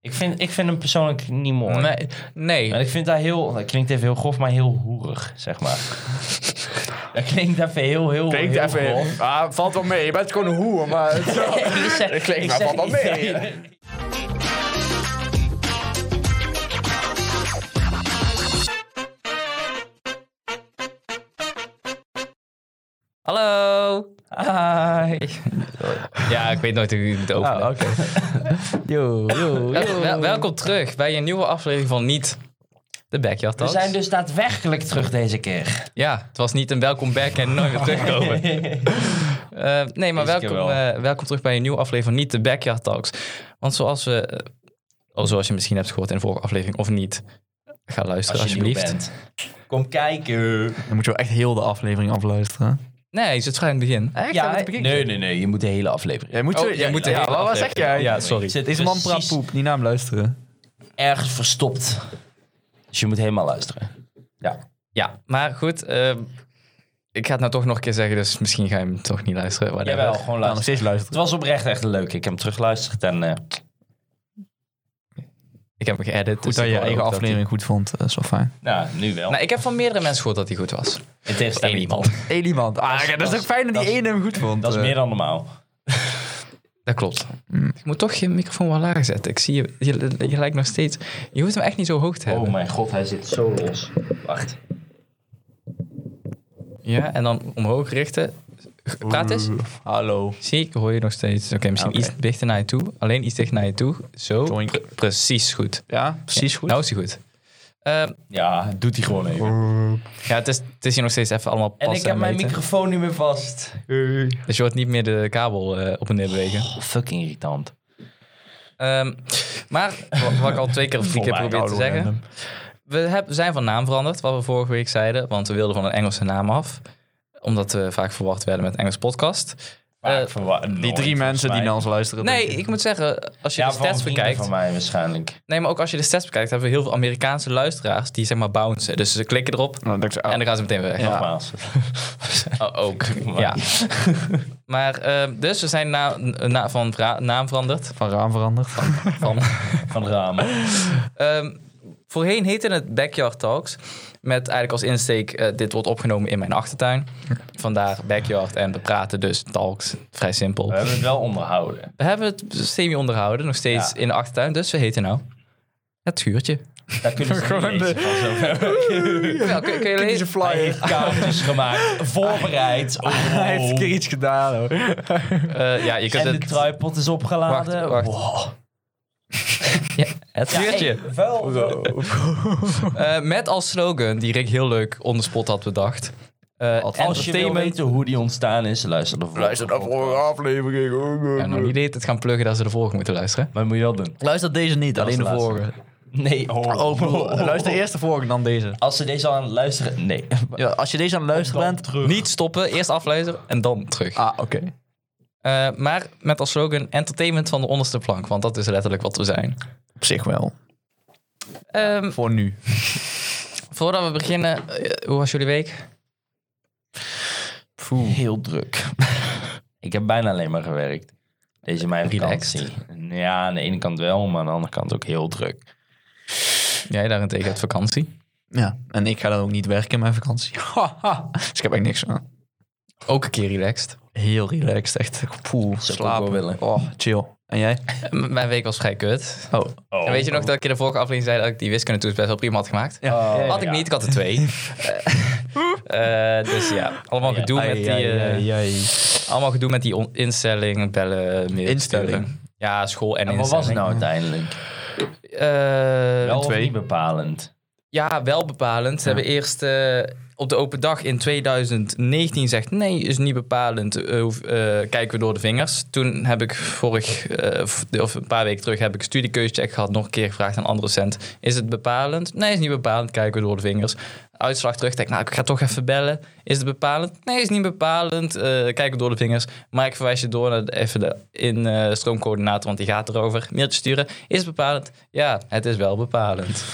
Ik vind, ik vind hem persoonlijk niet mooi. Nee, nee. En ik vind dat heel, dat klinkt even heel grof, maar heel hoerig, zeg maar. dat klinkt even heel, heel, Oh, Klinkt heel even. grof. Ah, valt wel mee. Je bent gewoon een hoer, maar. Ik zeg- Dat klinkt ik maar zeg- valt wel mee. Hallo! Hi. Ja, ik weet nooit hoe ik het openen. Oh, Ah, oké. Yo, yo, Wel- wel- welkom terug bij een nieuwe aflevering van Niet, de Backyard We Talks. zijn dus daadwerkelijk terug deze keer. Ja, het was niet een welkom back en nooit weer terugkomen. Eh, nee, maar Deze keer welkom, wel. eh, welkom terug bij een nieuwe aflevering van Niet, de Backyard Talks. Want zoals we, eh, oh, zoals je misschien hebt gehoord in de vorige aflevering of niet, ga luisteren Als je nieuw alsjeblieft. bent. Kom kijken. Dan moet je wel echt heel de aflevering afluisteren. Nee, je zit vrij in het begin. Echt? Ja, nee, nee, nee. Je moet de hele aflevering. Jij moet Oh, je, jij moet de ja, hele wat- wat zeg aflevering. jij? Ja, sorry. Zit Deze man praat precies poep, die naam luisteren. Nou, ergens verstopt. Dus je moet helemaal luisteren. Ja. Ja, maar goed, ehm, ik ga het nou toch nog een keer zeggen, dus misschien ga je hem toch niet luisteren. whatever. Jawel, gewoon Ja, nog luisteren. steeds Het luisteren. was oprecht echt leuk. Ik heb hem teruggeluisterd en... eh, Ik heb hem geëdit. Goed dat je je eigen aflevering goed vond, eh, is wel fijn. nou, nu wel. Nou, ik heb van meerdere mensen gehoord dat hij goed was. In tegenstelling Eén tot- Eén iemand. Ah, dat, dat is is- ook fijn dat dat die is- ene hem goed vond. Dat is eh. meer dan normaal. Dat klopt. Hmm. Ik moet toch je microfoon wel lager zetten. Ik zie je, je, je lijkt nog steeds... Je hoeft hem echt niet zo hoog te hebben. Oh mijn god, hij zit zo los. Wacht. Ja, en dan omhoog richten. G- Praat eens. Hallo. Zie ik, hoor je nog steeds. Oké, misschien Oké. iets dichter naar je toe. Alleen iets dichter naar je toe. Zo, Doink. Pre- precies goed. Ja, precies goed. Nou is hij goed. Ehm, Ja, doet hij gewoon Oh, even. ja, het is, het is hier nog steeds even allemaal En passen ik heb mijn meten. microfoon niet meer vast. Dus je wordt niet meer de kabel eh, op en neer bewegen. Oh, fucking irritant. Ehm, maar, wa- wat ik al twee keer of drie keer Volwaar, probeer te zeggen. We heb- zijn van naam veranderd, wat we vorige week zeiden. Want we wilden van een Engelse naam af. Omdat we vaak verwacht werden met een Engels podcast. Maar Eh, ik verwaar- Die nooit, drie volgens mensen die mij. naar ons luisteren. nee, denk ik moet zeggen, als je ja, de stats bekijkt... van mij waarschijnlijk. Nee, maar ook als je de stats bekijkt, hebben we heel veel Amerikaanse luisteraars die zeg maar bouncen. Dus ze klikken erop Nou, dat is- en dan gaan ze meteen weer weg. Ja. Nogmaals. Oh, ook. Maar- Ja. maar ehm, dus we zijn na, na, van vra- naam veranderd. Van raam veranderd. Van, Van de ramen. Ehm, voorheen heette het Backyard Talks. Met eigenlijk als insteek, eh, dit wordt opgenomen in mijn achtertuin. Vandaar backyard en we praten dus talks. Vrij simpel. We hebben het wel onderhouden. We hebben het semi onderhouden, nog steeds Ja. in de achtertuin. Dus we heten nou het schuurtje. Daar kunnen ze Gewoon niet lezen van zover. Ja, kun, kun je lezen? Hij heeft kaartjes gemaakt. Voorbereid. Hij heeft een keer overal. iets gedaan hoor. Eh, ja, je kunt En de het... truipot is opgeladen. Wacht, wacht. Wow. Het Ja, schuurtje. hey, vuil. Eh, met als slogan, die Rick heel leuk on the spot had bedacht. Eh, Als je wil entertainment... weten hoe die ontstaan is, luister de volgende. Luister naar vorige Ja, nou, aflevering. die deed het gaan pluggen dat ze de volgende moeten luisteren. Maar moet je wel doen. Luister deze niet, alleen de was de vorige. Nee. Oh, Luister eerst de vorige, dan deze. Als ze deze al aan het luisteren... Nee. Ja, als je deze aan het luisteren Dan bent... terug. Niet stoppen, eerst afluisteren en dan terug. Ah, oké. Eh, maar met als slogan entertainment van de onderste plank, want dat is letterlijk wat we zijn. Op zich wel. Ehm, Voor nu. voordat we beginnen, eh, hoe was jullie week? Heel druk. ik heb bijna alleen maar gewerkt. Deze mijn Relaxed. vakantie. Ja, aan de ene kant wel, maar aan de andere kant ook heel druk. Jij daarentegen hebt vakantie. Ja, en ik ga dan ook niet werken in mijn vakantie. Haha. dus ik heb eigenlijk niks aan. Ook een keer relaxed. Heel relaxed, echt. Poeh, Zou ik ook wel willen. slapen. Oh, chill. En jij? Eh, m- mijn week was vrij kut. Oh. Oh. en weet je nog dat ik in de vorige aflevering zei dat ik die wiskunde toets best wel prima had gemaakt? Ja. Oh. Had ik Ja. niet, ik had er twee. Eh, eh, dus ja, allemaal Ja. gedoe met die... eh, Allemaal gedoe met die on- instelling, bellen, mail Instelling? sturen. Ja, school en, En wat instelling. was het nou uiteindelijk? Eh, Wel of twee. niet bepalend? Ja, wel bepalend. Ze hebben eerst eh, op de open dag in 2019 gezegd... nee, is niet bepalend, eh, hoef- eh, kijken we door de vingers. Toen heb ik vorig, eh, v- of een paar weken terug... heb ik een studiekeuzecheck gehad, nog een keer gevraagd aan een andere docent. Is het bepalend? Nee, is niet bepalend, kijken we door de vingers. Uitslag terug, denk ik, nou, ik ga toch even bellen. Is het bepalend? Nee, is niet bepalend, eh, kijken we door de vingers. Maar ik verwijs je door naar de- even de in, eh, stroomcoördinator, want die gaat erover. Mailtje sturen. Is het bepalend? Ja, het is wel bepalend.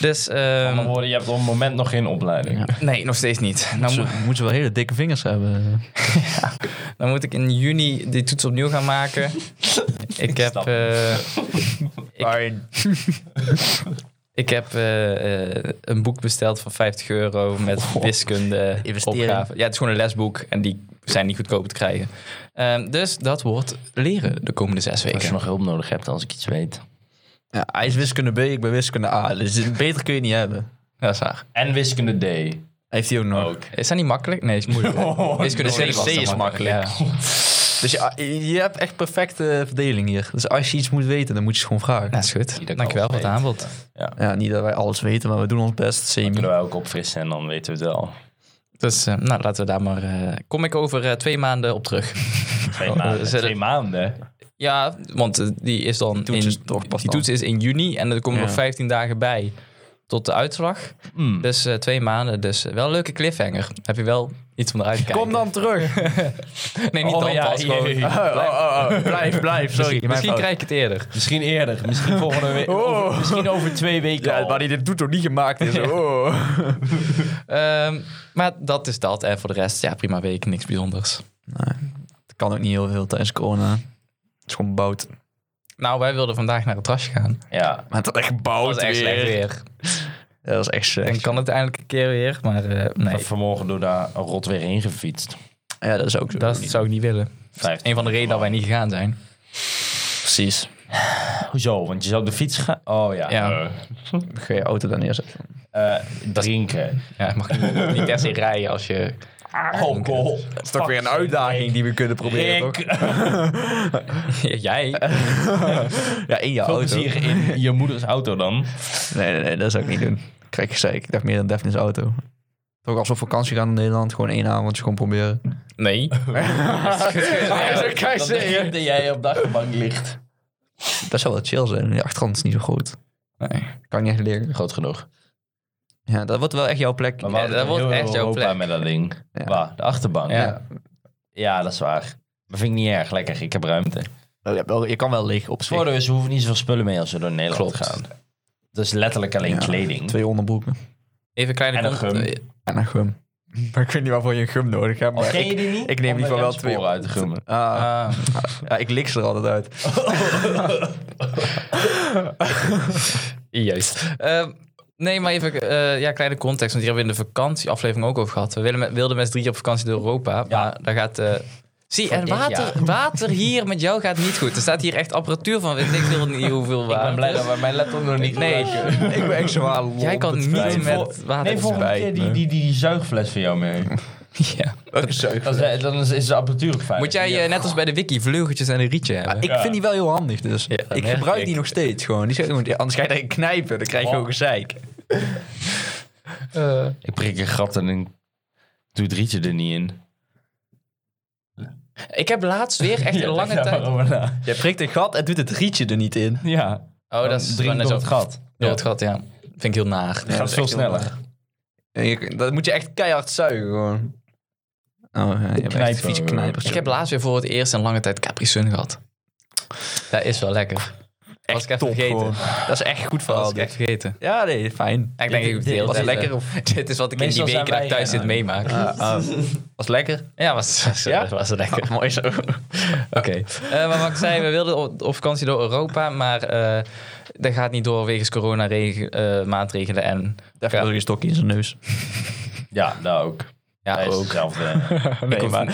Dus Met andere ehm, woorden, je hebt op het moment nog geen opleiding. Ja. nee, nog steeds niet. Nou, Ze moet- moeten ze wel hele dikke vingers hebben. dan moet ik in juni die toets opnieuw gaan maken. ik heb... snap eh, ik heb eh, eh, een boek besteld van 50 euro met wiskunde Investering. opgaven. Ja, het is gewoon een lesboek en die zijn niet goedkoop te krijgen. Ehm, dus dat wordt leren de komende zes Als je weken. nog hulp nodig hebt, als ik iets weet. Ja, hij is wiskunde B, ik ben wiskunde A. Dus beter kun je niet hebben. Dat is waar. En wiskunde D. Heeft hij ook nog. Ook. Is dat niet makkelijk? Nee, is moeilijk. wiskunde nee, C was C dan is makkelijk. ja. Dus je, je hebt echt perfecte verdeling hier. Dus als je iets moet weten, dan moet je het gewoon vragen. Nou, is goed. Ieder Dankjewel voor kan het het aanbod. Ja, niet dat wij alles weten, maar we doen ons best. Semi. Kunnen wij ook opfrissen en dan weten we het wel. Dus eh, nou, laten we daar maar... eh, kom ik over eh, twee maanden op terug. Twee Oh, maanden. zet het- Twee maanden. Ja, want eh, die is dan... toets in, is toch pas die dan. toets is in juni en er komen Ja. nog 15 dagen bij tot de uitslag. Hmm. Dus eh, twee maanden. Dus eh, wel een leuke cliffhanger. Heb je wel iets om eruit te kijken. Kom dan terug. Nee, niet Oh, dan ja, pas. jee. Gewoon. Oh, Blijf, blijf. Sorry. Misschien krijg ik het eerder. Misschien eerder. Misschien volgende week. Oh. Over, misschien over twee weken al. hij dit doet toch niet gemaakt is. Oh. Ehm, maar dat is dat. En voor de rest, ja, prima week. Niks bijzonders. Dat kan ook niet heel veel tijdens corona. Het is gewoon bout. Nou, wij wilden vandaag naar het trasje gaan. Ja. Maar het is echt bout Dat is echt slecht weer. Ja, dat is echt slecht. Dan kan het eindelijk een keer weer. Maar eh, nee, Vanmorgen door daar rot weer heen gefietst. Ja, dat is ook zo. dat zou ik niet willen. Vijftien. Een van de redenen dat wij niet gegaan zijn. Precies. Hoezo? Want je zou op de fiets gaan? Oh ja. Ja. Eh, Dan Ga je auto daar neerzetten. eh, drinken. Ja, je mag niet, niet per se rijden als je... Alcohol. Dat is toch weer een uitdaging die we kunnen Ik. Jij? Ja, in je Veel auto. plezier in je moeders auto dan. Nee, nee, nee, dat zou ik niet doen. Krijg je gezeik. Ik dacht meer dan Daphne's auto. Toch als we op vakantie gaan in Nederland, gewoon één avondje gewoon proberen. Nee. dat krijg je zeker. dat jij op de achterbank ligt. Dat zou wel chill zijn. De achtergrond is niet zo groot. Nee. Kan je echt leren. Groot genoeg. Ja, dat wordt wel echt jouw plek. Maar Ja, dat wordt echt jouw plek. met dat ding. Ja. Waar? De achterbank. Ja. Ja. dat is waar. Maar vind ik niet erg. Lekker, ik heb ruimte. Oh, ja, wel- je kan wel leeg op zich. Voor dus, we hoeven niet zoveel spullen mee als we door Nederland Klopt. gaan. Dus letterlijk alleen Ja. kleding. Twee onderbroeken. Even een En kleine... een con- gum. eh, En een gum. Maar ik weet niet waarvoor je een gum nodig hebt. Of Maar ken je die niet? ik neem in ieder Om geval wel de twee remsporen uit te gummen. Ah, ah. ja, ik lik ze er altijd uit. Juist. Ehm, nee, maar even eh, ja, kleine context. Want hier hebben we in de vakantieaflevering ook over gehad. We willen met, wilden met z'n drieën op vakantie door Europa. Maar daar gaat... eh, Zie, en dit water, jaar. water hier met jou gaat niet goed. Er staat hier echt apparatuur van, weet ik veel niet hoeveel water. Ik ben blij dat we mijn laptop nog niet Nee. gebruiken. ik ben echt zo aan Jij kan niet spijt me. met water Nee, volgende spijt keer die, me. die, die zuigfles van jou mee. Ja. Dan is, dan is- is de apparatuur ook fijn. Moet jij eh, net als bij de wiki vleugeltjes en een rietje hebben? Ik Ja. vind die wel heel handig dus. Ja, dat ik merk gebruik ik. die nog steeds gewoon. Die zijn gewoon ja, anders ga je erin knijpen. Dan krijg je Oh. ook een zeik. Ik prik een gat en ik doe het rietje er niet in. ik heb laatst weer echt een lange tijd... Jij prikt een gat en doet het rietje er niet in. Ja. Oh, dat is drinken dan is door ook- het gat. Door het gat, ja. Vind ik heel naar. Het gaat is veel echt sneller. En je- dat moet je echt keihard zuigen gewoon. Oh, ja, je hebt echt Knijpen. vieze knijpers. Ik heb laatst weer voor het eerst in lange tijd Capri Sun gehad. Dat is wel lekker. was ik even vergeten. gewoon. Dat is echt goed Dat was verhaal. ik echt vergeten. Ja, nee, fijn. Ja, ik denk, ik Dit- deel dit- het Was het even. lekker? Of, Dit is wat ik Meestal in die zijn weken dat wij ik thuis zit geheim. meemaak. was het lekker? eh, Ja, was, was, Ja? was lekker. Mooi zo. Oké. Eh, maar wat ik zei, we wilden op, op vakantie door Europa, maar eh, dat gaat niet door wegens corona-maatregelen en... Even Ja. door je stokje in zijn neus. Ja, dat ook. Ja, Hij is eh, ook. hetzelfde. Nee, hoef- maar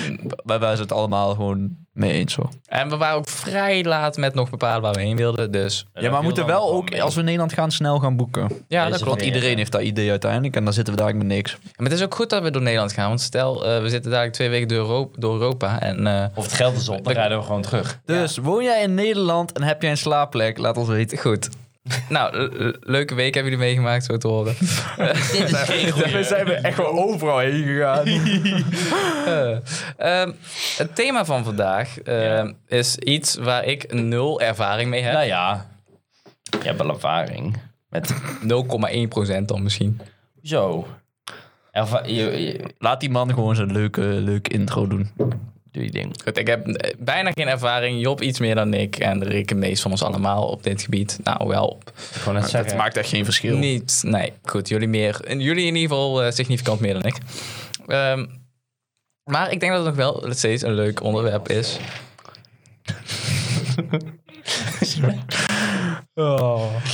wij waren het allemaal gewoon mee eens hoor. En we waren ook vrij laat met nog bepalen waar we heen wilden, dus... Ja, maar we moeten wel ook, als we in Nederland gaan, snel gaan boeken. Ja, Deze dat klopt. van Want Nee, iedereen ja. heeft dat idee uiteindelijk en dan zitten we daar eigenlijk met niks. Maar het is ook goed dat we door Nederland gaan, want stel, eh, we zitten dadelijk twee weken door Europa, door Europa en... eh, Of het geld is op, dan rijden we gewoon terug. Dus woon jij in Nederland en heb jij een slaapplek? Laat ons weten. Goed. Nou, le- le- leuke week hebben jullie meegemaakt, zo te horen. We zijn echt wel overal heen gegaan. Eh, ehm, het thema van vandaag ehm, is iets waar ik nul ervaring mee heb. Nou ja, je hebt wel ervaring. Met 0,1% dan misschien. zo. Erva- je- je- Laat die man gewoon zijn leuke, leuke intro doen. Doe je ding. Goed, ik heb eh, bijna geen ervaring. Job iets meer dan ik. En Rick en meest van ons allemaal op dit gebied. Nou, wel Ik wou net Het zeggen. maakt echt geen verschil. Niet, nee. Goed, jullie meer. En jullie in ieder geval eh, significant meer dan ik. Ehm, maar ik denk dat het nog wel steeds een leuk onderwerp is.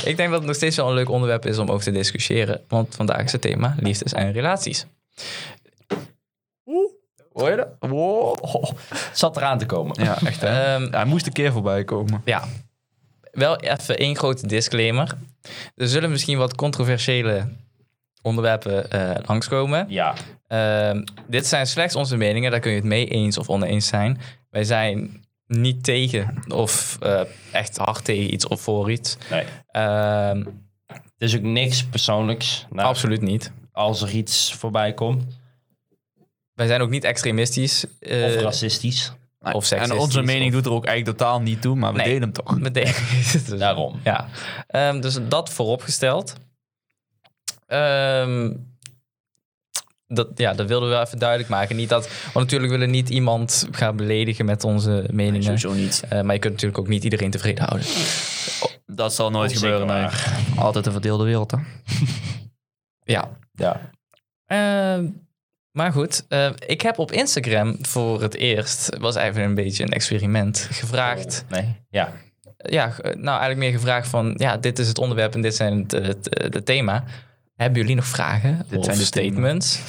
Ik denk dat het nog steeds wel een leuk onderwerp is om over te discussiëren. Want vandaag is het thema liefdes en relaties. Hoor je dat? Zat eraan te komen. Ja, echt hè. Ehm, Ja, Eh, hij moest een keer voorbij komen. ja, wel even één grote disclaimer. Er zullen misschien wat controversiële onderwerpen eh, langskomen. Ja. Ehm, dit zijn slechts onze meningen, daar kun je het mee eens of oneens zijn. Wij zijn niet tegen of eh, echt hard tegen iets of voor iets. Nee. Ehm, Het is ook niks persoonlijks. Nou, Absoluut niet. Als er iets voorbij komt. Wij zijn ook niet extremistisch. eh, Of racistisch. Of en seksistisch, onze mening of- doet er ook eigenlijk totaal niet toe, maar we Nee. deden hem toch. met deze- dus- Daarom. Ja. Ehm, dus dat vooropgesteld. Ehm, dat, ja, dat wilden we wel even duidelijk maken. Niet dat, want natuurlijk willen we niet iemand gaan beledigen met onze meningen. niet. Eh, maar je kunt natuurlijk ook niet iedereen tevreden houden. Dat zal nooit Onzeker gebeuren, nee. waar. Altijd een verdeelde wereld, hè. Ja. Ja. Ehm, maar goed, eh, ik heb op Instagram voor het eerst, was even een beetje een experiment, gevraagd. Oh, Nee. Ja. Ja, ge- nou eigenlijk meer gevraagd van, ja, dit is het onderwerp en dit zijn het, eh, het, het thema. Hebben jullie nog vragen Dit of zijn de statements?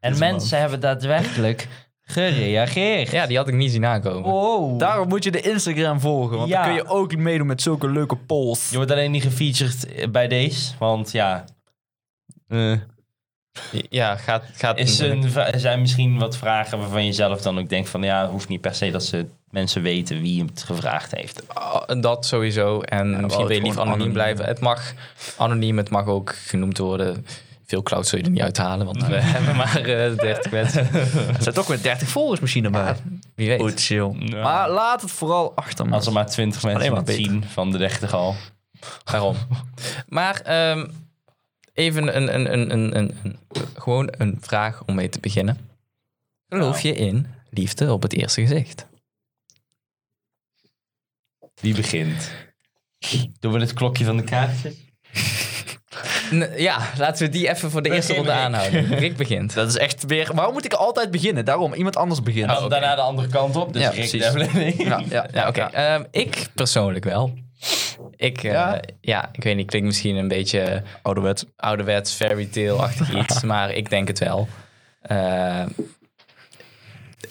En mensen hebben daadwerkelijk gereageerd. Ja, die had ik niet zien aankomen. Oh. Wow. Daarom moet je de Instagram volgen, want Ja. dan kun je ook meedoen met zulke leuke polls. Je wordt alleen niet gefeatured bij deze. Want ja, Eh. Ja, gaat... gaat is een, er zijn misschien wat vragen waarvan je zelf dan ook denkt van... ja, het hoeft niet per se dat ze mensen weten wie hem het gevraagd heeft. Ah, Dat sowieso. En misschien het wil je lief gewoon anoniem, anoniem. blijven. Het mag anoniem, het mag ook genoemd worden. Veel cloud zul je er niet uithalen, want we hebben maar eh 30 mensen. Er zijn toch weer 30 volgers misschien erbij. Wie weet. Goed, chill. Ja. Maar laat het vooral achter me. Als er maar twintig alleen mensen maar het zien van de 30 al. Waarom? maar ehm, even een, een, een, een, een, een- gewoon een vraag om mee te beginnen. Geloof je in liefde op het eerste gezicht? Wie begint? Doen we het klokje van de kaartjes? N- ja, laten we die even voor de eerste ronde aanhouden. Rick begint. Dat is echt weer... Waarom moet ik altijd beginnen? Daarom, iemand anders beginnen. Oh, Dan Daarna de andere kant op. Dus Ja, Rick precies. Devlin. Ja, ja, Ja, oké. Ehm, ik persoonlijk wel. Ik, eh, Ja? ja? ik weet niet, klinkt misschien een beetje Ouderwets. ouderwets fairy tale-achtig iets, maar ik denk het wel. Ehm,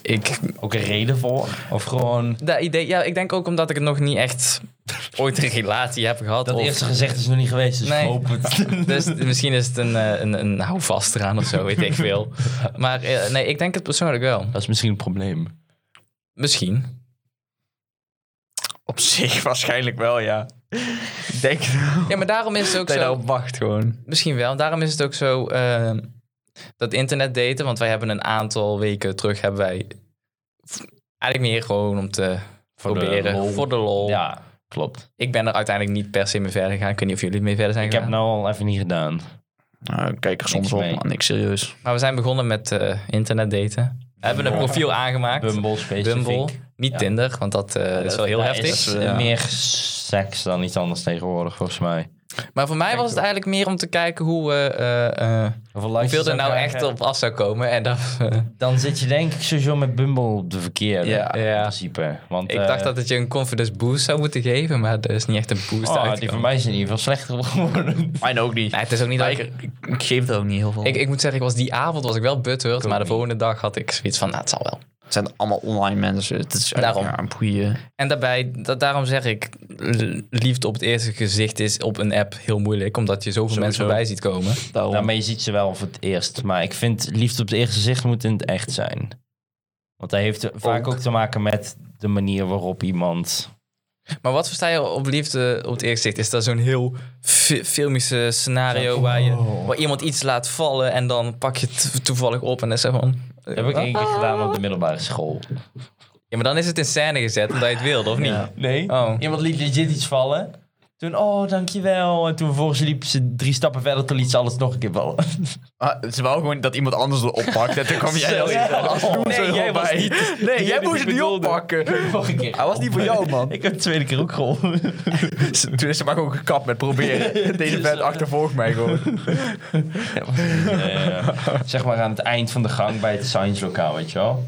ik, Ook een reden voor? Of gewoon... dat idee, ja, ik denk ook omdat ik het nog niet echt ooit een relatie heb gehad. Dat of- eerste gezegd is nog niet geweest, dus Nee. nee. hoop het. Dus misschien is het een, eh, een, een houvast eraan of zo, weet ik veel. Maar eh, nee, ik denk het persoonlijk wel. Dat is misschien een probleem. Misschien. Op zich waarschijnlijk wel, ja. Ik denk Ja, maar daarom is het ook dat je zo... daarop wacht gewoon. Misschien wel. Daarom is het ook zo eh, dat internet daten. Want wij hebben een aantal weken terug hebben wij v- eigenlijk meer gewoon om te Voor de proberen lol. voor de lol. Ja, Oh, klopt. Ik ben er uiteindelijk niet per se mee verder gegaan. Ik weet niet of jullie mee verder zijn Ik heb gegaan. het nou al even niet gedaan. Nou, ik kijk er soms Niks op, mee. maar niks serieus. Maar we zijn begonnen met eh, internet daten. We hebben een profiel aangemaakt. Bumble specifiek. Bumble. Niet Ja. Tinder, want dat, eh, is wel heel Daar heftig. is, Dat is, eh, ja. meer seks dan iets anders tegenwoordig, volgens mij. Maar voor mij was het eigenlijk meer om te kijken hoe, eh, eh, eh, hoeveel er nou echt op af zou komen. En dat, eh, Dan zit je denk ik sowieso met Bumble op de verkeerde. Ja. In ja. principe. Want, Ik eh, dacht dat het je een confidence boost zou moeten geven, maar er is niet echt een boost oh, die uitgekomen. van mij is in ieder geval slechter geworden. Mijn ook niet. Nee, het is ook niet dat Maar ik, ik, ik, ik geef er ook niet heel veel. ik... Ik moet zeggen, ik was die avond was ik wel butthurt, maar de volgende dag had ik zoiets van, nou, het zal wel. het zijn allemaal online mensen. Het is Daarom. Ja, een boeien. En daarbij, dat, daarom zeg ik, l- liefde op het eerste gezicht is op een app heel moeilijk, omdat je zoveel mensen voorbij ziet komen. Daarom. Nou, maar je ziet ze wel voor het eerst. Maar ik vind liefde op het eerste gezicht moet in het echt zijn. Want dat heeft vaak ook te maken met de manier waarop iemand... Maar wat versta je op liefde op het eerste gezicht? Is dat zo'n heel fi- filmische scenario waar, je, waar iemand iets laat vallen en dan pak je het toevallig op en dan is het van... Dat heb ik één keer gedaan op de middelbare school. Ja, maar dan is het in scène gezet omdat je het wilde, of niet? Nee. Oh. Iemand liet legit iets vallen. Toen, oh, dankjewel. En toen vervolgens liep ze drie stappen verder, toen liet ze alles nog een keer vallen. Ah, ze wou gewoon dat iemand anders het oppakt. En toen kwam jij Zo, ja. als doen Nee, zo jij was bij. nee, jij die moest het niet bedoelde. oppakken. Nog een keer. Hij was niet voor jou, man. Ik heb de tweede keer ook geholpen. Toen is ze maar gewoon gekapt met proberen. Deze vent achtervolgt mij gewoon. Eh, zeg maar aan het eind van de gang bij het science lokaal, weet je wel.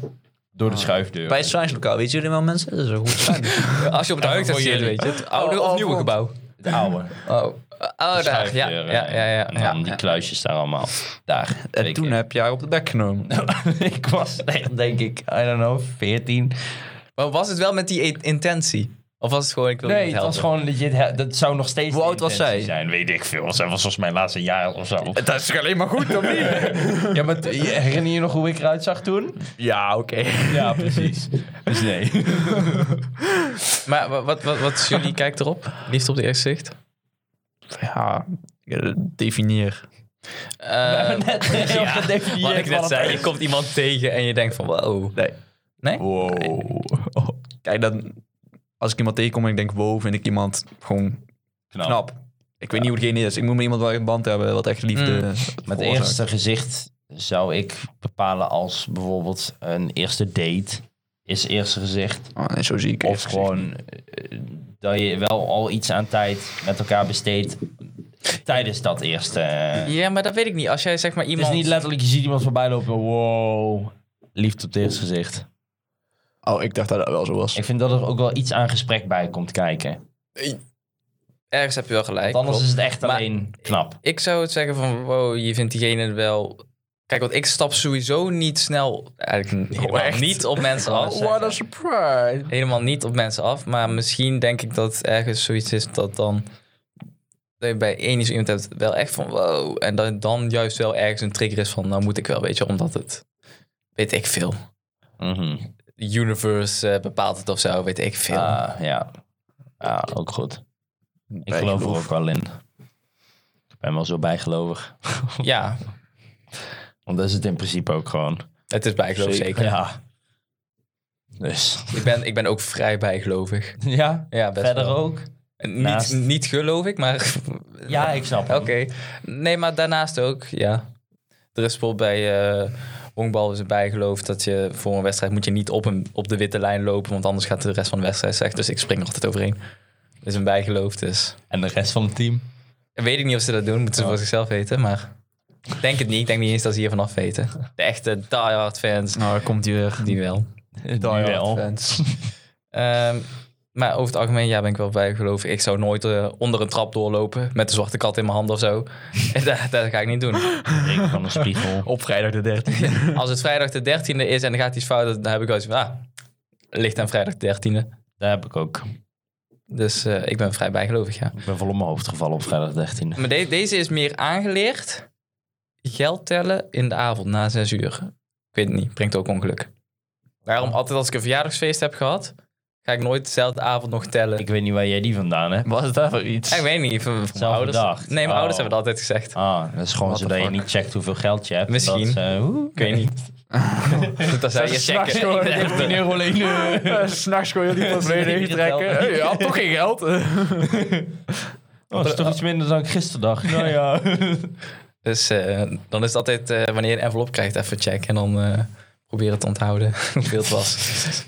Door de schuifdeur. het science lokaal, weten jullie wel mensen? Dat is een goed Als je op het huid voor zit, jullie. weet je. Het oude Oh, of oh, nieuwe goed. gebouw. Het oude. Oh, oh daar. Ja, ja, Schuifdeur, eh, ja. ja, ja. En dan die kluisjes daar allemaal. Daar. En toen heb jij haar op de bek genomen. Eh, ik was echt, denk ik, I don't know, 14. Maar was het wel met die e- intentie? Of was het gewoon, ik wil Nee, niet het helpen? was gewoon legit. he- Dat zou nog steeds. Hoe de oud was intentie zij? Zijn, weet ik veel. Zij was volgens mijn laatste jaar of zo. Dat is toch alleen maar goed, of niet? Ja, maar t- Eh, herinner je nog hoe ik eruit zag toen? Ja, oké. Ja, precies. Dus nee. Maar wa- wat, wat, wat is jullie kijk erop? Liefde op het eerste zicht? Ja, eh, definieer. Eh, Net heel ja, gedefinieerd wat ik net wat het zei, is. je komt iemand tegen en je denkt van wow. Nee. Nee? Wow. Kijk, dan, als ik iemand tegenkom en ik denk wow, vind ik iemand gewoon Knap. knap. Ik weet niet hoe degene is. Ik moet met iemand wel een band hebben wat echt liefde Mm. veroorzaakt. Met eerste gezicht zou ik bepalen als bijvoorbeeld een eerste date is eerste gezicht. Ah, nee, zo zie ik Of eerst gezicht. gewoon eh, dat je wel al iets aan tijd met elkaar besteedt tijdens dat eerste. Het Ja, maar dat weet ik niet. Als jij zeg maar is iemand... niet letterlijk, je ziet iemand voorbij lopen, wow, liefde op het eerste gezicht. Oh, ik dacht dat dat wel zo was. Ik vind dat er ook wel iets aan gesprek bij komt kijken. Ergens heb je wel gelijk. Want anders klopt. is het echt Maar- alleen knap. Ik zou het zeggen van wow, je vindt diegene wel... Kijk, want ik stap sowieso niet snel... Eigenlijk helemaal echt? niet op mensen af. Oh, zeg what maar. a surprise. helemaal niet op mensen af. Maar misschien denk ik dat het ergens zoiets is dat dan... Dat je bij één is iemand hebt wel echt van wow. En dat het dan juist wel ergens een trigger is van... Nou moet ik wel, weet je, omdat het... Weet ik veel. Mhm. Universe eh, bepaalt het of zo, weet ik veel. Ah, ja. ja, ook goed. Ik geloof er ook wel in. Ik ben wel zo bijgelovig. Ja, Want dat is het in principe ook gewoon. het is bijgeloof zeker. Ja. Dus. Ik, ben, ik ben ook vrij bijgelovig. Ja, Ja, best verder wel. ook. Niet, Naast- niet geloof ik, maar... Ja, ik snap Oké. hem. Nee, maar daarnaast ook, ja. Er is bijvoorbeeld bij eh honkbal is een bijgeloof dat je voor een wedstrijd moet je niet op, een, op de witte lijn lopen, want anders gaat de rest van de wedstrijd slecht. Dus ik spring er altijd overheen. Dat is een bijgeloof, dus... En de rest van het team? Weet ik niet of ze dat doen, moeten ze Oh. voor zichzelf weten, maar... Ik denk het niet, ik denk niet eens dat ze hiervan af weten. De echte diehard fans, Nou, daar komt hij weer. die wel. Die Diehard wel. fans. Ehm, maar over het algemeen, ja, ben ik wel bijgeloof. Ik zou nooit eh, onder een trap doorlopen met de zwarte kat in mijn hand of zo. dat, dat ga ik niet doen. Ik van een spiegel. Op vrijdag de 13e. Als het vrijdag de 13e is en er gaat iets fout, dan heb ik wel eens van, ah, ligt aan vrijdag de 13e. Daar heb ik ook. Dus eh, ik ben vrij bijgelovig, ja. Ik ben vol op mijn hoofd gevallen op vrijdag 13. Maar de- deze is meer aangeleerd. Geld tellen in de avond na 6 uur. Ik weet het niet, brengt ook ongeluk. Daarom, altijd als ik een verjaardagsfeest heb gehad, ga ik nooit dezelfde avond nog tellen. Ik weet niet waar jij die vandaan hebt. Wat is dat voor iets? Ik weet niet, van, van mijn Zelf ouders. bedacht. Nee, mijn Oh. ouders hebben het altijd gezegd. Ah, dat is gewoon What the zodat je fuck? niet checkt hoeveel geld je hebt. Misschien. Dat, is, eh, oeh. Ik weet niet. dat zou je s'nachts checken. gewoon- Ik denk dat- S'nachts gewoon heel die van beneden Iedereen trekken. geteld. Hey, je had toch geen geld? Oh, dat is toch iets minder dan ik gisteren dacht. Nou ja. Dus eh, dan is het altijd eh, wanneer je een envelop krijgt, even checken. En dan eh proberen te onthouden hoeveel het was.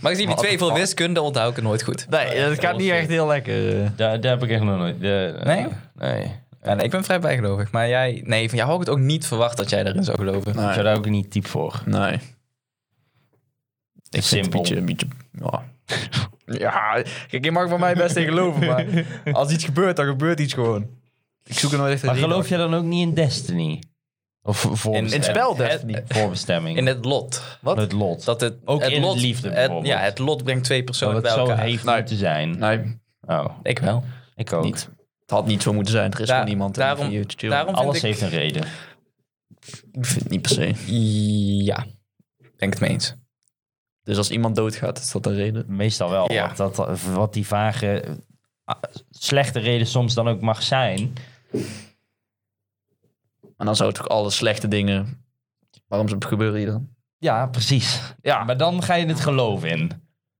Maar ik zie die twee voor wiskunde onthoud ik het nooit goed. Nee, dat gaat niet echt heel lekker. daar, daar heb ik echt nog nooit. eh, de- Nee? Nee. Ja, Eh, nee, ik ben vrij bijgelovig. Maar jij, nee, van jou had ik het ook niet verwacht dat jij erin zou geloven. Ik zou daar ook niet type voor. Nee. Ik Simpel. Een beetje, ja. ja, kijk, je mag van mij best in geloven, maar als iets gebeurt, dan gebeurt iets gewoon. Ik zoek er nooit echt Maar reden geloof je dan ook niet in Destiny? Of voorbestemming? in het spel Destiny? Voorbestemming. In het lot. Wat? het lot. Dat het, Ook het in het lot, liefde bijvoorbeeld. ja, het lot brengt twee dat personen het bij zo elkaar. heeft Nee. moeten zijn. Nee, Oh, Ik wel. ik ook. niet. Het had niet zo moeten zijn. Er is Daar- gewoon niemand. daarom- Daarom vind Alles ik, heeft een reden. Ik vind het niet per se. Ja, denk het mee eens. Dus als iemand doodgaat, is dat een reden. Meestal wel. Ja. want Dat, wat die vage, ah, slechte reden soms dan ook mag zijn. En dan zou het ook alle slechte dingen... Waarom ze gebeuren hier dan? Ja, precies. Ja. Maar dan ga je het geloof in.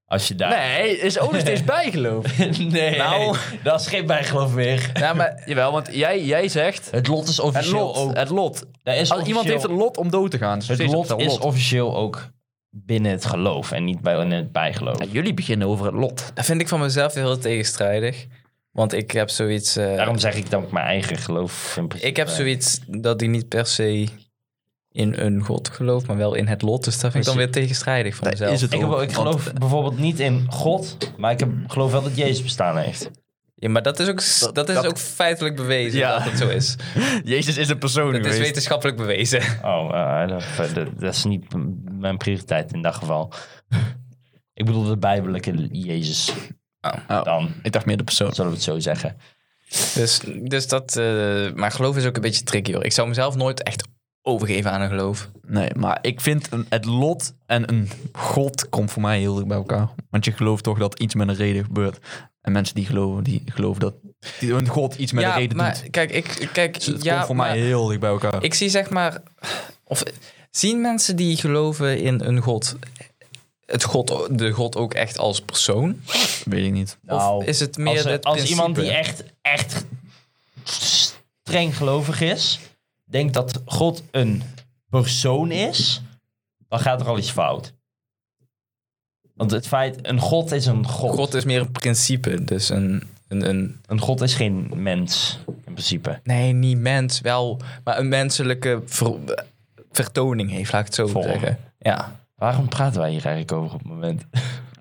Als je daar... Nee, is ook nog steeds bijgeloof. Nee, Nou. dat is geen bijgeloof meer. Ja, maar, jawel, want jij, jij zegt... Het lot is Het officieel lot, ook... het lot. daar is Als iemand officieel- heeft een lot om dood te gaan. is nog Het steeds lot een is officieel ook binnen het geloof en niet bij, in het bijgeloof. Ja, jullie beginnen over het lot. Dat vind ik van mezelf heel tegenstrijdig. Want ik heb zoiets... eh, Daarom zeg ik dan ook mijn eigen geloof. in principe. Ik Eh. heb zoiets dat ik niet per se in een god geloof, maar wel in het lot. Dus dat vind ik dan weer tegenstrijdig van Dat mezelf. is het. Ik, heb, ik geloof bijvoorbeeld niet in God, maar ik heb, geloof wel dat Jezus bestaan heeft. Ja, maar dat is ook, s- dat, is dat- ook feitelijk bewezen Ja. dat het zo is. Jezus is een persoon Het is geweest. wetenschappelijk bewezen. Oh, eh, dat, dat- dat is niet m- mijn prioriteit in dat geval. Ik bedoel de bijbelijke Jezus. Oh, Dan Ik dacht meer de persoon. zullen we het zo zeggen. Dus, dus dat... eh, maar geloof is ook een beetje tricky hoor. Ik zou mezelf nooit echt overgeven aan een geloof. Nee, maar ik vind een- het lot en een god komt voor mij heel dicht bij elkaar. Want je gelooft toch dat iets met een reden gebeurt. En mensen die geloven, die geloven dat die een god iets met ja, een reden maar doet. kijk, ik... Kijk, Dus het ja, komt voor maar- mij heel dicht bij elkaar. Ik zie zeg maar. Of zien mensen die geloven in een god. Het god de god ook echt als persoon? weet ik niet. Nou, of is het meer Als, het als principe? iemand die echt, echt streng gelovig is, denkt dat God een persoon is, dan gaat er al iets fout. Want het feit, een God is een God. God is meer een principe, dus een, een, een... Een God is geen mens, in principe. Nee, niet mens, wel... Maar een menselijke ver- vertoning heeft, laat ik het zo Vorm. zeggen. Ja. Waarom praten wij hier eigenlijk over op het moment?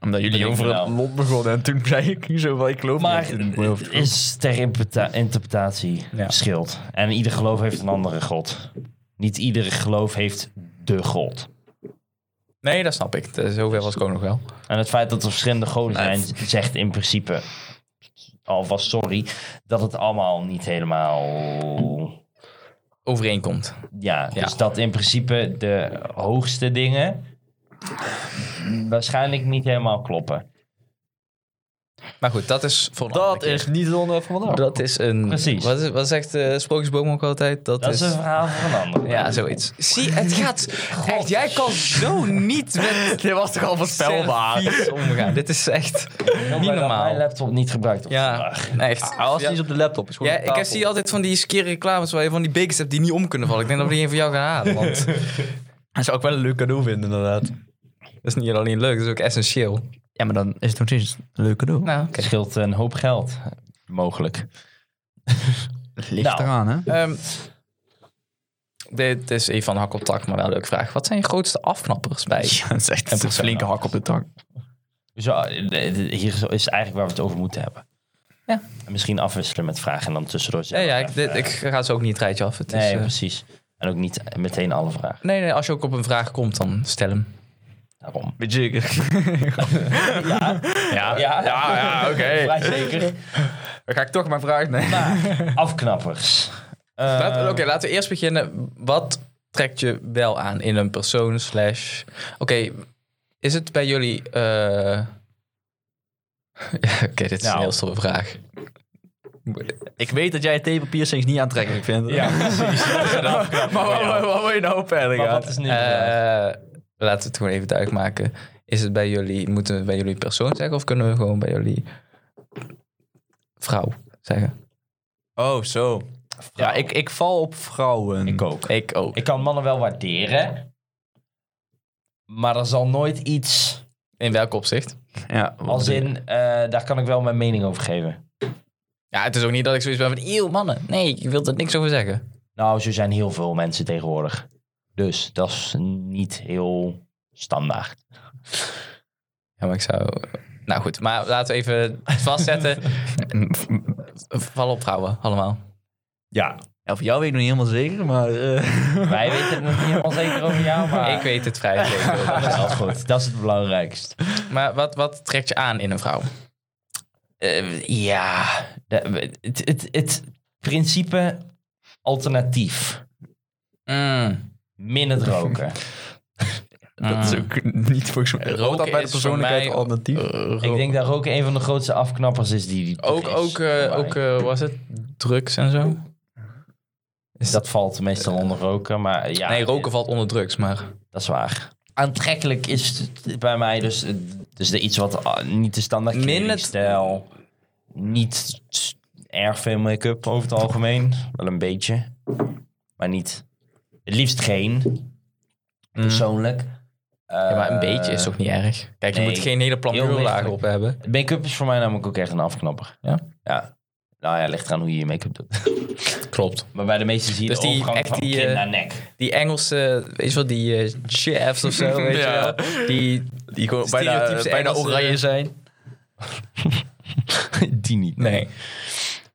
Omdat jullie Denk over ik het wel. lot begonnen en toen zei ik zo van, ik geloof Maar niet in mijn hoofd. het is ter interpreta- interpretatie Ja. verschilt. En ieder geloof heeft een andere God. Niet ieder geloof heeft de God. Nee, dat snap ik. Dat is Zover was ik ook nog wel. En het feit dat er verschillende goden zijn, zegt in principe, alvast sorry, dat het allemaal niet helemaal. Overeenkomt. Ja, Ja. dus dat in principe de hoogste dingen waarschijnlijk niet helemaal kloppen. Maar goed, dat is voor een Dat andere keer. is niet het onderwerp van vandaag. Dat is een... Precies. Wat, is, wat zegt de Sprookjesboom ook altijd? Dat, Dat is een verhaal voor een ander. Ja, zoiets. Zie, het gaat... Echt, jij kan zo niet met Dit was toch al voorspelbaar? servies omgaan. Dit is echt Omdat niet ik Mijn normaal. laptop niet gebruikt op Ja, vandaag. echt. Hij was Ja. niet eens op de laptop. is gewoon Ja, op ik heb- tafel. zie altijd van die skere reclames waar je van die bekers hebt die niet om kunnen vallen. Ik denk dat we die een van jou gaan halen, want Dat zou ik wel een leuk cadeau vinden, inderdaad. dat is niet alleen leuk, dat is ook essentieel. Ja, maar dan is het nog steeds een leuk cadeau. Nou, oké. Het scheelt een hoop geld, mogelijk. Ligt Nou. eraan, hè? Ehm, dit is even van hak op tak, maar wel een leuke vraag. Wat zijn je grootste afknappers bij? Ja, dat is echt een persoon. flinke hak op de tak. Zo, eh, hier zo- is eigenlijk waar we het over moeten hebben. Ja. En misschien afwisselen met vragen en dan tussendoor Ja, zelf ja ik, even- dit, ik ga ze ook niet het rijtje af. Het is, Nee, eh, precies. En ook niet meteen alle vragen. nee, nee, als je ook op een vraag komt, dan stel hem. Daarom. Weet je, Ja, ja, ja, oké. Vrij zeker. Dan ga ik toch maar vragen. Nee. Maar afknappers. Eh, Laten- Oké, laten we eerst beginnen. Wat trekt je wel aan in een persoon? Slash. Oké, is het bij jullie. eh, Ja, Oké, dit is Nou. een heel stomme vraag. Ik weet dat jij tape-piercings niet aantrekkelijk vindt. Ja, Oh, precies. maar wat, wat, wat wil je nou verder Maar gaan? wat is nu? de vraag? Eh, laten we het gewoon even duidelijk maken. Is het bij jullie. Moeten we bij jullie persoon zeggen of kunnen we gewoon bij jullie. vrouw zeggen? Oh, zo. Ja, ik, ik val op vrouwen. ik ook. Ik ook. Ik kan mannen wel waarderen. Maar er zal nooit iets... In welk opzicht? Ja, Als in, eh, daar kan ik wel mijn mening over geven. Ja, het is ook niet dat ik zoiets ben van. Eeuw, mannen. Nee, ik wil er niks over zeggen. Nou, zo zijn heel veel mensen tegenwoordig. Dus dat is niet heel standaard. Ja, maar ik zou. Nou goed, maar laten we even vastzetten. Val op vrouwen, allemaal. Ja. Ja, voor jou weet ik nog niet helemaal zeker, maar... eh, Wij weten het nog niet helemaal zeker over jou, maar... Ik weet het vrij zeker. dat is wel goed. Dat is het belangrijkste. Maar wat, wat trekt je aan in een vrouw? Eh, ja, de- het, het, het principe alternatief. Min het roken. dat is ook niet volgens mij... Roken Rood dat bij de is voor persoonlijkheid mij- Oh. alternatief. ik denk dat roken een van de grootste afknappers is die, die er Eh, Ook, is, ook, eh, voor mij. ook eh, was het drugs en zo? dat valt meestal onder roken, maar ja. nee, roken valt onder drugs, maar. Dat is waar. Aantrekkelijk is het bij mij dus eh, Dus de iets wat ah, niet de standaard Min het- kledingstijl. Niet s- erg veel make-up over het algemeen. Wel een beetje. Maar niet... Het liefst geen. Persoonlijk. Mm. Ja, maar een Eh, beetje is toch niet erg? Kijk, je nee. moet geen hele Heel plamuurlaag lichtelijk. op hebben. Make-up is voor mij namelijk ook echt een afknapper. Ja? Ja. Nou ja, ligt eraan hoe je je make-up doet. Klopt. Maar bij de meeste zie je Dus de die- overgang echt van die, kin eh, naar nek. Die Engelse, weet je wel, die eh, chefs of zo, weet Ja. je wel. Die, Die gewoon bijna, Stereotypes eh. bijna Engelse- oranje zijn. die niet. nee.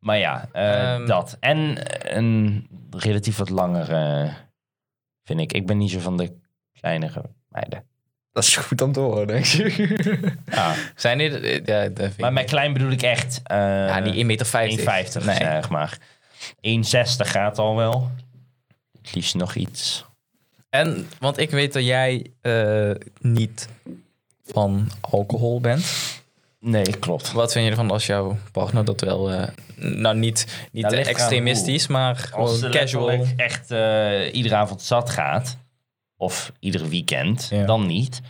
Maar ja, eh, Ehm. dat. En eh, een relatief wat langere, vind ik. Ik ben niet zo van de kleinere meiden. Dat is goed om te horen, denk ik. Ja. Zijn dit... eh, Ja, dat vind Maar ik- met klein bedoel ik echt... eh ja, niet 1,50 meter. 1,50 Nee. zeg maar. 1,60 gaat al wel. Het liefst nog iets. En, want ik weet dat jij eh, niet van alcohol bent. Nee, klopt. Wat vind je ervan als jouw partner dat wel... eh, nou, niet, niet Nou, eh, ligt eraan extremistisch, maar Als gewoon ze casual. letterlijk echt eh, iedere avond zat gaat, of iedere weekend, Ja. dan niet.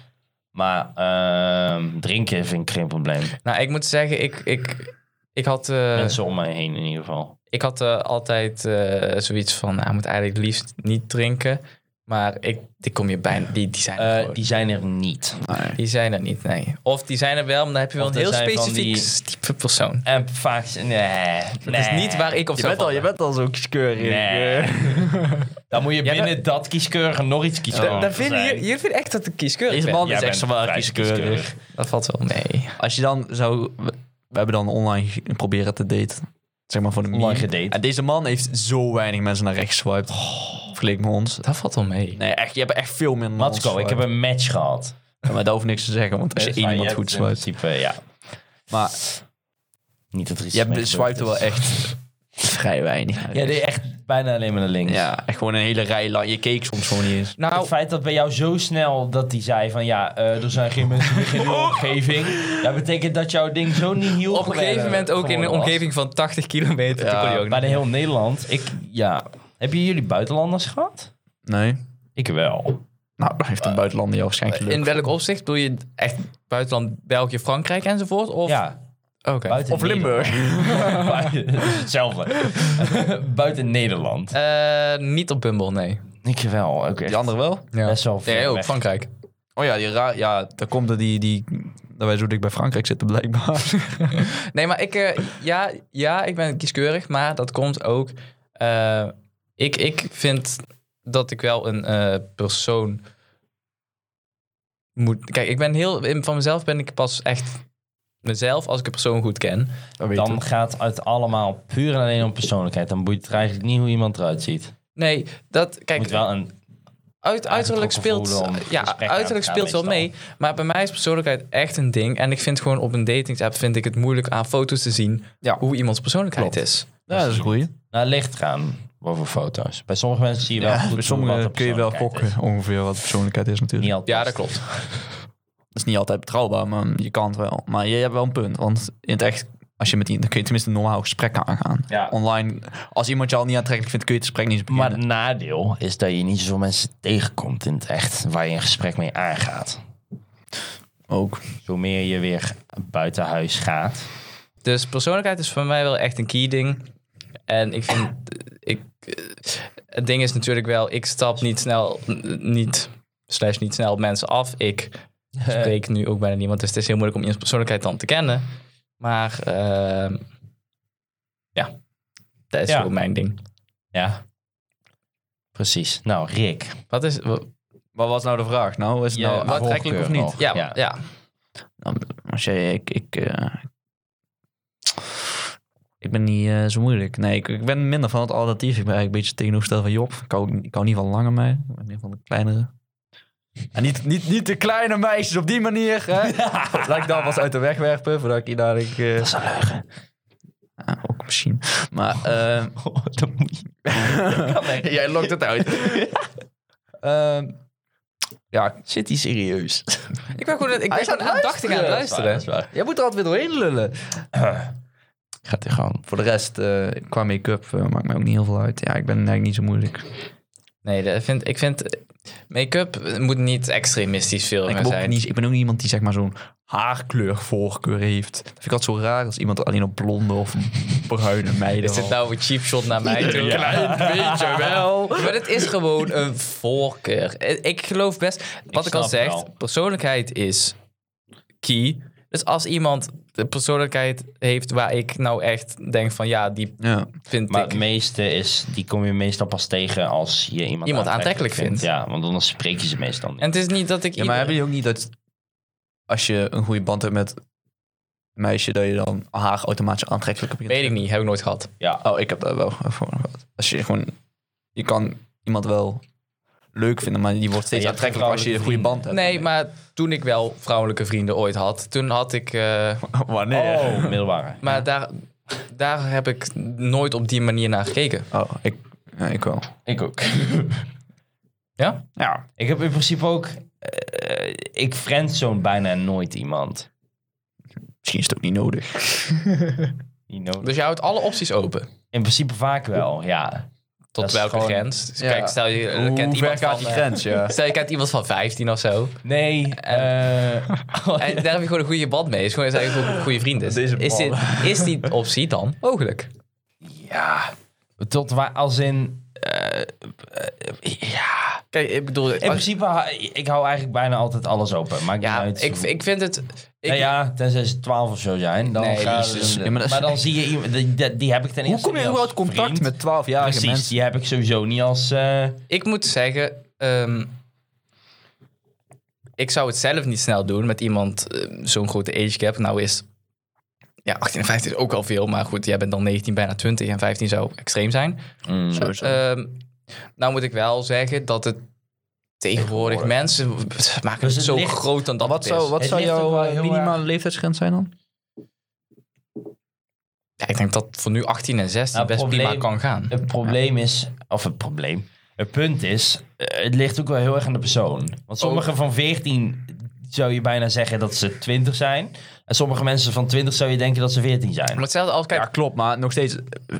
Maar ehm, drinken vind ik geen probleem. Nou, ik moet zeggen, ik... ik ik had, eh, Mensen om mij heen in ieder geval. ik had eh, altijd eh, zoiets van, nou, ik moet eigenlijk het liefst niet drinken. Maar ik, die kom je bijna, die, die zijn er Eh, gewoon. die zijn er niet. Die zijn er niet, nee. Of die zijn er wel, maar dan heb je wel Of een er heel zijn van specifiek type persoon. En vaak... Nee, Dat is niet waar ik op Je zou bent, al, je vallen. bent al zo kieskeurig. Nee. Eh, Dan moet je Ja, binnen dat kieskeurige nog iets kiezen. Da- daar vind je, hier vind ik echt dat ik kieskeurig Deze ben. man Jij is bent echt zwaar vrij kieskeurig. kieskeurig. Dat valt wel mee. Als je dan zou... We, we hebben dan online ge- proberen te daten. Zeg maar voor de Online meme. gedate. En deze man heeft zo weinig mensen naar rechts geswiped. Vergeleken met ons. Dat valt wel mee. Nee, echt, je hebt echt veel minder naar ons Matsko, ik heb geswiped. een match gehad. Ja, Maar dat hoeft niks te zeggen, want als je Dus één maar iemand hebt goed in swipet. principe, ja. Maar Niet dat er iets je mee hebt- gebeurd swiped is. wel echt vrij weinig. Ja, die echt bijna alleen maar naar links. Ja, echt gewoon een hele rij lang. Je keek soms gewoon niet eens. Het Nou, feit dat bij jou zo snel dat hij zei van ja, eh, er zijn geen mensen meer in uw omgeving. Dat betekent dat jouw ding zo niet heel op een gegeven moment ook in een omgeving van 80 kilometer. toen kon je ook Bij niet. de heel Nederland. Ik, ja. Hebben jullie buitenlanders gehad? Nee. Ik wel. Nou, dan heeft een buitenlander jou waarschijnlijk In leuk. welk opzicht? Bedoel je echt buitenland, België, Frankrijk enzovoort? Of, Oh, Ja. Oké. buiten Of Limburg. Nederland. Hetzelfde. buiten Nederland. Eh, niet op Bumble, nee. Ik wel. Ook Die echt andere wel? Ja. best wel Nee, ver ook weg. Frankrijk. Oh ja, die raar. Ja, daar komt dat die, die. Dat wij zo dik bij Frankrijk zitten, blijkbaar. Nee, maar ik, eh, ja, ja, ik ben kieskeurig, maar dat komt ook. eh, ik, ik vind dat ik wel een eh, persoon moet. Kijk, ik ben heel. in- Van mezelf ben ik pas echt mezelf als ik een persoon goed ken. Dan gaat het allemaal puur en alleen om persoonlijkheid. Dan boeit het eigenlijk niet hoe iemand eruit ziet. Nee, dat. Je Kijk, moet wel een uit, uiterlijk gevoel speelt. eh, om Ja, gesprekken aan te gaan uiterlijk speelt wel meestal. mee. Maar bij mij is persoonlijkheid echt een ding. En ik vind gewoon op een datingsapp vind ik het moeilijk aan foto's te zien Ja. hoe iemands persoonlijkheid is. Ja, dat is een goeie. Nou, ligt eraan. Wat voor foto's. Bij sommige mensen zie je wel Ja, goed bij hoe- wat de sommigen kun je wel persoonlijkheid gokken is. ongeveer wat de persoonlijkheid is, natuurlijk. Niet altijd. Ja, dat klopt. Dat is niet altijd betrouwbaar, maar je kan het wel. Maar je hebt wel een punt. Want in het echt, als je met die, dan kun je tenminste een normaal gesprek aangaan. Ja. Online, als iemand je al niet aantrekkelijk vindt, kun je het gesprek niet eens Maar beginnen. het nadeel is dat je niet zoveel mensen tegenkomt in het echt. Waar je een gesprek mee aangaat. ook. Zo meer je weer buiten huis gaat. Dus persoonlijkheid is voor mij wel echt een key ding. En ik vind. Ik, eh, het ding is natuurlijk wel, ik stap niet snel. n- Niet, slash niet snel op mensen af. Ik spreek nu ook bijna niemand. Dus het is heel moeilijk om iemands persoonlijkheid dan te kennen. Maar ehm, ja, dat is Ja. ook mijn ding. Ja. Precies. Nou, Rick. Wat is. wa- Wat was nou de vraag? Nou, is het Je nou voorkeur aantrekkelijk of nog. niet? ja, Ja. ja. Nou, als jij, ik, ik, eh, ik ben niet eh, zo moeilijk. Nee, ik, ik ben minder van het alternatief. Ik ben eigenlijk een beetje tegenovergesteld van Job. Ik hou, ik hou niet van lange mij. Ik ben meer van de kleinere. En niet, niet, niet de kleine meisjes op die manier. Hè? Laat ik dat alvast uit de weg werpen. Voordat ik hier dadelijk... eh, Dat is een leugen. ja, ook misschien. Maar... eh, dat moet je. jij lokt het uit. Ehm, ja, Zit hij serieus? Ik ben gewoon, ik ben is gewoon aan het aandachtig aan het luisteren. jij moet er altijd weer doorheen lullen. Gaat hij gewoon. Voor de rest, eh, qua make-up eh, maakt mij ook niet heel veel uit. Ja, ik ben eigenlijk niet zo moeilijk. Nee, dat vind, ik vind. Make-up eh, moet niet extremistisch veel ik, meer ben ook zijn. niet, ik ben ook niet iemand die zeg maar zo'n haarkleurvoorkeur heeft. Dat vind ik altijd zo raar als iemand alleen op blonde of bruine meiden. Is dit valt. nou een cheap shot naar mij? toe? Klein beetje wel. Maar het is gewoon een voorkeur. Eh, Ik geloof best, wat ik, Ik al snap zeg, wel. persoonlijkheid is key. Dus als iemand de persoonlijkheid heeft waar ik nou echt denk van ja, die Ja. vind Maar ik... het meeste is, die kom je meestal pas tegen als je iemand, Iemand aantrekkelijk vindt. Ja, want anders spreek je ze meestal niet. En het is niet dat ik Ja, maar ieder- hebben jullie ook niet dat als je een goede band hebt met een meisje, dat je dan haar automatisch aantrekkelijker begint? Weet ik niet, heb ik nooit gehad. ja. Oh, ik heb daar wel voor gehad. Als je gewoon, je kan iemand wel leuk vinden, maar die wordt steeds Maar je hebt aantrekkelijker als je een goede vrouwelijke band hebt. Nee, maar toen ik wel vrouwelijke vrienden ooit had, toen had ik... eh, Wanneer? Oh, middelbare. maar daar, daar heb ik nooit op die manier naar gekeken. Oh, ik, ja, ik wel. Ik ook. Ja? Ja. Ik heb in principe ook... eh, ik friendzone bijna nooit iemand. Misschien is het ook niet nodig. Niet nodig. Dus je houdt alle opties open. In principe vaak wel, ja. Dat Tot is welke gewoon- grens? Dus Ja. Kijk, stel je, eh, kent iemand van, eh, ja. stel je kent iemand van 15 of zo. Nee, eh, En daar heb je gewoon een goede band mee. Is gewoon is eigenlijk gewoon een goede vriend. Is, Dat is een is, dit, is die optie dan mogelijk? ja... Tot waar, als in... eh, eh, ja... Kijk, ik bedoel... In principe, ha- ik hou eigenlijk bijna altijd alles open. Maakt ja, niet uit. ik, ik vind het... Ik, Nou ja, tenzij ze 12 of zo zijn. Dan Nee, dus- gaan jezus. ze- dus- Ja, maar maar, dat is- dan zie je iemand, die, die- die heb ik ten eerste Hoe kom je niet als überhaupt contact vriend. met 12-jarige Precies, mensen? die heb ik sowieso niet als... eh, ik moet zeggen... ehm, ik zou het zelf niet snel doen met iemand ehm, zo'n grote age gap. Nou is... Ja, 18 en 15 is ook al veel. Maar goed, jij bent dan 19, bijna 20. En 15 zou extreem zijn. Sowieso. Ehm, nou moet ik wel zeggen dat het tegenwoordig, mensen maken Dus het het zo ligt- groot dan dat wat het is. zou, wat Het zou ligt ook wel jouw eh, heel minimale leeftijdsgrens zijn dan? Ja, ik denk dat voor nu 18 en 16 Nou, best probleem- prima kan gaan. het probleem is... Of het probleem... Het punt is, eh, het ligt ook wel heel erg aan de persoon. Want sommige Oh. van 14 zou je bijna zeggen dat ze 20 zijn. En sommige mensen van 20 zou je denken dat ze 14 zijn. Maar hetzelfde als, kijk, Ja, klopt, maar nog steeds, eh,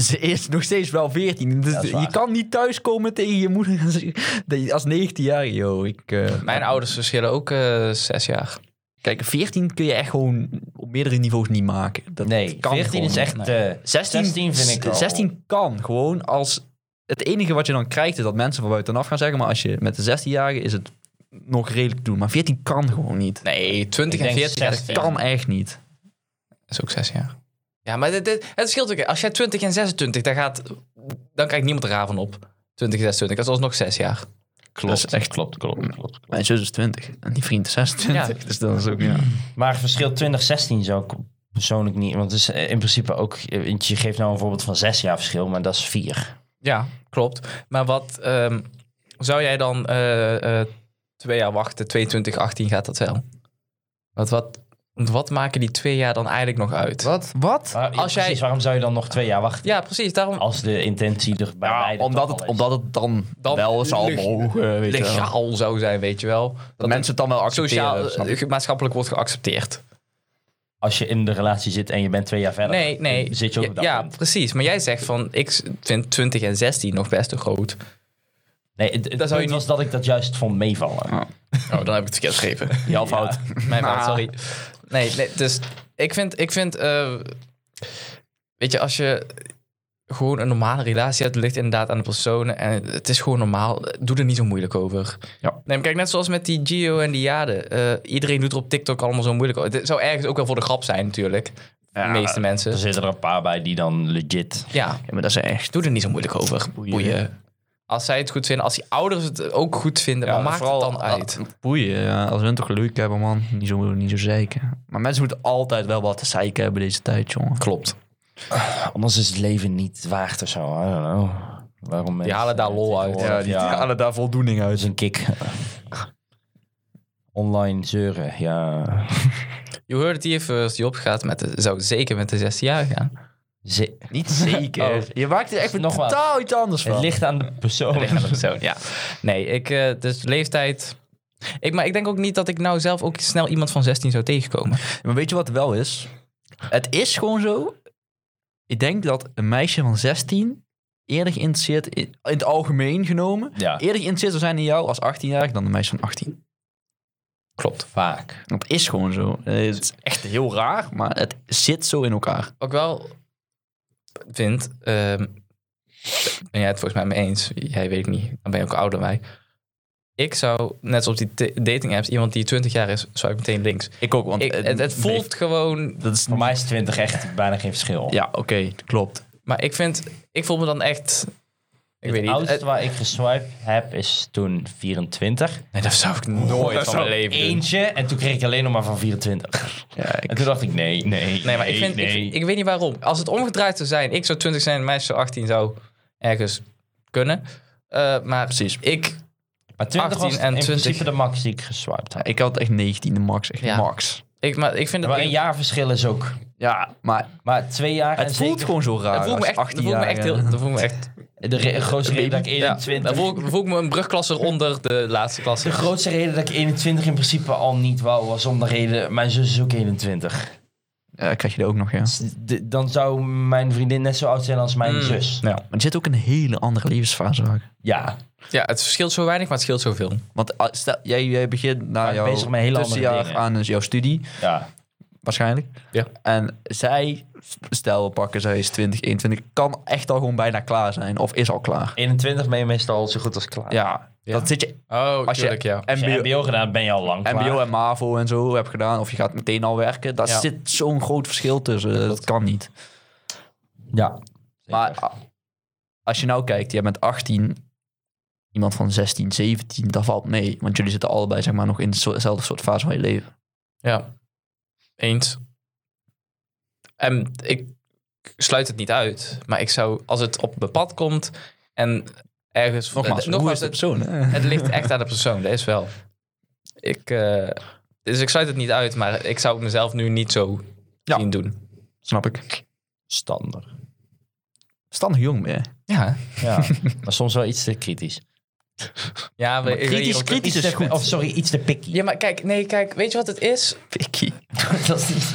ze is nog steeds wel 14. Dus dat is waar. je kan niet thuiskomen tegen je moeder en zeggen- dat je als 19-jarige. Yo, ik, eh, mijn ouders verschillen ook eh 6 jaar. kijk, 14 kun je echt gewoon op meerdere niveaus niet maken. Dat nee, kan 14 gewoon is echt... niet. eh 16, 16 vind ik al- 16 kan gewoon als... Het enige wat je dan krijgt is dat mensen van buitenaf gaan zeggen... maar als je met de 16-jarige is het nog redelijk te doen. Maar 14 kan gewoon niet. Nee, 20 Ik en denk 40 jaar. 16. Dat Kan echt niet. is ook 6 jaar. Ja, maar dit, dit- het scheelt ook. Als jij 20 en 26, dan, gaat, dan krijgt niemand er raar van op. 20 en 26, dat is alsnog 6 jaar. klopt, dat is echt- klopt, klopt, klopt, klopt. Mijn zus is 20 en die vriend is 26. Dus dat is ook... Ja. Maar het verschil 2016 zou ik persoonlijk niet... Want het is eh, in principe ook... eh, want Je geeft nou een voorbeeld van zes jaar verschil, maar dat is vier. Ja, klopt. Maar wat ehm, zou jij dan eh, eh, twee jaar wachten? 22, 18 gaat dat wel? Wat, wat, want wat maken die twee jaar dan eigenlijk nog uit? Wat? Wat? Maar, Als Als jij- precies, waarom zou je dan nog twee jaar wachten? Ja, precies. Daarom Als de intentie er bij Ja, beide omdat, toch al het, is. omdat het dan, Dan wel zal lig- mogen, eh, weet je wel. Dat, legaal zou zijn, weet je wel. Dat mensen het dan wel het accepteren. sociaal, snap je? eh, maatschappelijk wordt geaccepteerd. Als je in de relatie zit en je bent twee jaar verder, Nee, nee. dan zit je ook Ja, op dat ja, punt. precies. Maar jij zegt van, ik vind 20 en 16 nog best te groot. Nee, het, het zou je punt niet- was dat ik dat juist vond meevallen. Oh, dan heb ik het verkeerd geschreven. Jouw fout. Mijn fout, sorry. Nee, nee, dus ik vind, ik vind eh, weet je, als je gewoon een normale relatie hebt, het ligt inderdaad aan de personen en het is gewoon normaal. Doe er niet zo moeilijk over. Ja. Nee, maar kijk, net zoals met die Gio en die Jade. eh, iedereen doet er op TikTok allemaal zo moeilijk over. Het zou ergens ook wel voor de grap zijn natuurlijk. de meeste mensen. Er zitten er een paar bij die dan legit... ja, Ja, maar dat zijn echt... doe er niet zo moeilijk over. Boeien. Boeien. Als zij het goed vinden, als die ouders het ook goed vinden, maar maakt het dan uit. Boeien, ja. als we het toch leuk hebben, man. Niet zo, niet zo zeiken. Maar mensen moeten altijd wel wat te zeiken hebben deze tijd, jongen. Klopt. Anders is het leven niet waard of zo. I don't know. Waarom mensen- halen daar lol uit. Ja, die halen daar voldoening dat is een kick. Online zeuren, ja. Je hoort het hier first. Job gaat met de, zou zeker met de 16 jaar gaan. Ze- Niet zeker. Oh. Je maakt er echt weer Nogmaals. totaal iets anders van. het ligt aan de persoon. Ligt aan de persoon, ja. Nee, ik, eh, dus leeftijd. Ik, maar ik denk ook niet dat ik nou zelf ook snel iemand van 16 zou tegenkomen. Maar weet je wat het wel is? Het is gewoon zo. Ik denk dat een meisje van 16 eerder geïnteresseerd, in, in het algemeen genomen, Ja, eerder geïnteresseerd zou zijn in jou als 18-jarig dan de meisje van 18. klopt. Vaak. Dat is gewoon zo. Eh, Het is echt heel raar, maar het zit zo in elkaar. Ook wel vind, ehm, ben jij het volgens mij mee eens? Jij weet ik niet, dan ben je ook ouder dan wij. Ik zou, net zoals die t- dating apps, iemand die 20 jaar is, zou ik meteen links. Ik ook, want Ik, het, het voelt gewoon, Dat is, Voor mij is 20 echt bijna geen verschil. ja, oké, klopt. maar ik vind, ik voel me dan echt, ik weet het niet. oudste eh, waar ik geswiped heb is toen 24. nee, dat zou ik nooit van mijn leven doen. Eentje en toen kreeg ik alleen nog maar van 24. Ja, En toen dacht ik, nee, nee, Nee, maar ik, vind, nee. ik, ik weet niet waarom. Als het omgedraaid zou zijn, ik zou 20 zijn, een meisje zou 18 zou ergens kunnen. Eh, maar Precies. ik, maar 20 was 18 en in 20. principe de max die ik geswiped had. ik had echt 19 max, echt Ja. max. ik, maar ik vind dat Maar ik- een jaar verschil is ook... Ja, maar Maar twee jaar en het voelt zeker- gewoon zo raar. Dat voel ik me als echt, dat voel ik me 18-jarige. echt heel, dat voel ik me echt, De re- grootste reden dat ik ja, 21... dan voel ik, voel ik me een brugklasser onder de laatste klasse. De grootste reden dat ik 21 in principe al niet wou, was om de reden... Mijn zus is ook 21. Ja, krijg je er ook nog, ja. Dus d- Dan zou mijn vriendin net zo oud zijn als mijn Mm. zus. Ja, maar er zit ook een hele andere levensfase vaak. Ja, Ja, het verschilt zo weinig, maar het scheelt zoveel. Want ah, stel, jij, jij begint na ik jouw bezig met hele andere tussenjaar dingen. aan eh, jouw studie, ja. waarschijnlijk. Ja. En zij, stel we pakken, zij is 20, 21, kan echt al gewoon bijna klaar zijn. Of is al klaar. 21 ben je meestal zo goed als klaar. Ja, dat zit je Oh, Als je- tuurlijk, ja. Als je MBO, MBO gedaan ben je al lang klaar. MBO en MAVO en zo hebt gedaan. Of je gaat meteen al werken. Daar Ja. zit zo'n groot verschil tussen. Dat kan niet. Ja. Maar a- als je nou kijkt, jij bent 18, iemand van 16, 17, dat valt mee. Want jullie zitten allebei zeg maar, nog in zo- dezelfde soort fase van je leven. Ja, eens. En ik sluit het niet uit, maar ik zou, als het op mijn pad komt en ergens... eh, het, persoon? het ligt echt aan de persoon, dat is wel. Ik, eh, dus ik sluit het niet uit, maar ik zou het mezelf nu niet zo Ja. zien doen. Snap ik. Standaard. Standig jong ben je. Ja, Ja. maar soms wel iets te kritisch. ja we- ik weet niet Kritisch, of- kritisch Iets is te- goed. Of sorry, iets te picky. Ja, maar kijk, nee, kijk, weet je wat het is? Pikkie. dat is niet...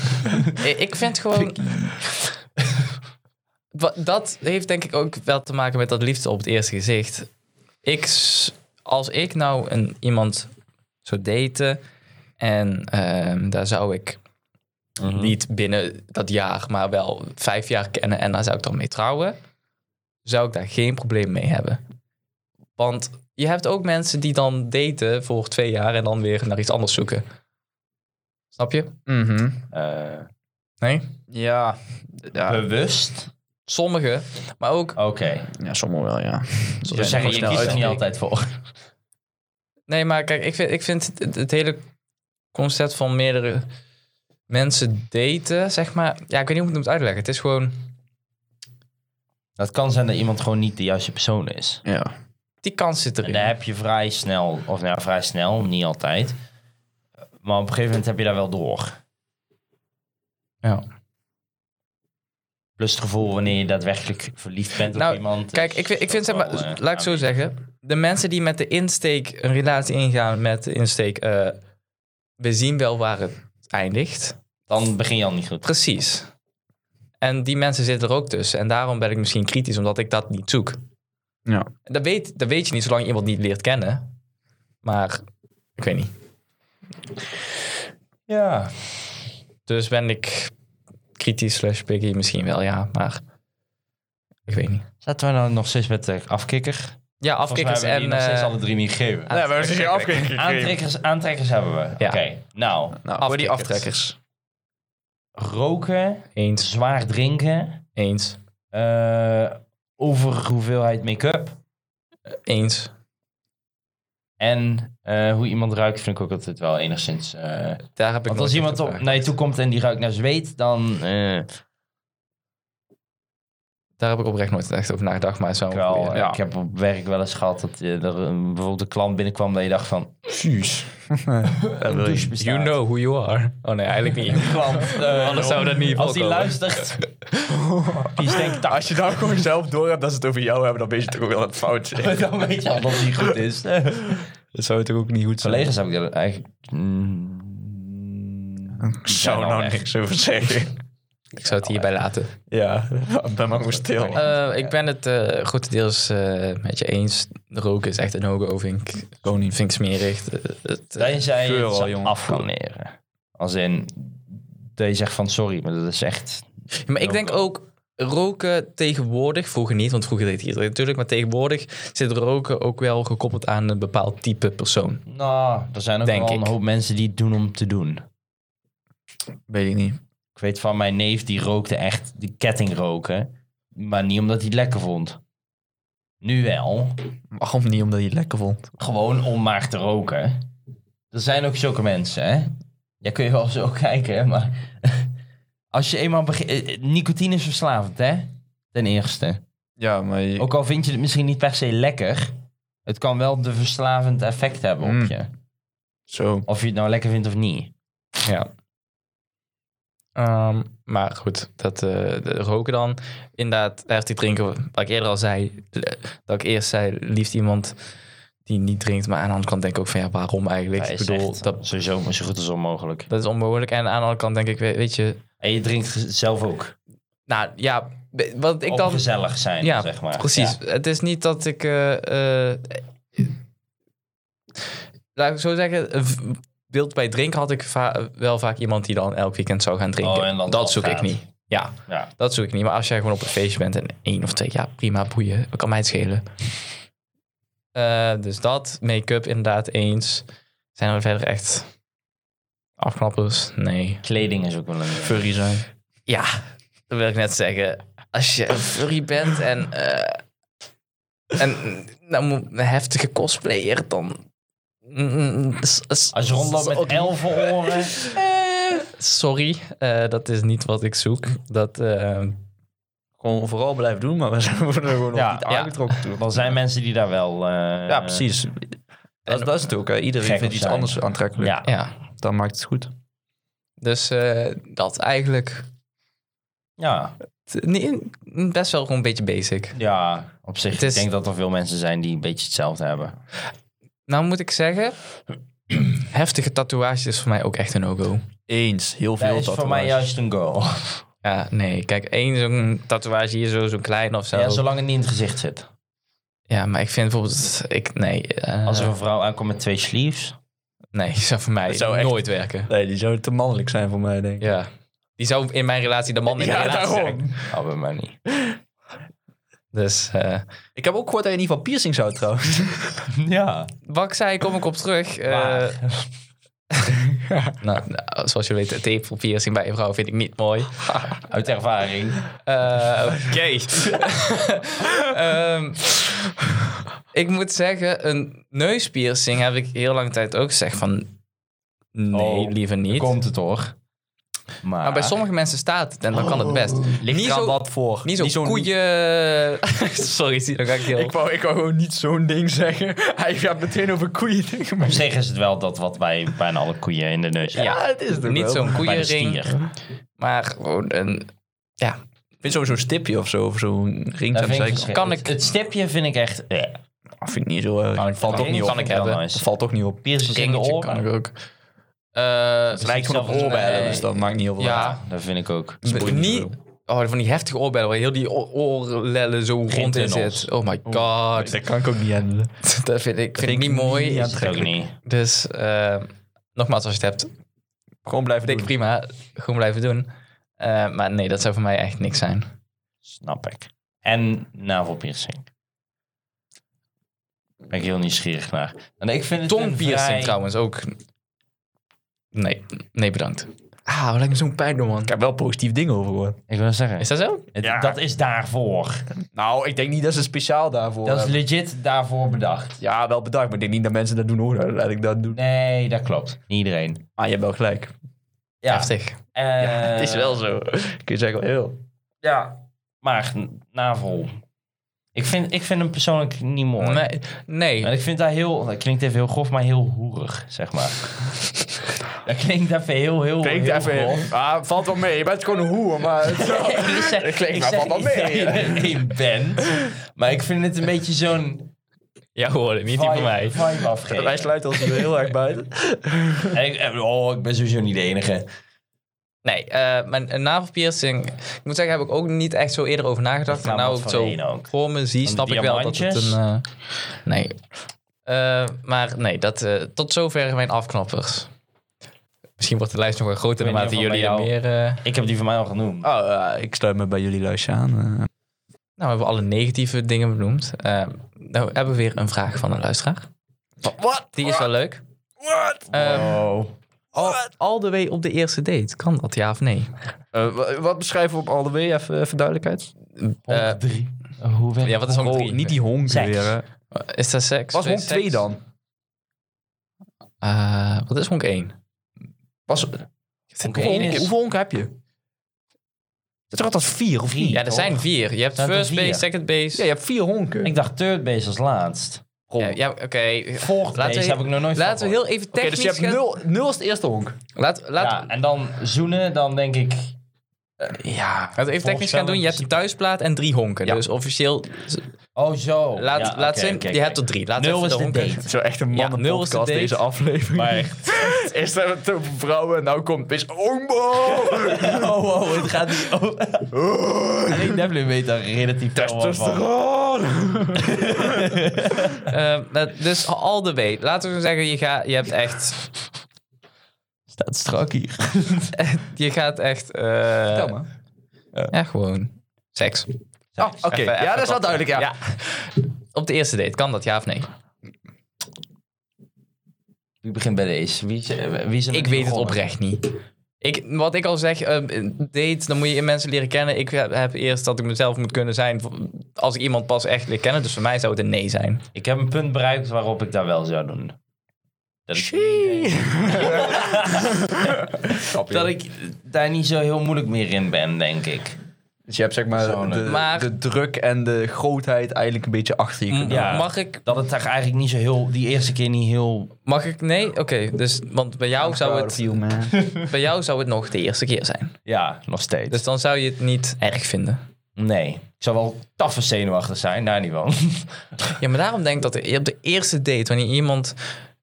I- Ik vind gewoon. Wa- dat heeft denk ik ook wel te maken met dat liefde op het eerste gezicht. Ik, s- als ik nou een, iemand zou daten en ehm, daar zou ik Mhm. niet binnen dat jaar, maar wel vijf jaar kennen en daar zou ik dan mee trouwen, zou ik daar geen probleem mee hebben. Want je hebt ook mensen die dan daten voor twee jaar en dan weer naar iets anders zoeken. Snap je? Eh, Nee? Mhm. Ja. Ja, Bewust? Sommigen, maar ook Oké. ja, sommigen wel, ja. Dus zeggen, je kiest er niet altijd voor. Nee, maar kijk, ik vind, ik vind het- het, het hele concept van meerdere mensen daten, zeg maar. Ja, ik weet niet hoe ik het moet uitleggen. Het is gewoon. Dat kan zijn dat iemand gewoon niet de juiste persoon is. Ja. Die kans zit En erin. daar heb je vrij snel, of nou ja, vrij snel, niet altijd. Maar op een gegeven moment heb je daar wel door. Ja. Plus het gevoel wanneer je daadwerkelijk verliefd bent Nou, op iemand. Kijk, is ik, vind- ik dat vind, zeg maar, wel, eh, laat ik het zo aanwezig. zeggen. De mensen die met de insteek een relatie ingaan, met de insteek. eh, we zien wel waar het eindigt. Dan begin je al niet goed. Precies. En die mensen zitten er ook tussen. En daarom ben ik misschien kritisch, omdat ik dat niet zoek. Ja. Dat weet, dat weet je niet zolang je iemand niet leert kennen. Maar ik weet niet. Ja. Dus ben ik kritisch slash picky misschien wel, ja. Maar ik weet niet. Zaten we nou nog steeds met de afkikker? Ja, afkikkers Volgens mij hebben we die en... nog steeds eh, alle drie niet gegeven. Nee, maar dat is geen Aantrekkers, aantrekkers hebben we. Ja. Oké, nou. Nou, voor die Aftrekkers. aftrekkers. Roken, eens, zwaar drinken, eens, eh over hoeveelheid make-up eens. en eh, hoe iemand ruikt vind ik ook altijd wel enigszins... eh, Daar want heb ik nooit als iemand echt op aan naar je gedacht. toe komt en die ruikt naar zweet, dan... eh Daar heb ik oprecht nooit echt over nagedacht, maar het is wel... ik, wel, ongeveer, eh, ja. ik heb op werk wel eens gehad dat eh, er een- bijvoorbeeld een klant binnenkwam dat je dacht van... Precies. Een douche bestaat. You know who you are. Oh nee, eigenlijk niet. Klant, eh, Anders zou dat niet Als die voorkomen. luistert... die is denk ik Als je nou gewoon zelf door hebt dat ze het over jou hebben, dan weet je toch ook wel dat fout Maar dan weet je al dat het niet goed is. Dat zou toch ook niet goed Collega's heb ik er eigenlijk... Mm, die Ik zou zijn al nou weg. niks over zeggen. Ik zou het hierbij laten. Ja, ben maar gewoon stil. Eh, ik ben het eh, grotendeels eh, met je eens. Roken is echt een no-go, vind ik. Vind ik smerig. Het- het- Tenzij je Geur het al, zou jongen. af kan leren. Als in, dat je zegt van sorry, maar dat is echt... eh, Maar ik denk ook roken tegenwoordig, vroeger niet, want vroeger deed iedereen natuurlijk, maar tegenwoordig zit roken ook wel gekoppeld aan een bepaald type persoon. Nou, er zijn ook Denk wel een ik. hoop mensen die het doen om te doen. Weet ik niet. Ik weet van mijn neef, die rookte echt de ketting roken. Maar niet omdat hij het lekker vond. Nu wel. Waarom niet? Omdat hij het lekker vond. Gewoon om maar te roken. Er zijn ook zulke mensen, hè? Ja, kun je wel zo kijken, hè, maar... Als je eenmaal begint... eh, eh, Nicotine is verslavend, hè? Ten eerste. Ja, maar... je- Ook al vind je het misschien niet per se lekker... Het kan wel de verslavend effect hebben op Mm. je. Zo. Of je het nou lekker vindt of niet. Ja. Ehm, maar goed, dat eh, de roken dan. Inderdaad, heftig drinken, wat ik eerder al zei, eh, dat ik eerst zei, liefst iemand die niet drinkt, maar aan de andere kant denk ik ook van ja, waarom eigenlijk? Ja, ik is bedoel, echt dat, sowieso maar zo goed als onmogelijk. dat is onmogelijk. En aan de andere kant denk ik, we- weet je, En je drinkt ge- zelf ook. nou ja, wat ik Om dan gezellig zijn, Ja, zeg maar. Precies. Ja. Het is niet dat ik. eh, eh, laat ik zo zeggen. een v- Beeld bij drinken had ik va- wel vaak iemand die dan elk weekend zou gaan drinken. Oh, en dan dat zoek gaat. ik niet. Ja, Ja. dat zoek ik niet. Maar als jij gewoon op een feestje bent en één of twee, ja, prima, boeien. Wat kan mij het schelen? Eh, dus dat, make-up inderdaad eens. Zijn er verder echt afknappers? Nee. Kleding is ook wel een... Furry zijn. Ja, dat wil ik net zeggen. Als je een furry bent en, eh, en nou, moet- een heftige cosplayer, dan... Mm, s- s- Als je rondloopt s- met elfenoren. Eh, Sorry, eh, dat is niet wat ik zoek. Dat, eh, Gewoon vooral blijven doen, maar we zijn er gewoon Ja, nog niet ja. aangetrokken toe. Dan zijn mensen die daar wel... eh, Ja, precies. Dat, is- dat is het ook. Hè. Iedereen gek vindt op iets zijn. anders aantrekkelijk. Ja. ja, Dan maakt het goed. dus eh, dat eigenlijk... Ja. T- nee, Best wel gewoon een beetje basic. ja, op zich. Het is- Ik denk dat er veel mensen zijn die een beetje hetzelfde hebben. Nou moet ik zeggen, heftige tatoeages is voor mij ook echt een no-go. Eens. Heel veel Dat is voor mij juist een goal. Ja, nee, kijk, één zo'n tatoeage hier zo, zo klein of zo. Ja, zolang het niet in het gezicht zit. Ja, maar ik vind bijvoorbeeld... Ik, nee, eh, Als er een vrouw aankomt met twee sleeves. nee, zou voor mij zou echt- nooit werken. Nee, die zou te mannelijk zijn voor mij, denk ik. Ja. Die zou in mijn relatie de man in de relatie zijn. Oh, bij mij niet. Dus eh, Ik heb ook gehoord dat je niet van piercings houdt, trouwens. Ja. wat ik zei, kom ik op terug. Eh, nou, nou, zoals je weet, een tepel piercing bij een vrouw vind ik niet mooi. Uit ervaring. Eh, Oké. Ehm, ik moet zeggen, een neuspiercing heb ik heel lang tijd ook gezegd van... Nee, Oh, liever niet. Komt het hoor. Maar, Maar bij sommige mensen staat het en dan kan het best. niet zo, voor. Niet zo'n koeien... Sorry, zie, dan ga ik heel... Ik wou, ik wou gewoon niet zo'n ding zeggen. Hij gaat meteen over koeien tegen Op mij. zich is het wel dat wat bij bijna alle koeien in de neus hebben. ja, het is het ook niet wel. zo'n Bij de koeienring, stier. maar gewoon een... Ja, Ik vind zo'n stipje of zo, of zo'n ring. Dat aan de vind ik zijkant. verschil- Kan het- ik- Het stipje vind ik echt... eh. Dat Ah, vind Nou, ik niet zo erg. ik- valt ook ring niet kan op. ik Ja, hebben. Dat valt ook niet op. Piercings in de ringetje oren. kan Eh, ik ook. Het lijkt gewoon op zelfs- oorbellen, nee. dus dat maakt niet heel veel uit. ja, Dat vind ik ook. Dat boeit niet Dus niet... zoveel. Oh, van die heftige oorbellen waar heel die o- oorlellen zo rond in tunnels. zit. Oh my god. Dat kan ik ook niet handelen. Dat vind ik, vind ik niet mooi. niet Dat ook niet. Dus eh, nogmaals, als je het hebt, Gewoon blijven dik dikken. prima. Gewoon blijven doen. Eh, maar nee, dat zou voor mij echt niks zijn. Snap ik. En navelpiercing. Ben ik heel nieuwsgierig naar. En ik vind het een Tongpiercing vrij- trouwens ook. Nee, nee bedankt. Ah, wat lijkt me zo'n pijn doen, man. Ik heb wel positief dingen over gehoord. Ik wil zeggen, Is dat zo? het- Ja. dat is daarvoor. Nou, ik denk niet dat ze speciaal daarvoor Dat is hebben. legit daarvoor bedacht. Ja, wel bedankt, maar ik denk niet dat mensen dat doen hoor. Laat ik dat doen. Nee, dat klopt. Niet iedereen. Ah, je hebt wel gelijk. Ja, Heftig. eh, zo. Kun je zeggen, wel heel. Ja, maar n- navel. Ik vind, ik vind hem persoonlijk niet mooi. Nee, nee. En ik vind dat heel, dat klinkt even heel grof, maar heel hoerig, zeg maar. dat klinkt even heel, heel, Klinkt heel grof. even... Ah, valt wel mee. Je bent gewoon een hoer, maar... Ik zeg, Dat klinkt Dus, eh, ik wel zeg wat niet meer, dat je er een bent. Maar ik vind het een beetje zo'n Ja, hoor, niet die vibe, van mij. vibe afgeven. eh, Wij sluiten ons hier heel erg buiten. En ik- en- oh, ik ben sowieso niet de enige. Nee, eh, mijn een navelpiercing... Ik moet zeggen, heb ik ook niet echt zo eerder over nagedacht. Ik ga Maar nou wat ik het van zo één ook. voor me zie, die snap ik wel dat het een... diamantjes? eh, nee. Eh, maar nee, dat, eh, tot zover mijn afknappers. Misschien wordt de lijst nog wel Ik groter weet naarmate niet of jullie er dat bij meer... eh, Ik heb die van mij al genoemd. Oh, eh, ik sluit me bij jullie lijstje aan. eh. Nou, we hebben alle negatieve dingen benoemd. Eh, nou, we hebben weer een vraag van een luisteraar. Wat? Die is wel leuk. Wat? Ehm, oh. al, al de way op de eerste date. Kan dat, ja of nee? Eh, wat beschrijven we op al de way, even eh, voor duidelijkheid? Eh, drie. hoe werkt ja, wat is honk oh, drie? niet die honk Seks. weer. hè. Is dat seks? Was Twee honk 2 seks? dan? Eh, wat is honk 1? Was, Honk hoeveel, één honk, is- hoeveel honk heb je? Het is toch altijd vier of Drie. niet? Ja, er zijn vier. Je hebt Zijn er first vier? base, second base. Ja, je hebt vier honken. Ik dacht third base als laatst. Ja, ja, oké. Fourth Laten base we- heb ik nog nooit van Laten we heel even Oké, technisch... dus je hebt gaan- nul, nul is de eerste honk. Laat, laat, Ja, en dan zoenen, dan denk ik... Ja. Laten we even technisch gaan doen. Je hebt een thuisplaat en drie honken. Dus officieel, Oh, zo. laat, Ja, laat oké, zin, oké, je oké. hebt er drie. Laat Nul even is de honken. date. Zo echt Ja, een nul is de mannenpodcast date. deze aflevering. Maar echt. Eerst hebben we het over vrouwen, nou komt het Ombo! Oh, oh, het gaat niet... Oh. Rick Devlin weet daar relatief veel wat van. Eh, dat- dus all the way. Laten we zeggen, je, gaat, je hebt echt... Staat strak hier. Je gaat echt... eh, Ja, gewoon. Seks. Oh, oké. Even- even Ja, dat is wel wat- duidelijk, ja. Op de eerste date, kan dat ja of nee? Wie begint bij deze? Wie, is- wie is er Ik met weet het begonnen? oprecht niet. Ik, wat ik al zeg, eh, date, dan moet je mensen leren kennen. Ik heb, heb eerst dat ik mezelf moet kunnen zijn als ik iemand pas echt leer kennen. Dus voor mij zou het een nee zijn. Ik heb een punt bereikt waarop ik dat wel zou doen. Dat ik, dat ik daar niet zo heel moeilijk meer in ben, denk ik. Dus je hebt zeg maar de, Personen. Maar- Mm, de druk en de grootheid eigenlijk een beetje achter je. M- kunnen. Ja. Mag ik? Dat het daar eigenlijk niet zo heel... Die eerste keer niet heel... Mag ik? Nee? Oké, dus, want bij jou, zou het, bij jou zou het nog de eerste keer zijn. Ja, nog steeds. Dus dan zou je het niet erg vinden. Nee. Ik zou wel taffe zenuwachtig zijn, daar niet van. Ja, maar daarom denk ik dat je op de eerste date, wanneer iemand...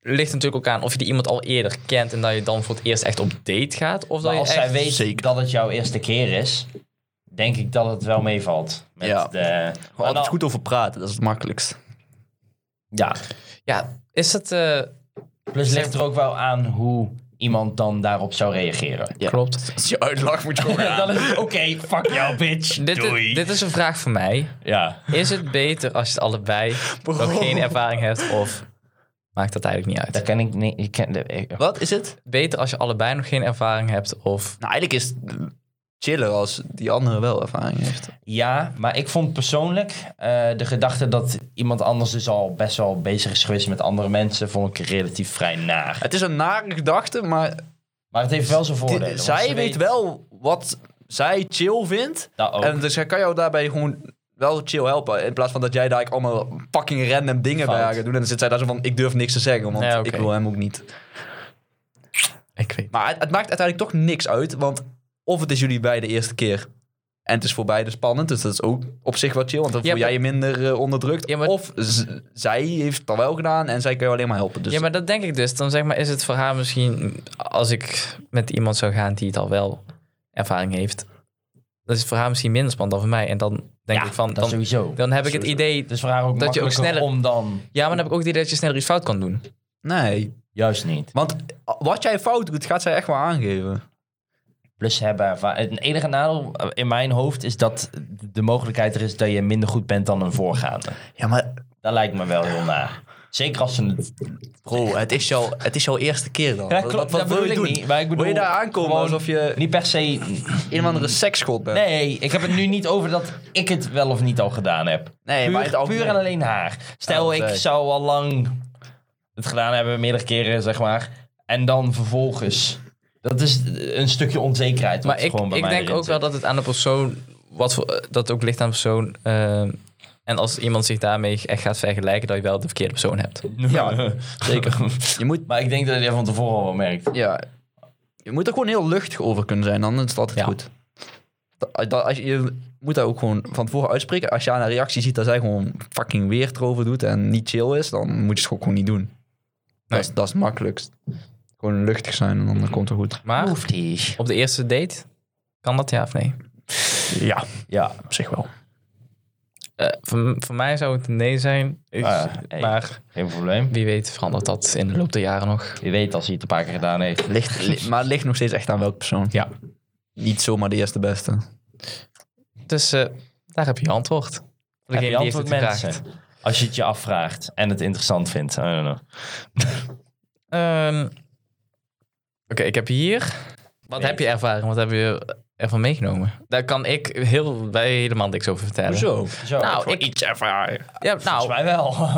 Ligt natuurlijk ook aan of je die iemand al eerder kent en dat je dan voor het eerst echt op date gaat. Of dat Maar je als echt... zij weet dat het jouw eerste keer is, denk ik dat het wel meevalt. Met Ja. de, maar Gewoon Nou. altijd dan- goed over praten, dat is het makkelijkst. Ja. Ja, is het... eh, Plus ligt er ook wel aan hoe iemand dan daarop zou reageren. Ja. Klopt. Als je uitlacht moet je gewoon Dan is het, oké, fuck jou, bitch. Dit, Doei. is, dit is een vraag voor mij. Ja. Is het beter als je het allebei nog geen ervaring hebt of maakt dat eigenlijk niet Dat uit? kan ik niet. Ik ken, ik- Wat is het? Beter als je allebei nog geen ervaring hebt of... Nou, eigenlijk is het eh, chiller als die andere wel ervaring heeft. ja, maar ik vond persoonlijk eh, de gedachte dat iemand anders dus al best wel bezig is geweest met andere mensen, vond ik relatief vrij naar. Het is een nare gedachte, maar Maar het heeft wel zijn die- voordelen. want zij ze weet, wel wat zij chill vindt. Dat ook. En dus zij kan jou daarbij gewoon wel chill helpen. In plaats van dat jij daar allemaal fucking random dingen Fout. bij haar gaat doen. En dan zit zij daar zo van, ik durf niks te zeggen, want Ja, oké. ik wil hem ook niet. Ik weet Maar het, het maakt uiteindelijk toch niks uit, want of het is jullie bij de eerste keer en het is voor beide spannend, dus dat is ook op zich wat chill, want dan Ja, voel maar- jij je minder eh, onderdrukt. Ja, maar- Of z- zij heeft het al wel gedaan en zij kan je alleen maar helpen. Dus Ja, maar dat denk ik dus. Dan zeg maar, is het voor haar misschien... Als ik met iemand zou gaan die het al wel ervaring heeft... Dan is het voor haar misschien minder spannend dan voor mij. En dan denk Ja, ik van... dat Dan, sowieso. dan heb ik het idee... Dus voor haar ook Dat je ook makkelijker sneller- om dan... Ja, maar dan heb ik ook het idee dat je sneller iets fout kan doen. Nee, Juist niet. want eh, wat jij fout doet, gaat zij echt wel aangeven. Plus ze hebben erva- Het enige nadeel eh, in mijn hoofd is dat de mogelijkheid er is dat je minder goed bent dan een voorgaande. Ja, maar Dat lijkt me wel heel naar. Zeker als ze het... bro, het is jouw, het is jouw eerste keer dan. Ja, Wat- klopt, wat dat wil bedoel je ik doen? niet, maar ik wil je bedoel daar aankomen gewoon- alsof je Niet per se... een of andere seksschot bent? Nee, ik heb het nu niet over dat ik het wel of niet al gedaan heb. Nee, Puur, maar het algemeen. puur en alleen haar. Stel, Oh, ik zij. zou al lang het gedaan hebben, meerdere keren, zeg maar. En dan vervolgens... Dat is een stukje onzekerheid. wat Maar ik, gewoon bij ik mij denk erin ook wel dat het aan de persoon, wat voor, eh, dat ook ligt aan de persoon. eh, en als iemand zich daarmee echt gaat vergelijken, dat je wel de verkeerde persoon hebt. zit. Ja, zeker. Je moet, Maar ik denk dat je dat van tevoren al wel merkt. ja, je moet er gewoon heel luchtig over kunnen zijn, dan is het altijd Ja. goed. Da- da- als je, je moet dat ook gewoon van tevoren uitspreken. Als je aan haar reactie ziet dat zij gewoon fucking weer erover doet en niet chill is, dan moet je het gewoon, gewoon niet doen. Dat, is, dat is het makkelijkst. Gewoon luchtig zijn en dan komt het goed. Maar Hoeft niet. op de eerste date, kan dat ja of nee? Ja, Ja. op zich wel. Eh, voor, voor mij zou het een nee zijn. Ik- Ah, ja, hey. Maar Geen probleem. wie weet verandert dat in de loop der jaren nog. Je weet als hij het een paar keer gedaan heeft. Ligt, li- maar het ligt nog steeds echt aan welke persoon. Ja. Niet zomaar de eerste beste. Dus eh, daar heb je je antwoord. Voor Heb degene je die heeft antwoord het mensen? gevraagd. Als je het je afvraagt en het interessant vindt. I don't know. Ehm, Oké, ik heb hier. Wat Nee. heb je ervaren? Wat heb je ervan meegenomen? Daar kan ik heel, bij helemaal niks over vertellen. Zo, Nou, volgens ik iets ervaren. Ja, nou, mij wel.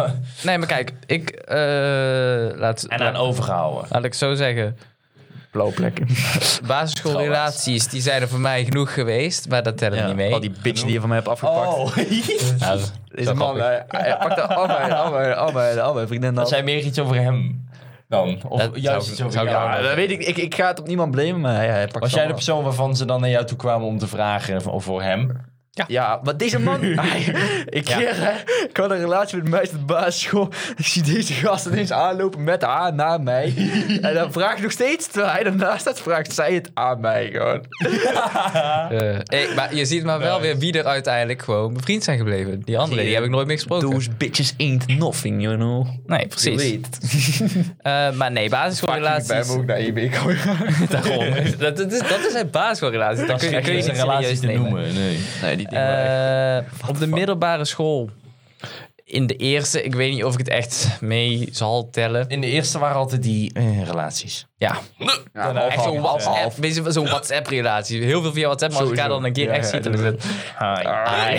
nee, maar kijk, ik eh, laat, en aan overgehouden. laat ik het zo zeggen. Blauwe plekken. Basisschoolrelaties, die zijn er voor mij genoeg geweest, maar dat tellen Ja, niet mee. Al die bitch die je van mij hebt afgepakt. Ja, Deze man, grappig. hij, eh, hij pakte al mijn, al mijn, al mijn, al mijn vriendinnen Dat af. zei meer iets over hem dan. Of Dat juist zou- iets over zou ik jou. wel- Ja, Ah, dat weet ik, ik. Ik ga het op niemand blamen, maar hij, hij pakt Was het jij de allemaal persoon waarvan ze dan naar jou toe kwamen om te vragen of voor hem? af. Ja, maar deze man... hij- ik, keer, hè, ik had een relatie met een meisje op de basisschool. Ik zie deze gast ineens aanlopen met haar naar mij. en dan vraagt nog steeds, terwijl hij ernaast staat, vraagt zij het aan mij gewoon. eh, hey, maar je ziet maar wel weer wie er uiteindelijk gewoon bevriend zijn gebleven. Die andere, die heb ik nooit meer gesproken. bitches ain't nothing, you know. Nee, Je precies. weet. Eh, maar nee, basisschoolrelaties... Ik ben hem ook naar één week Daarom. dat, dat, is, dat is een basisschoolrelatie. Dat Dat is kun je, geen kun je relatie relaties niet serieus te nemen. noemen. Nee. Nee, die dingen waren echt- Eh, op de middelbare school. In de eerste, ik weet niet of ik het echt mee zal tellen. In de eerste waren altijd die eh, relaties. Ja, Ja, echt zo'n half. WhatsApp, weet je, zo'n WhatsApp-relatie. Heel veel via WhatsApp, maar als ik elkaar dan een keer echt ziet, dan is het Hi. Hi.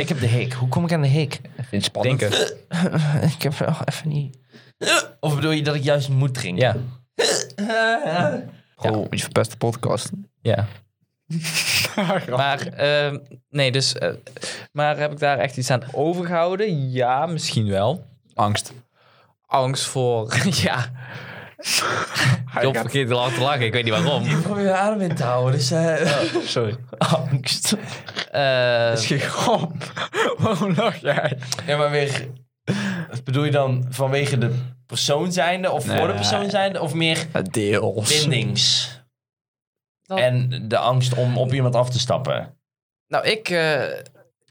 Ik heb de hik. Hoe kom ik aan de hik? vind het spannend. denken. Ik heb wel even niet. Of bedoel je dat ik juist moet drinken? Ja, Oh, die verpeste podcast. ja. Maar, ehm, nee, dus, eh, maar heb ik daar echt iets aan overgehouden? Ja, misschien wel. Angst. Angst voor, ja. Job vergeet lang te lachen, ik weet niet waarom. Ik probeer adem in te houden, dus... Sorry. Oh, Angst. Eh, Waarom lach jij? Ja, maar weer... Bedoel je dan vanwege de persoon zijnde of voor de persoon zijnde? Of meer Deels. bindings? Dat- En de angst om op iemand af te stappen. Nou, ik, eh,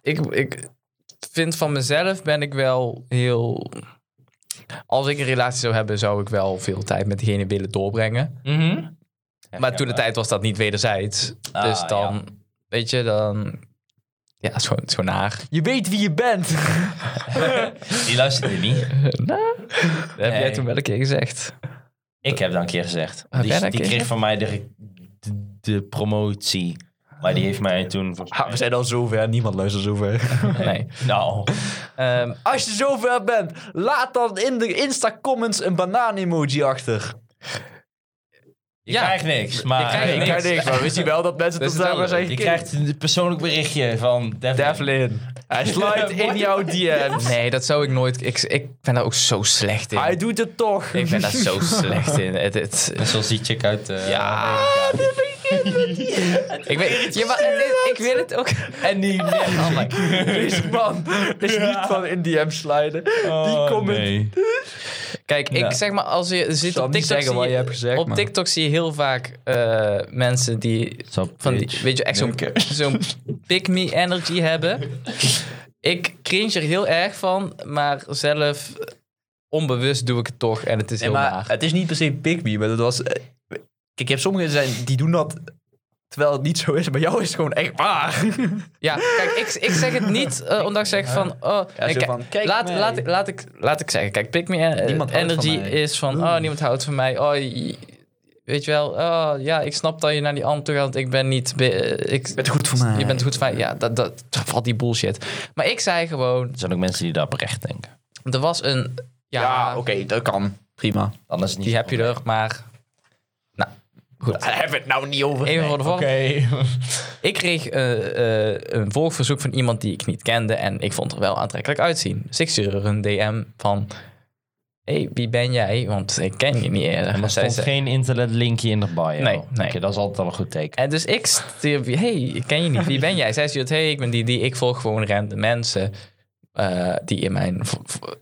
ik, ik vind van mezelf ben ik wel heel. Als ik een relatie zou hebben, zou ik wel veel tijd met degene willen doorbrengen. Mhm. maar toen de tijd was dat niet wederzijds. Ah, dus dan, weet je, dan. Ja, het is gewoon, het is gewoon naar. Je weet wie je bent. Die luisterde niet. Dat heb jij toen wel een keer gezegd. Ik heb dat een keer gezegd. Heb jij dat die een die keer kreeg van mij de, de, de promotie. Maar die heeft mij toen... volgens we zijn al zover. Niemand luistert zover. Ah, Nee. mij- Nou, Ehm, Als je zover bent, laat dan in de Insta-comments een banaan-emoji achter. je Ja. krijgt niks. Maar Je krijgt Nee, niks. maar wist je wel dat mensen Dat is wel leuk. Je krijgt een persoonlijk berichtje van Devlin. Devlin. Hij slide in jouw DM's. nee, dat zou ik nooit. Ik, ik ben daar ook zo slecht in. Hij doet het toch. Ik ben daar zo slecht in. Het, het, Net Zoals die chick uit... eh, ja. Ik weet, ja, maar het is- ik wil het ook. En die... Oh my Deze man is niet van in DM's sliden. Oh, Die comment. Kijk, ik Ja. zeg maar, als je zit zal op niet TikTok. zeggen zie wat je hebt gezegd, op maar- TikTok zie je heel vaak eh, mensen die. Van die, weet je, echt zo'n zo'n pick me energy hebben. Ik cringe er heel erg van, maar zelf eh, onbewust doe ik het toch en het is heel maar naar. het is niet per se pick me, maar dat was... eh, Kijk, je hebt sommigen zijn, die doen dat terwijl het niet zo is. Bij jou is het gewoon echt waar. Ja, kijk, ik, ik zeg het niet eh, omdat ik zeg van... Oh, nee, zo kijk, van, kijk laat, mij. laat, laat, ik, laat ik zeggen, kijk, pick me eh, Niemand houdt van energy mij. is van... Oh, niemand houdt van mij. Oh, je- weet je wel, oh, ja, ik snap dat je naar die ander toe gaat, want ik ben niet... be- eh, ik, bent goed voor mij. Je bent goed van Ja, dat, dat, dat valt die bullshit. Maar ik zei gewoon, Er zijn ook mensen die daar oprecht denken. er was een... Ja, Ja, oké, dat kan. Prima. Dan is het niet die heb je er, maar... Nou, goed. Daar hebben we het nou niet over. Even voor de vorm. Oké. Ik kreeg eh, eh, een volgverzoek van iemand die ik niet kende en ik vond er wel aantrekkelijk uitzien. Dus ik stuurde er een DM van, hey, wie ben jij? Want ik ken je niet eerder. Er En, zij stond zei- geen internetlinkje in de bio. Nee, Oké, nee. dat is altijd al een goed teken. en dus ik stuurde, hey, ik ken je niet, wie ben jij? Zij stuurt, hey, ik ben die, die, ik volg gewoon random mensen eh, die in mijn vo- vo-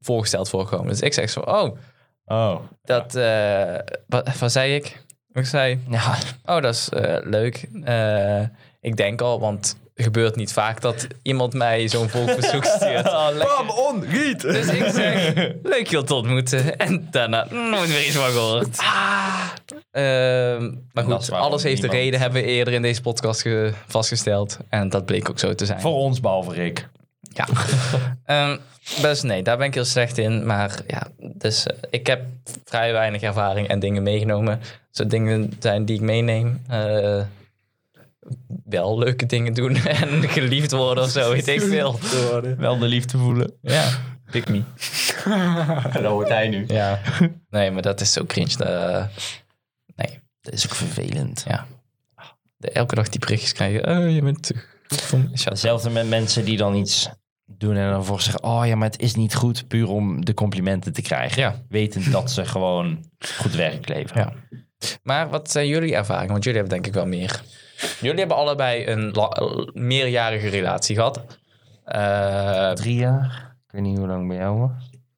voorgesteld voorkomen. Dus ik zeg zo, oh, Oh. Dat, eh, wat, wat zei ik? Wat ik zei, Ja, oh, dat is eh, leuk. Eh, ik denk al, want het gebeurt niet vaak dat iemand mij zo'n volksbezoek stuurt. Bam, on, riet! Oh, Dus ik zeg, leuk je te ontmoeten. En daarna nooit meer iets van gehoord. Ah. Ehm, maar Dat is goed, waarom alles heeft een niemand- reden, hebben we eerder in deze podcast ge- vastgesteld. En dat bleek ook zo te zijn. voor ons behalve Rick. Ja. Ehm, dus nee, daar ben ik heel slecht in. Maar ja, dus eh, ik heb vrij weinig ervaring en dingen meegenomen. Zo dingen zijn die ik meeneem. Eh, wel leuke dingen doen en geliefd worden of zo, weet ik veel. Wel de liefde voelen. Ja. Pick me. Dat hoort hij nu. Ja. Nee, maar dat is zo cringe. eh, nee, Dat is ook vervelend. ja. De, elke dag die berichtjes krijgen. Oh, je bent te goed voor me. Shut up. Hetzelfde met mensen die dan iets doen en dan voor zeggen... oh ja, maar het is niet goed puur om de complimenten te krijgen. Ja. Wetend dat ze gewoon goed werk leveren. Ja. Maar wat zijn jullie ervaringen? Want jullie hebben denk ik wel meer. Jullie hebben allebei een la- meerjarige relatie gehad. Eh, Drie jaar. Ik weet niet hoe lang bij jou was.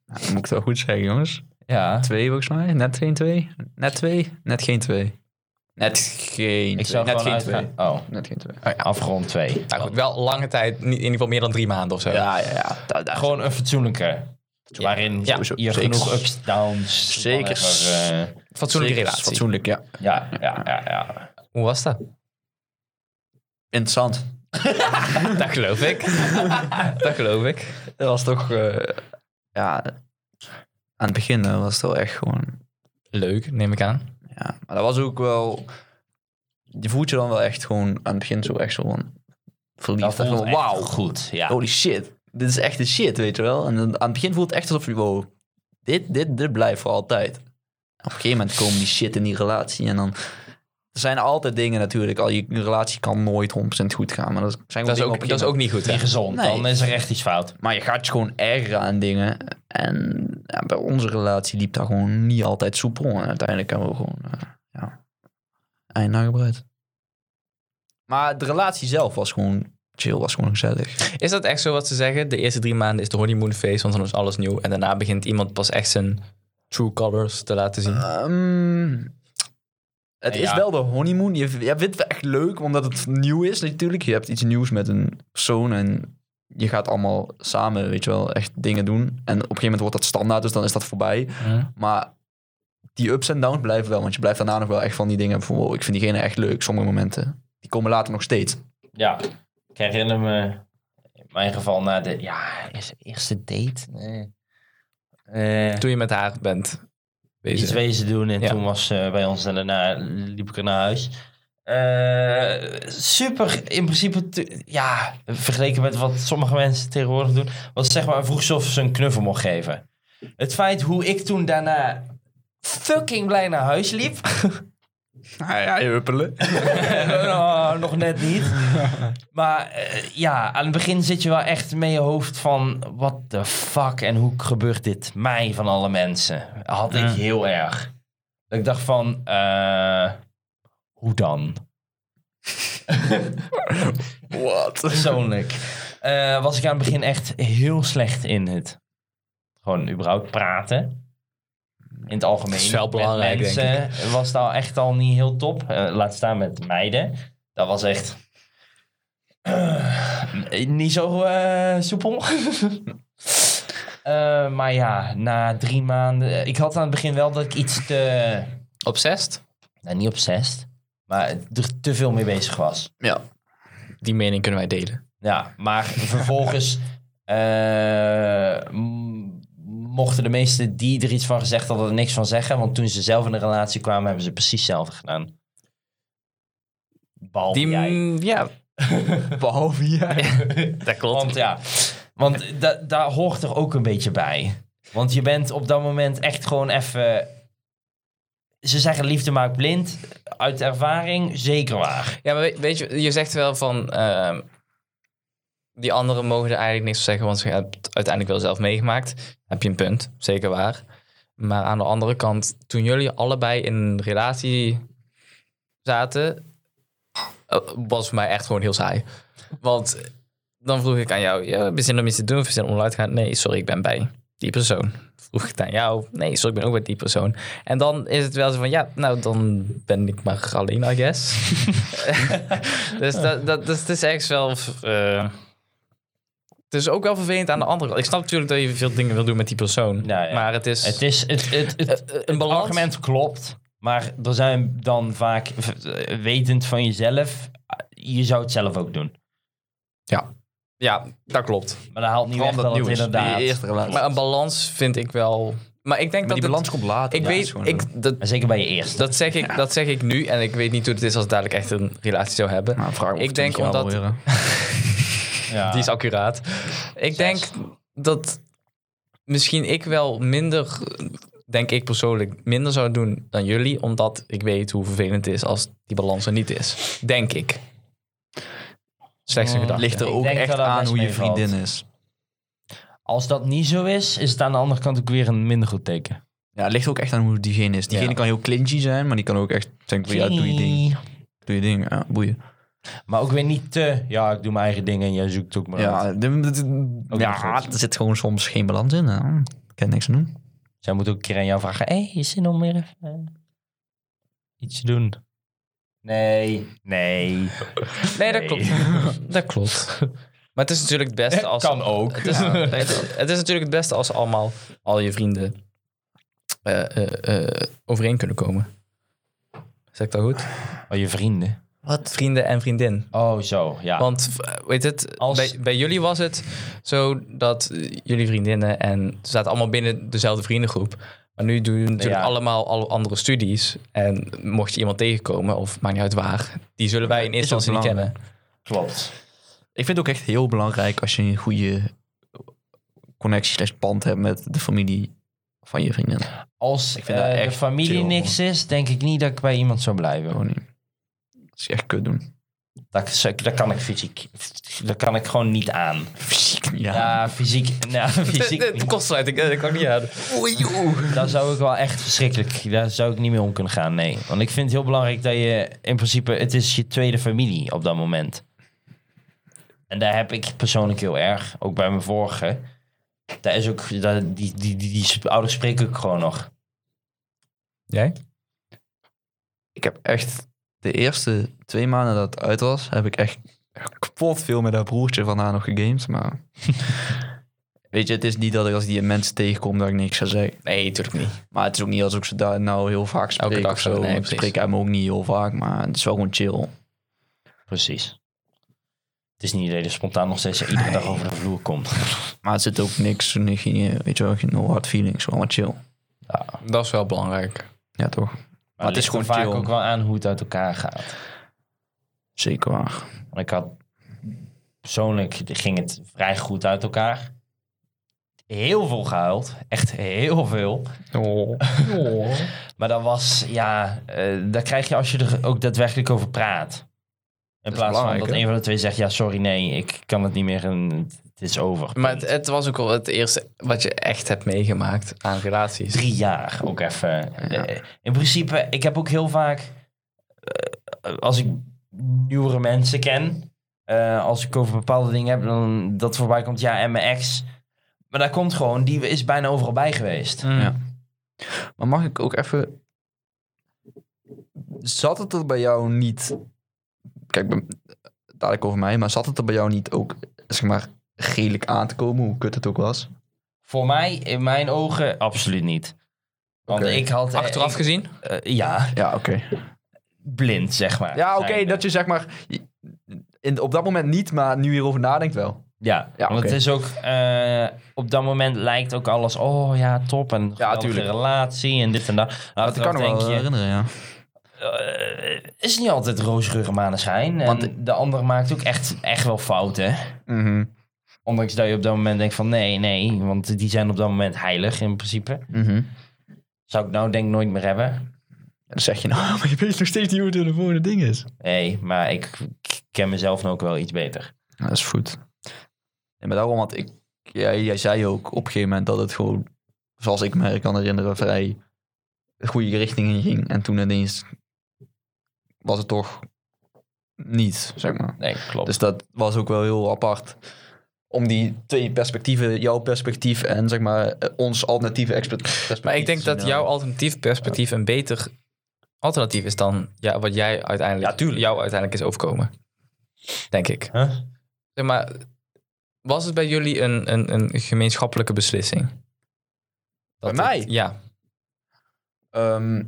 Nou, moet ik het wel goed zeggen, jongens. Ja. Twee volgens mij. Net geen twee. Net twee. Net geen twee. Net geen Ik twee. zou Net gewoon geen uitgaan. Oh, twee. Net geen twee. afgrond twee. nou goed, wel lange tijd, niet- in ieder geval meer dan drie maanden of zo. Ja, ja, ja. Da- da- Gewoon een fatsoenlijke. Waarin Ja, je zeker. genoeg ups, downs... Zeker. whatever, eh, Fatsoenlijke Zeker, relatie. Fatsoenlijk, ja. ja, ja, ja, ja. Hoe was dat? Interessant. dat geloof ik. dat geloof ik. Dat was toch... eh, ja, aan het begin eh, was het wel echt gewoon... Leuk, neem ik aan. Ja, maar dat was ook wel... Je voelt je dan wel echt gewoon aan het begin zo echt zo van... Dat Verliefd. Echt voelt van, echt Wauw, Oh, goed. Ja. holy shit. Dit is echt de shit, weet je wel. En dan, aan het begin voelt het echt alsof je... Wow, dit, dit, dit blijft voor altijd. En op een gegeven moment komen die shit in die relatie. En dan... Er zijn altijd dingen natuurlijk. Al je relatie kan nooit 100% goed gaan. Maar dat zijn Dat is dingen ook, op een dat is gegeven ook niet goed. hè? Niet gezond. Nee. Dan is er echt iets fout. Maar je gaat je gewoon ergeren aan dingen. En ja, bij onze relatie liep dat gewoon niet altijd soepel. En uiteindelijk hebben we gewoon eh, ja, eind nagebreid. Maar de relatie zelf was gewoon chill, was gewoon gezellig. Is dat echt zo wat ze zeggen? De eerste drie maanden is de honeymoon phase, want dan is alles nieuw. En daarna begint iemand pas echt zijn true colors te laten zien. Ehm, het is Ja. wel de honeymoon. Je, je vindt het echt leuk, omdat het nieuw is natuurlijk. Je hebt iets nieuws met een persoon en je gaat allemaal samen, weet je wel, echt dingen doen. En op een gegeven moment wordt dat standaard, dus dan is dat voorbij. Maar die ups en downs blijven wel. Want je blijft daarna nog wel echt van die dingen van... Wow, ik vind diegene echt leuk, sommige momenten. Die komen later nog steeds. Ja. Ik herinner me in mijn geval na de ja, is- eerste date. Nee. Eh, Toen je met haar bent. bezig. iets wezen doen en Ja. toen was ze bij ons en daarna liep ik er naar huis. Eh, super, in principe, te- ja, vergeleken met wat sommige mensen tegenwoordig doen. Was zeg maar vroeg ze of ze een knuffel mocht geven. Het feit hoe ik toen daarna fucking blij naar huis liep. Nou ja, je huppelen. Nou, nog net niet. Maar eh, ja, aan het begin zit je wel echt met je hoofd van... What the fuck en hoe gebeurt dit mij van alle mensen? Had ik heel erg. Dat ik dacht van... eh, hoe dan? Wat? Persoonlijk. eh, was ik aan het begin echt heel slecht in het... Gewoon überhaupt praten. In het algemeen. Dat is wel met belangrijk, denk mensen was dat echt al niet heel top. Eh, laat staan met meiden. Dat was echt... Eh, niet zo eh, soepel. Eh, maar ja, na drie maanden... Ik had aan het begin wel dat ik iets te... Obsessed? Nou, niet obsessed. Maar er te veel mee bezig was. Ja. Die mening kunnen wij delen. Ja, maar vervolgens eh, m- mochten de meesten die er iets van gezegd hadden er niks van zeggen. Want toen ze zelf in een relatie kwamen, hebben ze precies hetzelfde gedaan. Behalve Die, jij. ja, Behalve jij. dat klopt. Want ja, want da- daar hoort er ook een beetje bij. Want je bent op dat moment echt gewoon even... Ze zeggen liefde maakt blind. Uit ervaring, zeker waar. Ja, maar weet, weet je, je zegt wel van... ehm, die anderen mogen er eigenlijk niks van zeggen, want ze hebben het uiteindelijk wel zelf meegemaakt. Heb je een punt, zeker waar. Maar aan de andere kant, toen jullie allebei in een relatie zaten, eh, was voor mij echt gewoon heel saai. Want dan vroeg ik aan jou, ja, heb je zin om iets te doen of heb je zin om uit te gaan? Nee, sorry, ik ben bij die persoon. vroeg het aan jou. Nee, sorry, ik ben ook weer die persoon. En dan is het wel zo van, ja, nou, dan ben ik maar alleen, I guess. dus dat, dat, dus het is echt wel... eh, het is ook wel vervelend aan de andere kant. Ik snap natuurlijk dat je veel dingen wil doen met die persoon. Ja, ja. Maar het is... Het is, het, het, het, eh, een het balans. argument klopt, maar er zijn dan vaak, v- eh, wetend van jezelf, ah, je zou het zelf ook doen. Ja, dat klopt. Maar dat haalt niet weg Vooral dat dat het nieuws, inderdaad... die eerste relatie. Maar een balans vind ik wel... Maar ik denk Maar die dat het- balans komt later. Ik Ja, dat is weet... gewoon zo. Ik, dat, Maar zeker bij je eerste. dat, zeg ik, dat zeg ik nu. En ik weet niet hoe het is als ik dadelijk echt een relatie zou hebben. Nou, vraag me of Ik het denk een beetje omdat- ouder worden. Ja. Die is accuraat. Ik denk dat misschien ik wel minder, denk ik persoonlijk, minder zou doen dan jullie. Omdat ik weet hoe vervelend het is als die balans er niet is. Denk ik. Slechts een Oh, gedachte. ligt er Ik ook denk echt dat dat aan best hoe je meevalt. vriendin is. Als dat niet zo is, is het aan de andere kant ook weer een minder goed teken. Ja, het ligt ook echt aan hoe diegene is. Diegene Ja. kan heel clinchy zijn, maar die kan ook echt denken van, ja, doe je ding. Doe je ding, ja, boeien. Maar ook weer niet te, ja, ik doe mijn eigen dingen en jij zoekt ook maar uit. Ja, dit- dit- Ook ja, niet goed. er zit gewoon soms geen balans in. hè. Ik kan niks aan doen. Zij moet ook een keer aan jou vragen, hé, hey, is zin om weer even eh, iets te doen? Nee, nee. Nee, dat klopt. Dat klopt. Maar het is natuurlijk het beste als... ook. Het is, het, het is natuurlijk het beste als ze allemaal, al je vrienden, eh, eh, eh, overeen kunnen komen. Zeg ik dat goed? Oh, je vrienden. Wat? Ah. Vrienden en vriendin. Oh, zo, ja. Want v- weet het, Als- bij, bij jullie was het zo dat eh, jullie vriendinnen en ze zaten allemaal binnen dezelfde vriendengroep. Maar nu doen jullie natuurlijk Ja. allemaal alle andere studies. En mocht je iemand tegenkomen, of maakt niet uit waar, die zullen wij in eerste ook instantie niet kennen. klopt. Ik vind het ook echt heel belangrijk als je een goede connectie slash band hebt met de familie van je vriendin. Als vind dat eh, de echt familie chill, niks is, denk ik niet dat ik bij iemand zou blijven. Gewoon niet. Dat is echt kut doen. Dat, dat kan ik fysiek. Dat kan ik gewoon niet aan. Fysiek niet aan. Ja, fysiek. Nou, fysiek De niet. kostsluiting, eh, dat kan ik niet aan. Daar zou ik wel echt verschrikkelijk. Daar zou ik niet mee om kunnen gaan. Nee. Want ik vind het heel belangrijk dat je in principe. Het is je tweede familie op dat moment. En daar heb ik persoonlijk heel erg. Ook bij mijn vorige. Daar is ook. Daar, die, die, die, die, sp- ouders spreken ik gewoon nog. Jij? Ik heb echt de eerste twee maanden dat het uit was, heb ik echt kapot veel met haar broertje van haar nog gegamed. Maar weet je, het is niet dat ik als die mensen tegenkom dat ik niks ga zeggen. Nee, natuurlijk niet. Maar het is ook niet als ik ze daar nou heel vaak spreek dag of zo. zo, nee, ik precies. spreek hem ook niet heel vaak, maar het is wel gewoon chill. Precies. Het is niet dat je spontaan nog steeds iedere dag over de vloer komt. Maar het zit ook niks, niet- geen, weet je wel, geen no hard feelings, gewoon wat chill. Dat is wel belangrijk. Ja toch, Maar het is gewoon vaak ook wel aan hoe het uit elkaar gaat. zeker waar. Ik had persoonlijk ging het vrij goed uit elkaar. Heel veel gehuild, echt heel veel. Oh. Maar dat was, ja, eh dat krijg je als je er ook daadwerkelijk over praat. In plaats is van belangrijk, dat hè? een van de twee zegt, ja, sorry, nee, ik kan het niet meer en het is over. Maar het, het was ook wel het eerste wat je echt hebt meegemaakt aan relaties. drie jaar ook even. Ja. Eh, In principe, ik heb ook heel vaak, eh, als ik nieuwere mensen ken, eh, als ik over bepaalde dingen heb, dan dat voorbij komt, ja, en mijn ex. Maar daar komt gewoon, die is bijna overal bij geweest. Mm. Ja. Maar mag ik ook even... Zat het er bij jou niet... Kijk, ben- dadelijk over mij, maar zat het er bij jou niet ook, zeg maar, gelijk aan te komen, hoe kut het ook was? Voor mij, in mijn ogen, absoluut niet. Want Oké. ik had... eh, Achteraf ik- gezien? eh, ja, Ja, oké. blind, zeg maar. Ja, oké, Zijnde. dat je zeg maar... In, op dat moment niet, maar nu hierover nadenkt wel. Ja, Ja, want oké. het is ook... eh, op dat moment lijkt ook alles... Oh ja, top. En de tuurlijk. relatie en dit en dat. Nou, Dat kan achteraf me wel eh, denk je, herinneren, ja. eh, is niet altijd roosgeur maneschijn. En Want- de ander maakt ook echt, echt wel fouten. Mhm, Ondanks dat je op dat moment denkt van nee, nee. Want die zijn op dat moment heilig in principe. mhm. Zou ik nou denk ik nooit meer hebben. En dan zeg je nou, maar je weet nog steeds niet hoe het een volgende ding is. Nee, maar ik ik ken mezelf nou ook wel iets beter. Ja, dat is goed. En maar daarom, want ik, jij, jij zei ook op een gegeven moment dat het gewoon, zoals ik me kan herinneren, vrij de goede richting in ging. En toen ineens was het toch niet, zeg maar. Nee, klopt. Dus dat was ook wel heel apart. Om die twee perspectieven, jouw perspectief en zeg maar eh, ons alternatieve expe- perspectief. Maar ik denk te zien, dat ja. jouw alternatief perspectief een beter alternatief is dan ja, wat jij uiteindelijk, jou uiteindelijk is overkomen. Denk ik. Huh? Zeg maar, was het bij jullie een, een, een gemeenschappelijke beslissing? Dat Bij het- mij? ja. Ehm,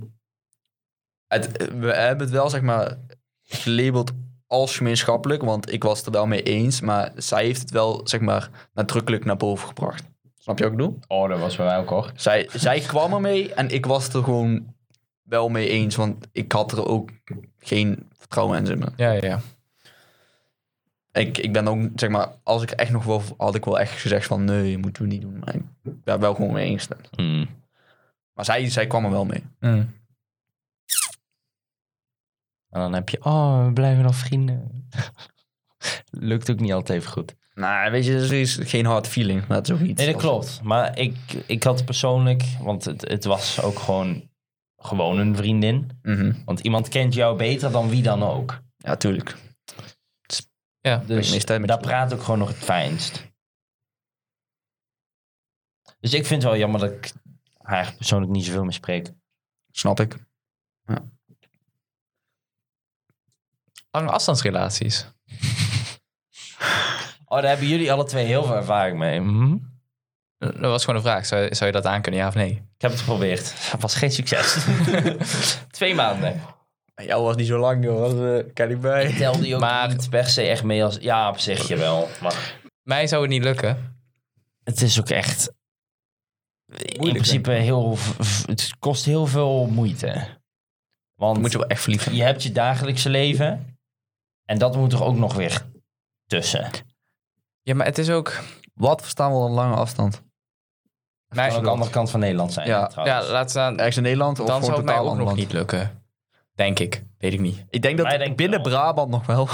het, we hebben het wel, zeg maar, gelabeld als gemeenschappelijk, want ik was het er wel mee eens, maar zij heeft het wel, zeg maar, nadrukkelijk naar boven gebracht. Snap je wat ik bedoel? Oh, dat was bij mij ook hoor. Zij, zij kwam ermee en ik was het er gewoon wel mee eens, want ik had er ook geen vertrouwen in. Zeg maar. Ja, ja, ja. ik, ik ben ook, zeg maar, als ik echt nog wel, had ik wel echt gezegd van nee, je moet het niet doen. Maar ik ben wel gewoon mee eens. Maar zij, zij kwam er wel mee. En dan heb je, oh, we blijven nog vrienden. Lukt ook niet altijd even goed. Nou, weet je, er is geen hard feeling, maar het is ook iets. Nee, dat als- klopt. Maar ik, ik had persoonlijk, want het, het was ook gewoon, gewoon een vriendin. Mhm. Want iemand kent jou beter dan wie dan ook. Ja, tuurlijk. ja. ik Dus meestal met daar je. praat ook gewoon nog het fijnst. Dus ik vind het wel jammer dat ik haar persoonlijk niet zoveel meer spreek. Snap ik. Lange afstandsrelaties. Oh, daar hebben jullie alle twee heel veel ervaring mee. Mhm. Dat was gewoon een vraag. Zou, zou je dat aankunnen, ja of nee? Ik heb het geprobeerd. Het was geen succes. twee maanden. Bij jou was niet zo lang, joh. Dat eh, kan ik bij. Ik telde die ook Maar- niet per se echt mee als... Ja, op zich jawel. Maar Mij zou het niet lukken. het is ook echt... in principe heel... v- v- Het kost heel veel moeite. Want Dan moet je wel echt verliefd zijn. je hebt je dagelijkse leven. En dat moet er ook nog weer tussen. Ja, maar het is ook... Wat verstaan we onder lange afstand? Kan Mij, ook de andere kant van Nederland zijn. Ja, trouwens. ja, laat staan. Ergens in Nederland of Dan zou gewoon het mij totaal ook ander nog land? niet lukken. Denk ik. Weet ik niet. Ik denk dat Wij denken binnen wel. Brabant nog wel.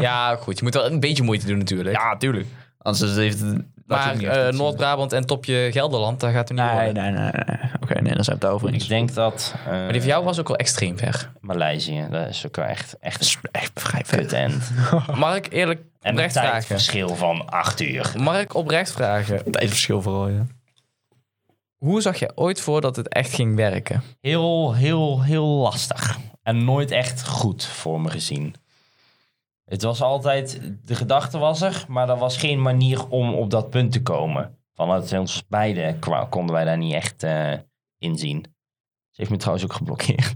Ja, goed. Je moet wel een beetje moeite doen natuurlijk. ja, tuurlijk. Anders is- heeft het... laat het maar niet echt eh, goed zien. Noord-Brabant en topje Gelderland, daar gaat het niet worden. Nee, nee, nee. nee. Oké, nee, dan zijn we het over Ik eens. denk dat... eh, Maar die van jou was ook wel extreem ver. Maleisië, dat is ook wel echt, echt Dat een is echt vrij ver. kut end. Mag ik eerlijk En een oprecht vragen? tijdverschil van acht uur. Mag ik oprecht vragen? Tijdverschil vooral, ja. Hoe zag je ooit voor dat het echt ging werken? Heel, heel, heel lastig. En nooit echt goed voor me gezien. Het was altijd, de gedachte was er, maar er was geen manier om op dat punt te komen. Vanuit ons beiden kwa- konden wij daar niet echt eh, in zien. Ze heeft me trouwens ook geblokkeerd.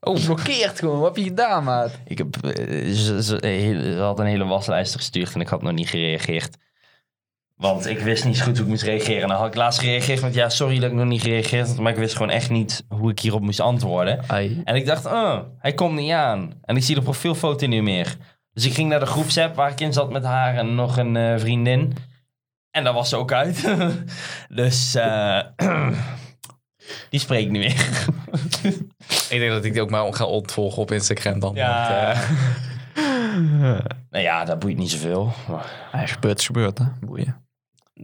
Oh, blokkeert gewoon. Wat heb je gedaan, maat? Ik heb, eh, ze, ze- heel- ze had een hele waslijst gestuurd en ik had nog niet gereageerd. Want ik wist niet zo goed hoe ik moest reageren. En dan had ik laatst gereageerd met ja, sorry dat ik nog niet gereageerd had. Maar ik wist gewoon echt niet hoe ik hierop moest antwoorden. Ai. En ik dacht, oh, hij komt niet aan. En ik zie de profielfoto niet meer. Dus ik ging naar de groepsapp waar ik in zat met haar en nog een eh, vriendin. En daar was ze ook uit. dus eh, die spreekt niet meer. Ik denk dat ik die ook maar ga ontvolgen op Instagram dan. Ja. want, eh, nou ja, dat boeit niet zoveel. Maar Hij gebeurt, is gebeurd, hè. Boeien.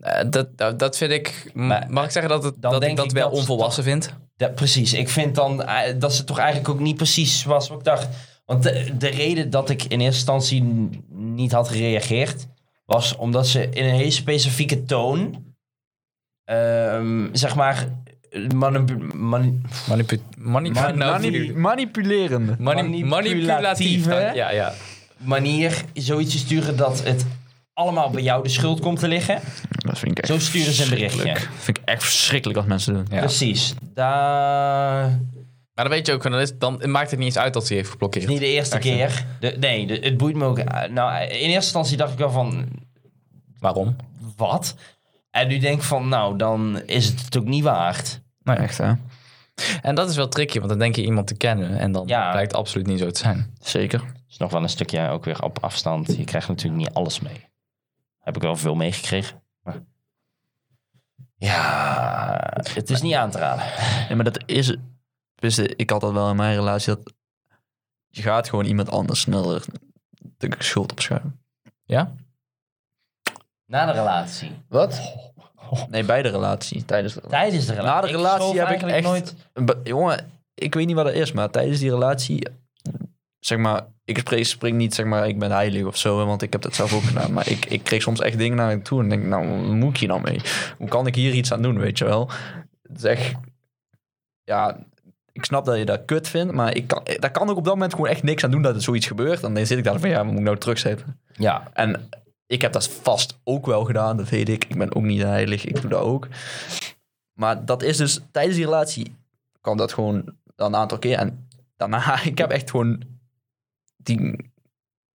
eh, dat, dat, dat vind ik... m- Maar- mag ik zeggen dat, het, Dan dat ik denk dat ik wel dat- onvolwassen vind? dat, precies, ik vind dan eh, dat ze toch eigenlijk ook niet precies was wat ik dacht. Want de, de reden dat ik in eerste instantie n- niet had gereageerd... was omdat ze in een hele specifieke toon... ehm, zeg maar... manu- manu- Manipu mani- Man- nou, Eh, manipulerende. mani- manipulatief. manipulatieve- Ja, ja. manier zoiets te sturen dat het allemaal bij jou de schuld komt te liggen. Dat vind ik echt Zo sturen ze een berichtje. verschrikkelijk. vind ik echt verschrikkelijk als mensen doen. Ja. Precies. Daar Maar dan weet je ook, dan, is, dan maakt het niet eens uit dat ze die heeft is geblokkeerd. niet de eerste Echt, hè? keer. De- nee, de- het boeit me ook. eh, Nou, in eerste instantie dacht ik wel van, Waarom? wat? En nu denk ik van, nou, dan is het het ook niet waard. Nee, echt, hè. En dat is wel tricky, want dan denk je iemand te kennen en dan Ja. blijkt het absoluut niet zo te zijn. Zeker. is nog wel een stukje ook weer op afstand. Je krijgt natuurlijk niet alles mee. Heb ik wel veel meegekregen. maar- Ja, het is niet aan te raden. Ja, maar dat is... Dus ik had dat wel in mijn relatie. Dat je gaat gewoon iemand anders sneller de schuld opschuiven. Na de relatie. Wat? Nee, bij de relatie. Tijdens de relatie. Tijdens de relatie. Na de relatie schoof heb ik eigenlijk echt- Jongen, ik weet niet wat dat is, maar tijdens die relatie... Zeg maar, ik spring, spring niet, zeg maar, ik ben heilig of zo, hè, want ik heb dat zelf ook gedaan. Maar ik, ik kreeg soms echt dingen naar me toe en denk, nou, hoe moet ik hier nou mee? Hoe kan ik hier iets aan doen, weet je wel? Het is echt, ja, ik snap dat je dat kut vindt, maar ik kan, daar kan ook op dat moment gewoon echt niks aan doen dat er zoiets gebeurt. En dan zit ik daar van, ja, wat moet ik nou terugzetten? Ja, En ik heb dat vast ook wel gedaan, dat weet ik. Ik ben ook niet heilig, ik doe dat ook. Maar dat is dus tijdens die relatie kwam dat gewoon een aantal keer. En daarna, ik heb echt gewoon die,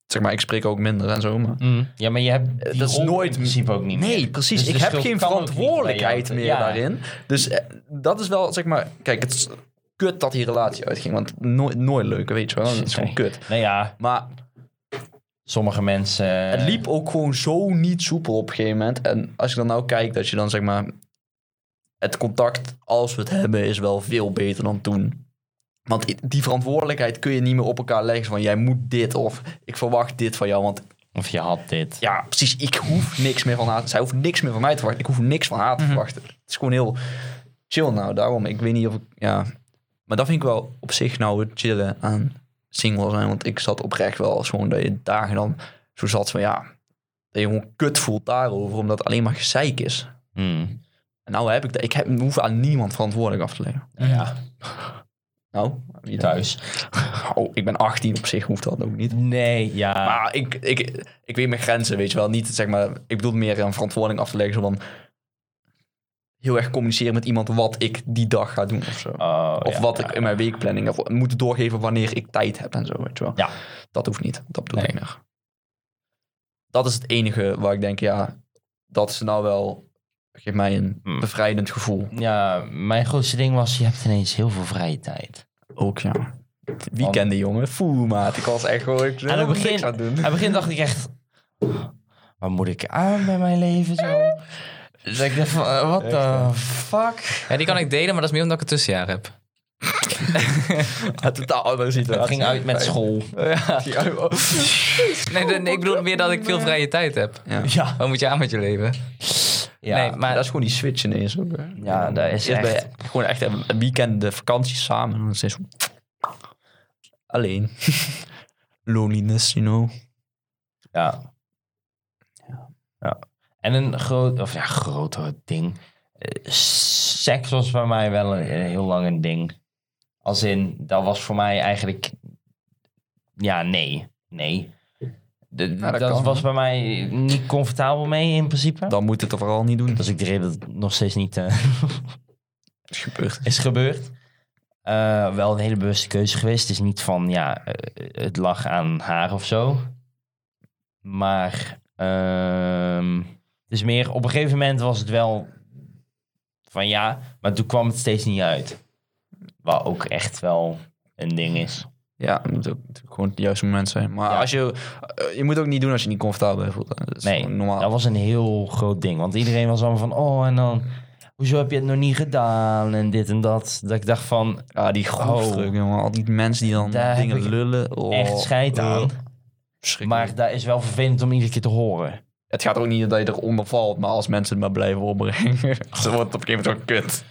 zeg maar, ik spreek ook minder en zo. Maar ja maar je hebt die Mm. dat is rol nooit- in principe ook niet meer. nee, precies. Dus de ik heb schuld geen kan ook niet bij jou verantwoordelijkheid te- meer ja. daarin. Dus eh, dat is wel, zeg maar, kijk, het is kut dat die relatie uitging. Want nooit, nooit leuk, weet je wel. Dat is gewoon Nee. kut. Nou ja, Maar sommige mensen... Het liep ook gewoon zo niet soepel op een gegeven moment. En als ik dan nou kijk, dat je dan zeg maar... Het contact, als we het hebben, is wel veel beter dan toen. Want i- die verantwoordelijkheid kun je niet meer op elkaar leggen. Van jij moet dit of ik verwacht dit van jou. Want Of je had dit. ja, precies, ik hoef niks meer van haar. Zij hoeft niks meer van mij te verwachten. Ik hoef niks van haar te verwachten. Het is gewoon heel chill nou. Daarom, ik weet niet of ik... Ja. Maar dat vind ik wel op zich nou het chillen aan single zijn. Want ik zat oprecht wel als gewoon dat je dagen dan zo zat van ja... Dat je gewoon kut voelt daarover, omdat het alleen maar gezeik is. Hmm. En nou heb ik dat. Ik heb, hoef aan niemand verantwoordelijk af te leggen. Nou ja, Nou, wie dan? thuis. Oh, ik ben 18 op zich, hoeft dat ook niet. Nee, ja. Maar ik, ik, ik weet mijn grenzen, weet je wel. Niet, zeg maar, ik bedoel meer een verantwoording af te leggen. Zo van heel erg communiceren met iemand wat ik die dag ga doen of zo. Oh, of ja, wat ja. ik in mijn weekplanning... Of moet doorgeven wanneer ik tijd heb en zo, weet je wel. Ja. Dat hoeft niet, dat bedoel Nee. ik nog. Dat is het enige waar ik denk, ja... Dat is nou wel... Geeft mij een Hmm. bevrijdend gevoel. Ja, mijn grootste ding was, je hebt ineens heel veel vrije tijd. Ook, ja. Weekenden, jongen. Foe, maat. Ik was echt gewoon... Ik Aan het helemaal niks begin- aan het doen. Aan het begin dacht ik echt, wat moet ik aan met mijn leven zo? Dus ik dacht van, eh, what the fuck? Ja, die kan ik delen, maar dat is meer omdat ik een tussenjaar heb. Een totaal andere situatie. Het ging uit met school. Nee, nee, nee, ik bedoel meer dat ik veel vrije tijd heb. Ja. Wat moet je aan met je leven? Ja, nee, maar dat is gewoon die switch ineens. Ook, hè. ja dat is Eerst echt... ben je gewoon echt een weekend de vakantie samen. En dan is het zo... Alleen. Loneliness, you know. Ja. ja. En een groot, of ja, groter ding. Eh, Seks was bij mij wel een, een heel lang een ding. Als in, dat was voor mij eigenlijk. Ja, nee. Nee. De, Ja, Nou, dat dat kan, was hè? bij mij niet comfortabel mee in principe. Dat, Dan moet het er vooral niet doen. is ook de reden dat het nog steeds niet eh, is gebeurd. is gebeurd. Eh, wel een hele bewuste keuze geweest. Het is niet van, ja, eh, het lag aan haar of zo. Maar ehm, het is meer, op een gegeven moment was het wel van ja, maar toen kwam het steeds niet uit. Wat ook echt wel een ding is. Ja, het moet ook natuurlijk gewoon het juiste moment zijn. Maar Ja. als je... eh, Je moet ook niet doen als je niet comfortabel bent. voelt. Dat is Nee, gewoon normaal. Dat was een heel groot ding. Want iedereen was allemaal van, oh en dan, hoezo heb je het nog niet gedaan? En dit en dat. Dat ik dacht van, Ja, Ah, die groepsdruk, Oh. jongen. Al die mensen die dan Daar dingen heb ik lullen. Oh, echt scheid oh, aan. verschrikkelijk. Maar dat is wel vervelend om iedere keer te horen. het gaat ook niet dat je eronder valt. Maar als mensen het maar blijven opbrengen. dan wordt het op een gegeven moment ook kut.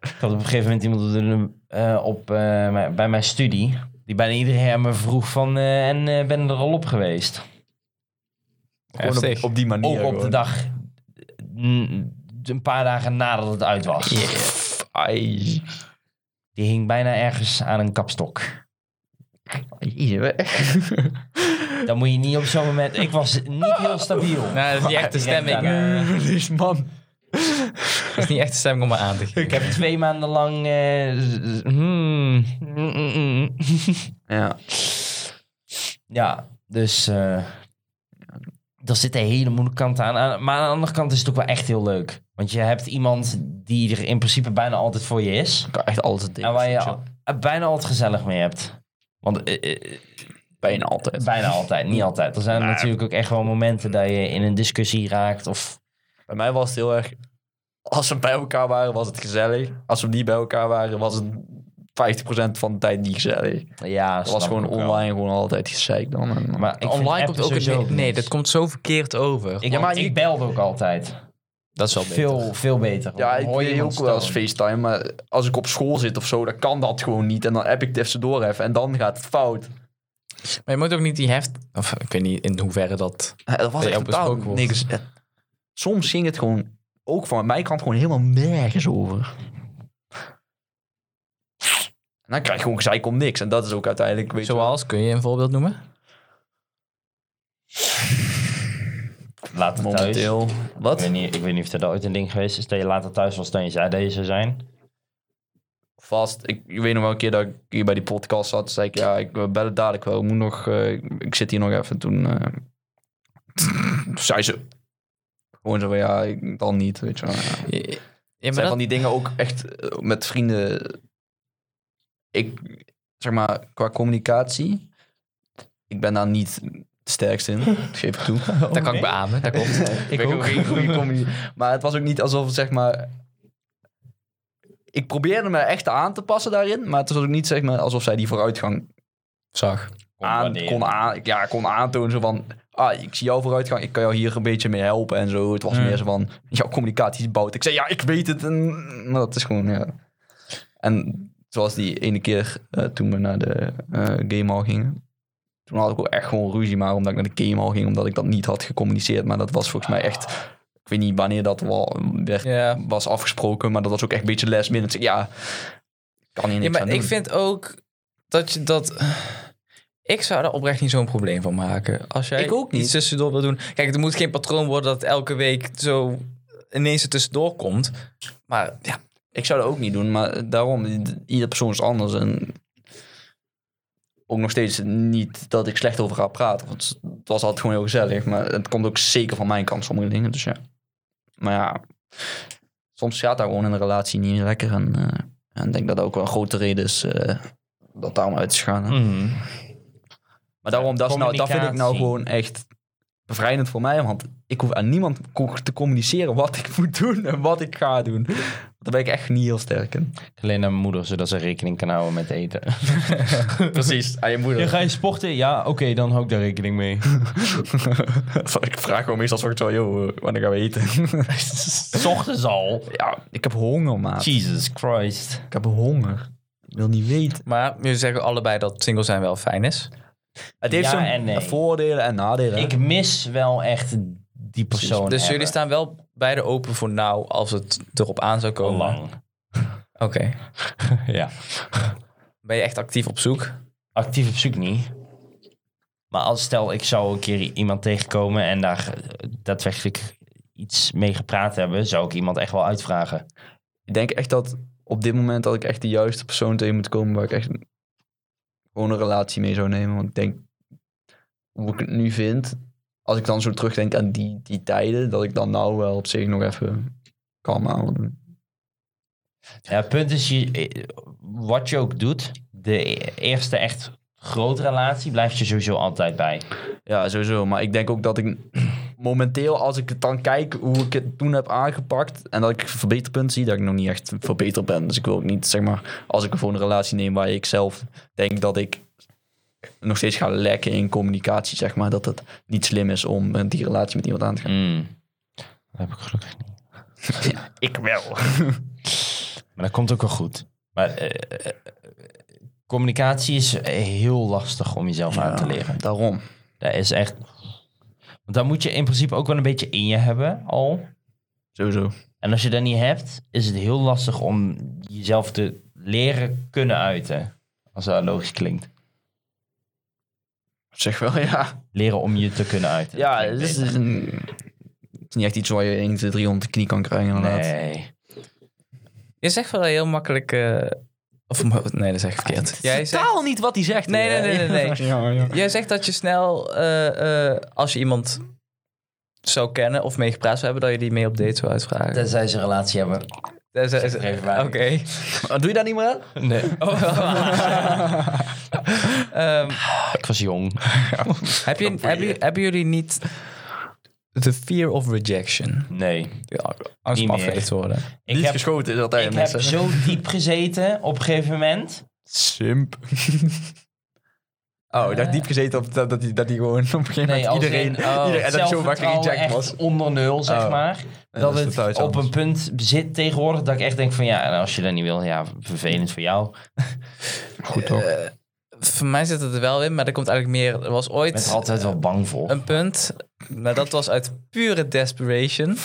Ik had op een gegeven moment iemand op de- eh, op, eh, mijn- bij mijn studie. Die bijna iedereen aan me vroeg van... eh, en eh, ben je er al op geweest? Gewoon heftig. op, op die manier. Ook op de gewoon. dag... mm, Een paar dagen nadat het uit was. Ai. Die hing bijna ergens aan een kapstok. Hier, hè. Dan moet je niet op zo'n moment... Ik was niet heel stabiel. Nou, dat is niet echt de stemming. eh, Dit man. dat is niet echt de stemming om me aan te geven. Ik heb twee maanden lang... eh, z- z- hmm, mm, mm, mm. Ja. Ja, dus eh daar zit een hele moeilijke kant aan. Aan- Maar aan de andere kant is het ook wel echt heel leuk. Want je hebt iemand die er in principe bijna altijd voor je is. Ik kan echt altijd dingen. En waar je zo. al- eh, bijna altijd gezellig mee hebt. Want eh, eh, Bijna altijd. bijna altijd, niet altijd. Er zijn Nee. natuurlijk ook echt wel momenten dat je in een discussie raakt. Of Bij mij was het heel erg... Als we bij elkaar waren, was het gezellig. Als we niet bij elkaar waren, was het 50% van de tijd niet gezellig. ja, Het was gewoon online gewoon altijd gezeik dan. En- Maar ik vind Online appen komt ook sowieso een... Nee, niks. dat komt zo verkeerd over. Ik, Ja, maar want je- ik belde ook altijd. Dat is wel beter. Veel, veel beter. ja, Dan ik hoor je deed ook iemand wel eens stomen. FaceTime, maar als ik op school zit of zo, dan kan dat gewoon niet. En dan heb ik het even door even en dan gaat het fout. Maar je moet ook niet die heft... Of ik weet niet in hoeverre dat... Eh, Dat was Ja, echt op totaal besproken wordt. niks. Eh, Soms ging het gewoon, ook van mijn kant, gewoon helemaal nergens over. En dan krijg je gewoon gezeik om niks. En dat is ook uiteindelijk... Weet je wel. Zoals, kun je een voorbeeld noemen? Later thuis. Ik momenteel. Wat? weet, niet, ik weet niet of er ooit een ding geweest is dat je later thuis was dan je zei dat je zou zijn. vast. Ik, ik weet nog wel een keer dat ik hier bij die podcast zat. zei ik, ja, ik eh, bel het dadelijk wel. Ik moet nog, eh, ik zit hier nog even. Toen eh, toen zei ze gewoon zo van, ja, ik, dan niet, weet je wel. Ja. Het Ja, ja, maar zijn dat- van die dingen ook echt eh, met vrienden. Ik, zeg maar, qua communicatie, ik ben daar niet het sterkst in. Dat geef ik toe. dat kan ik beamen, dat komt. Ik ben ook geen goede comedy. Maar het was ook niet alsof, zeg maar... Ik probeerde me echt aan te passen daarin. Maar het was ook niet, zeg maar, alsof zij die vooruitgang Zag. aan, kon, aan, ja, kon aantonen. Zo van, ah, ik zie jouw vooruitgang. Ik kan jou hier een beetje mee helpen en zo. Het was Hmm. meer zo van, jouw communicatie is bout. Ik zei, ja, ik weet het. En, maar dat is gewoon, ja. En zoals die ene keer eh, toen we naar de eh game hall gingen. Toen had ik ook echt gewoon ruzie, maar omdat ik naar de game hall ging, omdat ik dat niet had gecommuniceerd. Maar dat was volgens mij echt, ik weet niet wanneer dat wel werd, Ja. was afgesproken, maar dat was ook echt een beetje last minute. Ja, kan hier niks Ja, maar aan ik doen. vind ook dat je dat... Ik zou daar oprecht niet zo'n probleem van maken. Als jij Ik ook niet. iets tussendoor wil doen... Kijk, er moet geen patroon worden dat elke week zo ineens er tussendoor komt. Maar ja, Ik zou dat ook niet doen, maar daarom, ieder persoon is anders. En ook nog steeds niet dat ik slecht over ga praten. Want het was altijd gewoon heel gezellig. Maar het komt ook zeker van mijn kant, sommige dingen. Dus ja. Maar ja, soms gaat daar gewoon in een relatie niet lekker. En, eh, en ik denk dat dat ook wel een grote reden is eh, dat daarom uit is Hm. gaan. Mhm. Maar daarom, dat, is nou, dat vind ik nou Communicatie. gewoon echt bevrijdend voor mij. Want ik hoef aan niemand co- te communiceren wat ik moet doen en wat ik ga doen. Want daar ben ik echt niet heel sterk in. Alleen naar mijn moeder, zodat ze rekening kan houden met eten. Precies, aan je moeder. ga je sporten? Ja, oké, dan hou ik daar rekening mee. ik vraag gewoon meestal soort zo, joh, wanneer gaan we eten? Ochtends al. ja, ik heb honger, maat. Jesus Christ. Ik heb honger. Ik wil niet weten. maar jullie zeggen allebei dat single zijn wel fijn is. Het heeft Ja zijn en nee. voordelen en nadelen. hè? Ik mis wel echt die persoon. dus jullie hebben. staan wel beide open voor nou als het erop aan zou Al komen. lang. Oké. Ja. Ben je echt actief op zoek? Actief op zoek niet. Maar als stel ik zou een keer iemand tegenkomen en daar eh, daadwerkelijk iets mee gepraat hebben, zou ik iemand echt wel uitvragen. ik denk echt dat op dit moment dat ik echt de juiste persoon tegen moet komen waar ik echt een- gewoon een relatie mee zou nemen. Want ik denk, hoe ik het nu vind, als ik dan zo terugdenk aan die, die tijden, dat ik dan nou wel op zich nog even kalm aan wil doen. Ja, het punt is, je, eh, wat je ook doet, de e- eerste echt grote relatie blijft je sowieso altijd bij. Ja, sowieso. Maar ik denk ook dat ik momenteel, als ik het dan kijk hoe ik het toen heb aangepakt en dat ik verbeterpunten zie, dat ik nog niet echt verbeterd ben. Dus ik wil ook niet, zeg maar, als ik gewoon een relatie neem waar ik zelf denk dat ik nog steeds ga lekken in communicatie, zeg maar, dat het niet slim is om eh, die relatie met iemand aan te gaan. Hmm. Dat heb ik gelukkig niet. Ik wel. Maar dat komt ook wel goed. Maar eh, eh, communicatie is eh, heel lastig om jezelf aan te leren. Daarom. Dat is echt. Want daar moet je in principe ook wel een beetje in je hebben al. Sowieso. En als je dat niet hebt, is het heel lastig om jezelf te leren kunnen uiten. Als dat logisch klinkt. Zeg wel, ja. Leren om je te kunnen uiten. Ja, dus Dat klinkt het is, beter. het is een- het is niet echt iets waar je 1, 2, 3 om de knie kan krijgen, inderdaad. Nee. Je zegt wel heel makkelijk... eh, of, mo- nee, dat zeg ik verkeerd. Jij zegt, Taal niet wat hij zegt. Nee, nee, nee, nee, nee. Ja, ja. jij zegt dat je snel, eh, eh, als je iemand zou kennen of mee gepraat zou hebben, dat je die mee op date zou uitvragen. Tenzij ze een relatie hebben. Dat is- Zeg er even bij. Oké. Doe je dat niet meer aan? Nee. Ehm, ik was jong. heb je, hebben, jullie- hebben jullie niet the fear of rejection? Nee. Ja, angst Niet om meer. afgewezen te worden. Ik niet heb, geschoten is altijd ik heb mensen. zo diep gezeten op een gegeven moment. Simp. Oh, ik dacht diep gezeten op dat, dat, die, dat die gewoon op een gegeven moment als iedereen... in, oh, iedereen en dat hij zo vaak zelfvertrouwen reject echt was. onder nul, zeg Oh. maar. dat Nee, dat is het totaal op iets een anders. punt zit tegenwoordig dat ik echt denk van ja, nou, als je dat niet wil, ja, vervelend voor jou. Goed toch? Eh, voor mij zit het er wel in, maar er komt eigenlijk meer... Er was ooit... Ik ben er altijd wel bang voor. een punt. Maar dat was uit pure desperation. Ik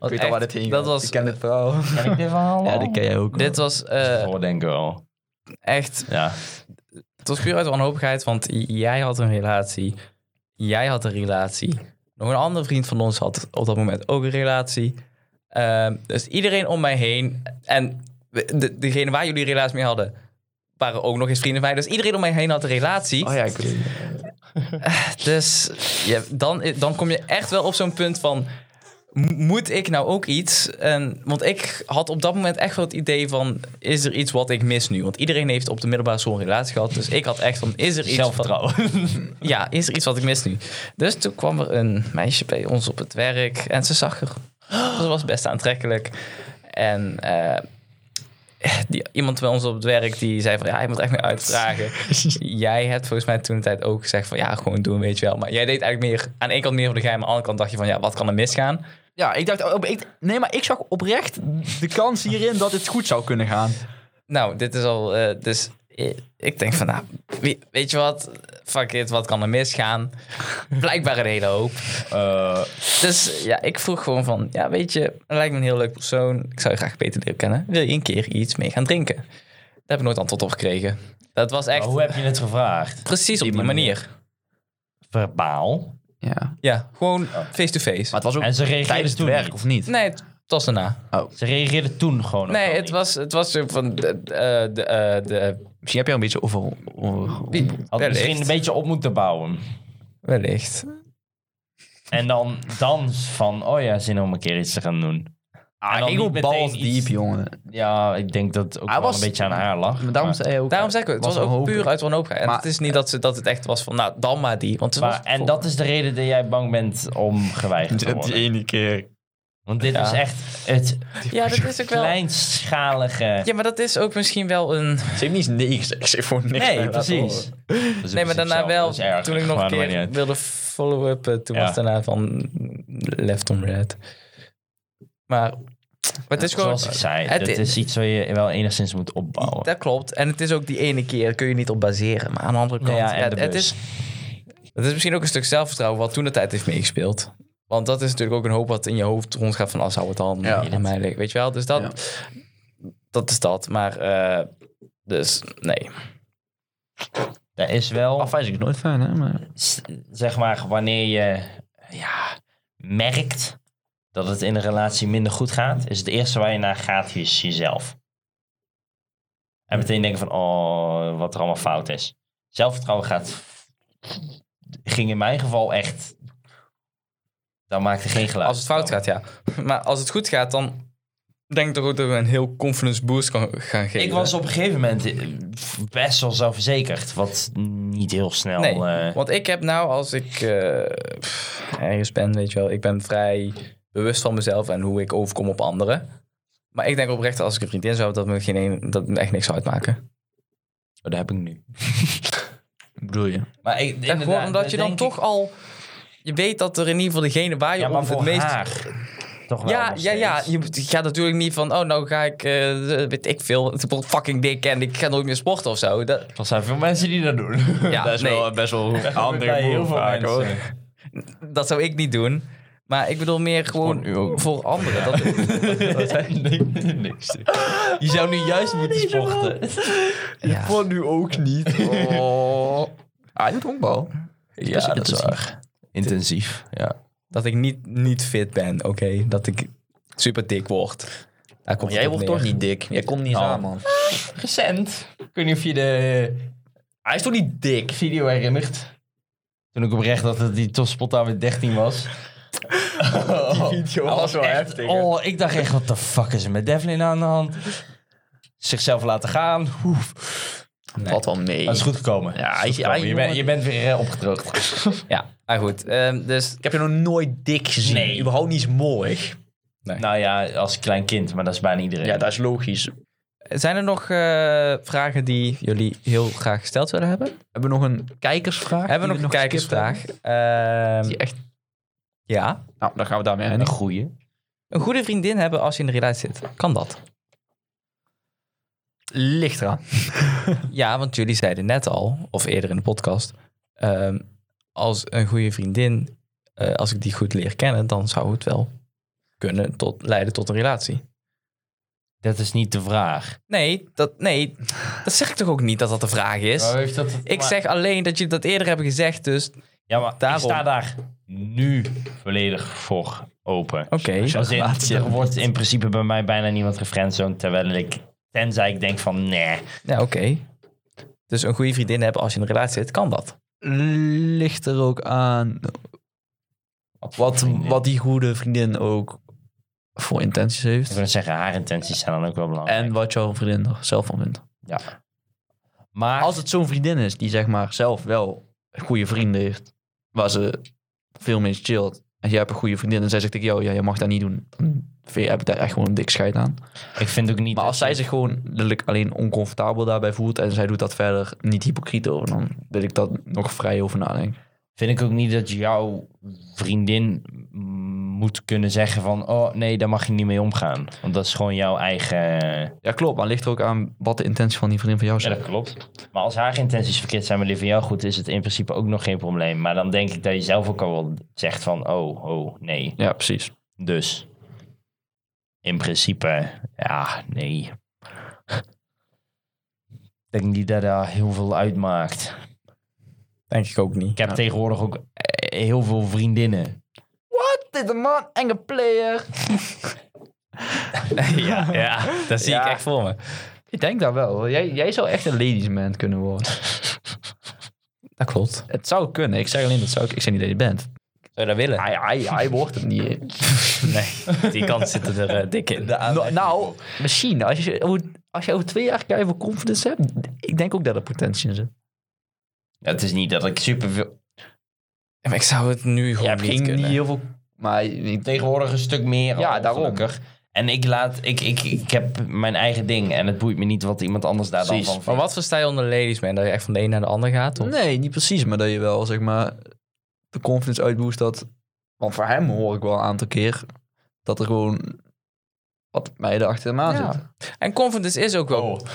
weet al waar dit heen Dat gaat. was, Ik ken het wel. Ken ik dit verhaal Ja, al? dat ken jij ook. dit was eh, Oh, denk ik wel. echt... Ja. Het was puur uit wanhopigheid, want jij had een relatie. Jij had een relatie. Nog een andere vriend van ons had op dat moment ook een relatie. Ehm, dus iedereen om mij heen. En we- de, degene waar jullie een relatie mee hadden, waren ook nog eens vrienden van mij. Dus iedereen om mij heen had een relatie. Oh ja, ik weet het. Dus ja, dan, dan kom je echt wel op zo'n punt van... m- Moet ik nou ook iets? En, want ik had op dat moment echt wel het idee van... Is er iets wat ik mis nu? Want iedereen heeft op de middelbare school een relatie gehad. Dus ik had echt van... Is er iets, wat, Zelfvertrouwen. ja, is er iets wat ik mis nu? Dus toen kwam er een meisje bij ons op het werk. En ze zag er... Ze was best aantrekkelijk. En... eh, die, iemand bij ons op het werk die zei van ja, je moet echt meer uitvragen. jij hebt volgens mij toen de tijd ook gezegd van ja, gewoon doen, weet je wel. Maar jij deed eigenlijk meer aan de ene kant meer voor de geheim, aan de andere kant dacht je van ja, wat kan er misgaan? Ja, ik dacht, oh, ik, nee, maar ik zag oprecht de kans hierin dat het goed zou kunnen gaan. Nou, dit is al, eh, dus eh, ik denk van nou, wie- weet je wat, fuck it, wat kan er misgaan? Blijkbaar een hele hoop. Eh, Dus ja, ik vroeg gewoon van ja, weet je, je lijkt me een heel leuk persoon. Ik zou je graag beter leren kennen. Wil je een keer iets mee gaan drinken? Daar heb ik nooit antwoord op gekregen. Dat was echt maar Nou, hoe heb je het gevraagd? precies op die die manier. Verbaal. Ja. Ja, gewoon face-to-face. Maar het was ook En ze reageerden tijdens het toen werk, niet. of niet? Nee, het was daarna. Ze reageerden toen gewoon ook Nee, al het niet. was, het was zo van de, eh, de, eh, de, Misschien heb je al een beetje over... over- Had wellicht. Oh, misschien een beetje op moeten bouwen. wellicht. En dan dans van, oh ja, zin om een keer iets te gaan doen. En Ah, dan Ego niet meteen balls iets- diep, jongen. Ja, ik denk dat het ook Hij wel was- een beetje aan haar lag. Maar daarom maar, zei hij ook... Daarom zeg ik het, het was, was ook wanhopig. puur uit wanhoopigheid. En Maar- het is niet dat, ze, dat het echt was van, nou, dan maar die. Want ze maar- was- en dat is de reden dat jij bang bent om geweigerd te Die worden. ene keer. Want dit Ja. is echt het ja, dat is ook wel... kleinschalige... Ja, maar dat is ook misschien wel een... Ze heeft niet eens nee gezegd. Ze heeft gewoon niks Nee, laten precies. horen. Nee, maar daarna wel, toen ik nog een keer wilde follow-up, eh, toen Ja. was daarna van left on red. Maar, maar het is gewoon... Zoals ik zei, het het is- is iets waar je wel enigszins moet opbouwen. Dat klopt. En het is ook die ene keer, daar kun je niet op baseren. Maar aan de andere kant, Nou ja, ja, en de het, het bus. is, het is misschien ook een stuk zelfvertrouwen wat toen de tijd heeft meegespeeld. Want dat is natuurlijk ook een hoop wat in je hoofd rondgaat van als zou het dan Ja. aan mij liggen. Weet je wel? Dus dat, dat is dat. Maar eh, dus nee. Dat is wel... Afwijzing is nooit fijn, hè? Maar... s- zeg maar, wanneer je ja, merkt dat het in een relatie minder goed gaat, is het eerste waar je naar gaat is jezelf. En meteen denken van, oh, wat er allemaal fout is. Zelfvertrouwen gaat, ging in mijn geval echt, dan maakte geen geluid. Als het fout gaat, ja. Maar als het goed gaat, dan denk ik toch ook dat we een heel confidence boost kan gaan geven. Ik was op een gegeven moment eh, best wel zelfverzekerd, wat niet heel snel... Nee, eh, Want ik heb nou, als ik eh, pff, ergens ben, weet je wel, ik ben vrij bewust van mezelf en hoe ik overkom op anderen. Maar ik denk oprecht, als ik een vriendin zou hebben, dat me, geen een, dat me echt niks zou uitmaken. dat heb ik nu. Bedoel je? Maar ik, En gewoon inderdaad, omdat je dan denk ik- toch al, je weet dat er in ieder geval degene waar je ja, maar om voor het meest... haar toch wel Ja, nog ja, ja. steeds. Je moet- je gaat natuurlijk niet van, oh, nou ga ik, eh, weet ik veel, ik word fucking dik en ik ga nooit meer sporten of zo. Dat, Er zijn veel mensen die dat doen. ja, dat is nee. wel best wel een Bij andere heel boel veel vaak, hoor. mensen. Dat zou ik niet doen. Maar ik bedoel meer gewoon voor anderen. Dat, nee, niks. Je zou nu juist moeten sporten. ja. Voor nu ook niet. Oh. Ah, je doet honkbal. Ja, dat is waar. Intensief, ja. dat ik niet, niet fit ben, oké? Dat ik super dik word. Daar komt Jij het op wordt neer. toch niet dik. Jij komt niet Nou. aan, man. Recent. Ik weet niet of je de Hij is toch niet dik? video herinnert. Toen ik oprecht dat het die topspot aan met 13 was. Die video Dat was wel echt- heftig. hè? Oh, ik dacht echt, wat de fuck is er met Devlin aan de hand? Zichzelf laten gaan. Oef. Wat wel mee. Dat is goed gekomen. Ja, Dat is goed hij- gekomen. Je, hij- bent- je bent weer eh, opgedroogd. Ja, maar goed. ehm, dus Ik heb je nog nooit dik gezien. Nee. Überhaupt niet mooi. Nou ja, als klein kind, maar dat is bijna iedereen. Ja, dat is logisch. zijn er nog eh, vragen die jullie heel graag gesteld willen hebben? Hebben we nog een kijkersvraag? hebben we die nog een geskipt kijkersvraag? hebben? Ehm, Die echt... ja. Nou, dan gaan we daarmee een eindigen. goeie. Een goede vriendin hebben als je in de relatie zit. Kan dat? Ligt eraan. Ja, want jullie zeiden net al, of eerder in de podcast, ehm, als een goede vriendin, eh, als ik die goed leer kennen, dan zou het wel kunnen tot, leiden tot een relatie. Dat is niet de vraag. Nee dat, nee, dat zeg ik toch ook niet dat dat de vraag is. heeft dat, Ik zeg alleen dat je dat eerder hebt gezegd, dus oké. Ja, maar daarom. ik sta daar nu volledig voor open. Dus Als in, relatie er hebt. wordt in principe bij mij bijna niemand gefriendzoned, terwijl ik, tenzij ik denk van, nee. Ja, oké. Dus een goede vriendin hebben als je in een relatie zit, kan dat. Ligt er ook aan wat, wat die goede vriendin ook voor intenties Ik heeft. wil zeggen, haar intenties zijn dan ook wel belangrijk. En wat jouw vriendin er zelf van vindt. ja. Maar Als het zo'n vriendin is die zeg maar zelf wel goede vrienden heeft, waar ze veel mee chillt. En jij hebt een goede vriendin en zij zegt tegen jou, ja, je mag dat niet doen. Dan vind je- heb ik daar echt gewoon een dik scheid aan. ik vind ook niet... Maar dat als zij zich gewoon letterlijk alleen oncomfortabel daarbij voelt en zij doet dat verder niet hypocriet over, dan wil ik dat nog vrij over nadenken. vind ik ook niet dat jouw vriendin mm, moet kunnen zeggen van... oh nee, daar mag je niet mee omgaan. Want dat is gewoon jouw eigen... Ja, klopt. Maar het ligt er ook aan wat de intentie van die vriendin van jou Ja, is. dat klopt. Maar als haar intenties verkeerd zijn, maar die van jou goed... is het in principe ook nog geen probleem. Maar dan denk ik dat je zelf ook al wel zegt van... oh, oh, nee. Ja, precies. Dus in principe, ja, nee. Ik denk niet dat dat heel veel uitmaakt. Denk ik ook niet. Ik heb tegenwoordig ook eh, heel veel vriendinnen. Wat? Dit een man, enge player. ja, ja, dat zie ik echt voor me. Ik denk dat wel. Jij, jij zou echt een ladies man kunnen worden. Dat klopt. Zou Het zou kunnen. Ik zeg alleen dat zou ik. Ik zeg niet dat je bent. je dat willen? Hij, hij, hij wordt het niet. Nee, die kant zit er eh, dik in. Nou, nou, misschien. Als je, over- als je over twee jaar keihard confidence hebt, ik denk ook dat er potentie in zit. Het is niet dat ik superveel... Ja, maar ik zou het nu Je gewoon hebt niet geen niet kunnen. heel veel... Maar ik Tegenwoordig een stuk meer. Ja, al, daarom. gelukkig. En ik laat... Ik, ik, ik heb mijn eigen ding. En het boeit me niet wat iemand anders daar dan Precies. van Maar vindt. wat versta je onder ladies man? Dat je echt van de een naar de ander gaat? Of? Nee, niet precies. Maar dat je wel, zeg maar, de confidence uitboost dat... Want voor hem hoor ik wel een aantal keer dat er gewoon wat meiden achter hem aan Ja. zitten. En confidence is ook wel...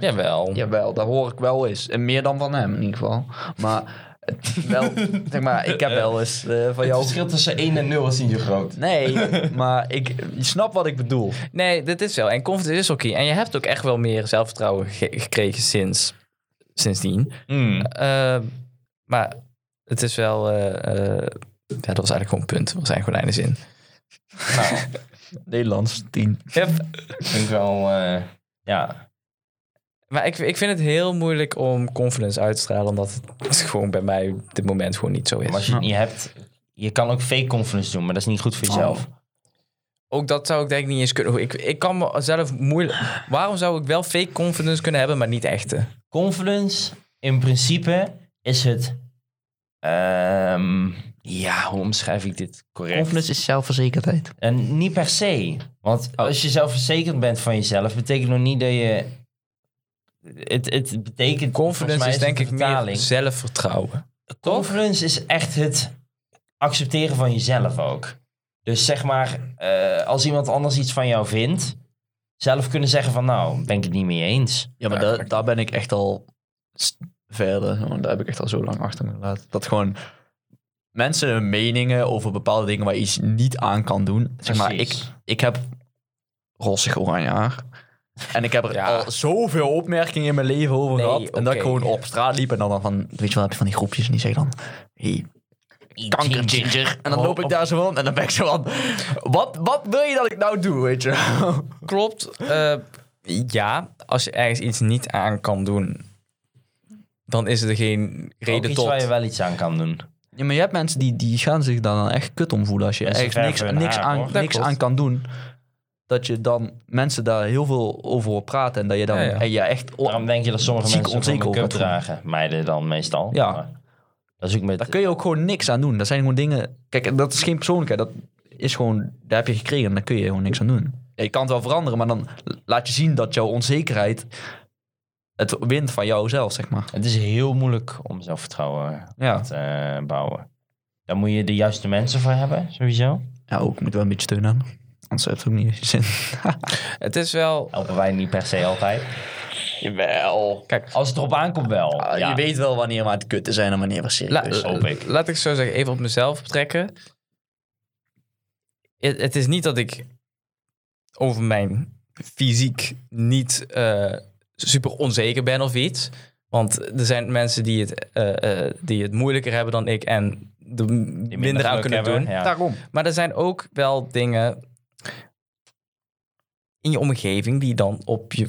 Jawel. Jawel, dat hoor ik wel eens. En meer dan van hem in ieder geval. Maar, het, wel, zeg maar ik heb wel eens eh, van Het jou... verschil tussen 1 en 0 is niet zo groot. Nee, maar ik, je snapt wat ik bedoel. Nee, dit is wel. En confidence is ook key. En je hebt ook echt wel meer zelfvertrouwen ge- gekregen sinds, sindsdien. Hmm. Ehm, maar het is wel... eh, eh, ja, dat was eigenlijk gewoon een punt. Dat was eigenlijk gewoon een einde zin. Nou, Nederlands, tien. Yep. vind ik wel... eh, ja. Maar ik, ik vind het heel moeilijk om confidence uit te stralen. Omdat het gewoon bij mij op dit moment gewoon niet zo is. Maar als je het niet hebt... Je kan ook fake confidence doen, maar dat is niet goed Oh. voor jezelf. Ook dat zou ik denk ik niet eens kunnen. Ik, ik kan mezelf moeilijk. Waarom zou ik wel fake confidence kunnen hebben, maar niet echte? Confidence, in principe, is het... ehm, ja, hoe omschrijf ik dit correct? Confidence is zelfverzekerdheid. Oh. En niet per se. Want als je zelfverzekerd bent van jezelf, betekent nog niet dat je... Het, het betekent... volgens Confidence mij is denk het ik een meer vertaling. zelfvertrouwen. Confidence is echt het accepteren van jezelf ook. Dus zeg maar, eh, als iemand anders iets van jou vindt, zelf kunnen zeggen van nou, ben ik het niet mee eens. Ja, maar daar, daar ben ik echt al s- verder. Want daar heb ik echt al zo lang achter me gelaten. Dat gewoon mensen hun meningen over bepaalde dingen waar je iets niet aan kan doen. Zeg maar, ik, Precies. ik heb rossig oranje haar. En ik heb er Ja. al zoveel opmerkingen in mijn leven over Nee, gehad. En dat ik oké. gewoon op straat liep en dan, dan van... Weet je wel, heb je van die groepjes en die zeggen dan... Hey, oh, kanker ginger. En dan loop ik daar zo van en dan ben ik zo van... Wat, wat wil je dat ik nou doe, weet je wel? Klopt. eh, ja, als je ergens iets niet aan kan doen, dan is er geen Ook reden iets tot. waar je wel iets aan kan doen. Ja, maar je hebt mensen die, die gaan zich dan echt kut om voelen als je Mensen echt niks, verven hun niks, haar, aan, hoor. Dat niks klopt. aan kan doen. Dat je dan mensen daar heel veel over hoort praten en dat je dan Ja, ja. En je echt... o- Waarom denk je dat sommige Ziek mensen ook een onzeker make-up op het dragen? Meiden dan meestal. Ja. Maar Dat is ook met... Daar kun je ook gewoon niks aan doen. Dat zijn gewoon dingen... Kijk, en dat is geen persoonlijkheid. Dat is gewoon... Daar heb je gekregen en daar kun je gewoon niks aan doen. Ja, je kan het wel veranderen, maar dan laat je zien dat jouw onzekerheid het wint van jouzelf, zeg maar. Het is heel moeilijk om zelfvertrouwen Ja, te eh, bouwen. Daar moet je de juiste mensen voor hebben, sowieso. ja ook. Moet wel een beetje steun aan. Anders heeft het ook niet zin. Het is wel... Helpen wij niet per se altijd. Jawel. Kijk, Als het erop aankomt wel. Ah, ja. Je weet wel wanneer we aan het kutten zijn en wanneer we La- serieus zijn. hoop ik. Laat ik zo zeggen, even op mezelf betrekken. Het, het is niet dat ik over mijn fysiek niet eh, super onzeker ben of iets. Want er zijn mensen die het, eh, eh, die het moeilijker hebben dan ik en er minder, Die aan geluk kunnen hebben, doen. ja. Daarom. Maar er zijn ook wel dingen in je omgeving die dan op je.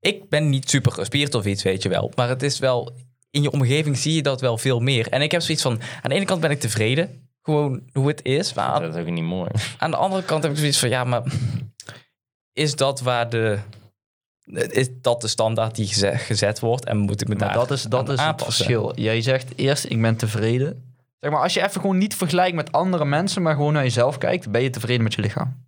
Ik ben niet super gespierd of iets, weet je wel. Maar het is wel. In je omgeving zie je dat wel veel meer. En ik heb zoiets van. Aan de ene kant ben ik tevreden. Gewoon hoe het is. Maar aan, Dat is ook niet mooi. aan de andere kant heb ik zoiets van. Ja, maar. Is dat waar de. Is dat de standaard die geze- gezet wordt? En moet ik me Maar daar. dat is, dat aan is het aanpassen? verschil. Jij zegt eerst, ik ben tevreden. Zeg maar, als je even gewoon niet vergelijkt met andere mensen, maar gewoon naar jezelf kijkt, ben je tevreden met je lichaam.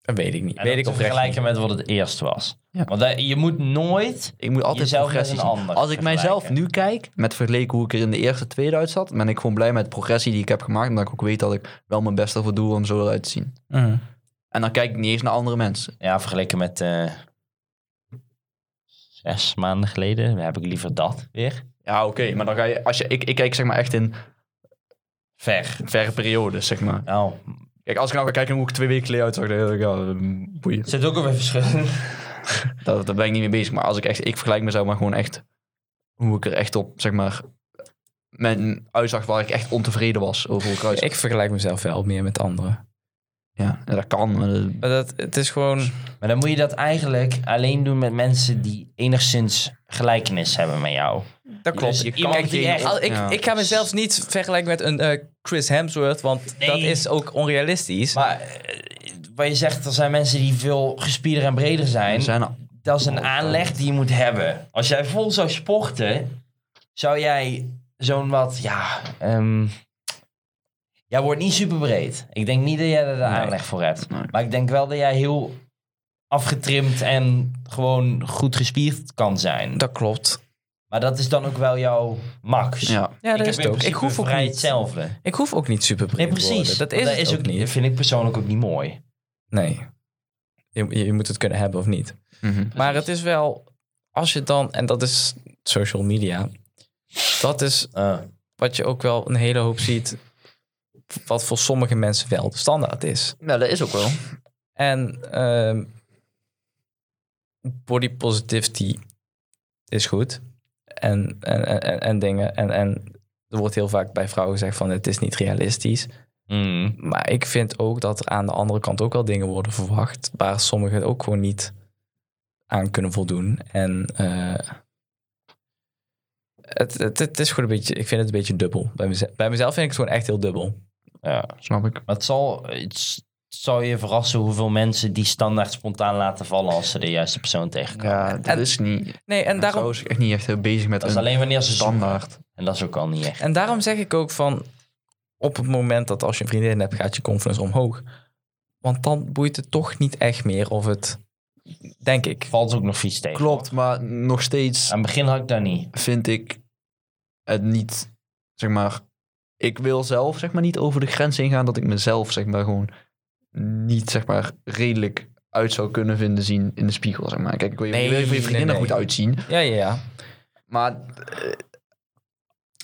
Dat weet ik niet. En weet dat ik te oprecht niet. vergelijken met wat het eerst was. Ja. Want dat- je moet nooit... Ik moet altijd Jezelf met progressie een zien. ander Als ik mijzelf vergelijken. nu kijk, met vergeleken hoe ik er in de eerste tweede uit zat, ben ik gewoon blij met de progressie die ik heb gemaakt. Omdat ik ook weet dat ik wel mijn best ervoor doe om zo eruit te zien. Mhm. En dan kijk ik niet eens naar andere mensen. Ja, vergeleken met... eh, zes maanden geleden heb ik liever dat weer. Ja, oké. Mhm. maar dan ga je, als je, ik, ik kijk zeg maar echt in Ver. verre periodes, zeg maar. Nou, Kijk, als ik nou ga kijken hoe ik twee weken geleden uitzag, dan denk ik, ja, mm, boeien. er zit ook alweer verschil. Daar, daar ben ik niet mee bezig. Maar als ik echt, ik vergelijk mezelf maar gewoon echt hoe ik er echt op, zeg maar, mijn uitzag waar ik echt ontevreden was over hoe ik eruit zag. Ik vergelijk mezelf wel meer met anderen. Ja, en dat kan. Maar dat- Maar dat, het is gewoon. Maar dan moet je dat eigenlijk alleen doen met mensen die enigszins gelijkenis hebben met jou. Dus Dat klopt. je iemand kijkt die die echt- Al- ik, Ja. ik ga mezelf niet vergelijken met een eh, Chris Hemsworth, want Nee. dat is ook onrealistisch. Maar eh, wat je zegt, er zijn mensen die veel gespierder en breder er zijn. zijn al- Dat is een aanleg die je moet hebben. Als jij vol zou sporten, zou jij zo'n wat, ja... ehm, jij wordt niet super breed. Ik denk niet dat jij er de aanleg voor hebt. Nee. Maar ik denk wel dat jij heel afgetrimd en gewoon goed gespierd kan zijn. dat klopt. Maar dat is dan ook wel jouw max. ja. Ja, dat ik heb is het in ook. Ik principe hoef ook, vrij niet, hetzelfde. ik hoef ook niet super Nee, breed te precies. worden. Dat Want is, dat het is ook, ook, niet. vind ik persoonlijk ook niet mooi. Nee. Je, je moet het kunnen hebben of niet. Mhm. Maar het is wel, als je dan, en dat is social media, dat is Ah. wat je ook wel een hele hoop ziet, wat voor sommige mensen wel de standaard is. Ja, dat is ook wel. En ehm body positivity is goed. En, en, en, en- en dingen. En, en er wordt heel vaak bij vrouwen gezegd van het is niet realistisch. Maar ik vind ook dat er aan de andere kant ook wel dingen worden verwacht. Waar sommigen ook gewoon niet aan kunnen voldoen. En eh, het, het, het is gewoon een beetje, ik vind het een beetje dubbel. Bij mezelf, bij mezelf vind ik het gewoon echt heel dubbel. Ja. Snap ik. Maar het zal, het s- het zal je verrassen hoeveel mensen die standaard spontaan laten vallen als ze de juiste persoon tegenkomen. Ja, dat En- is niet. Nee, en daarom, Zo is ik echt niet echt heel bezig met Dat is hun alleen wanneer ze zoeken. standaard. En dat is ook al niet echt. En daarom zeg ik ook van, op het moment dat als je een vriendin hebt, gaat je confidence omhoog. Want dan boeit het toch niet echt meer of het, denk ik. Valt ook nog vies tegen. Klopt, maar nog steeds Aan het begin had ik dat niet. vind ik het niet, zeg maar. Ik wil zelf, zeg maar, niet over de grens ingaan dat ik mezelf, zeg maar, gewoon niet, zeg maar, redelijk uit zou kunnen vinden zien in de spiegel, zeg maar. Kijk, ik wil je, je Nee, wil je voor je nee, vriendin er nee. goed uitzien, Ja, ja, ja. maar, eh,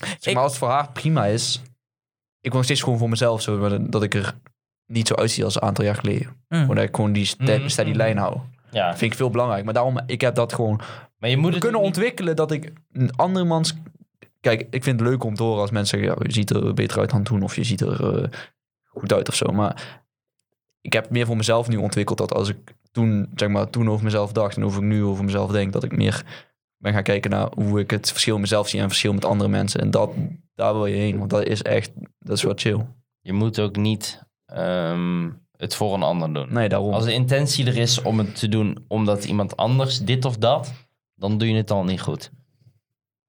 zeg Ik- maar als het voor haar prima is, ik wil nog steeds gewoon voor mezelf, zo, maar dat ik er niet zo uitzie als een aantal jaar geleden. Mm. Omdat ik gewoon die ste- Mhm. Mm. steady lijn hou. Ja. Dat vind ik veel belangrijk, maar daarom, ik heb dat gewoon Maar je moet het kunnen ook niet- ontwikkelen dat ik een andermans... Kijk, ik vind het leuk om te horen als mensen zeggen... Ja, je ziet er beter uit dan toen of je ziet er eh, goed uit of zo. Maar ik heb meer voor mezelf nu ontwikkeld dat als ik toen, zeg maar, toen over mezelf dacht... en over ik nu over mezelf denk, dat ik meer ben gaan kijken naar hoe ik het verschil in mezelf zie... en het verschil met andere mensen. En dat, daar wil je heen, want dat is echt... Dat is wel chill. Je moet ook niet ehm, het voor een ander doen. Nee, daarom. Als de intentie er is om het te doen omdat iemand anders dit of dat, dan doe je het al niet goed.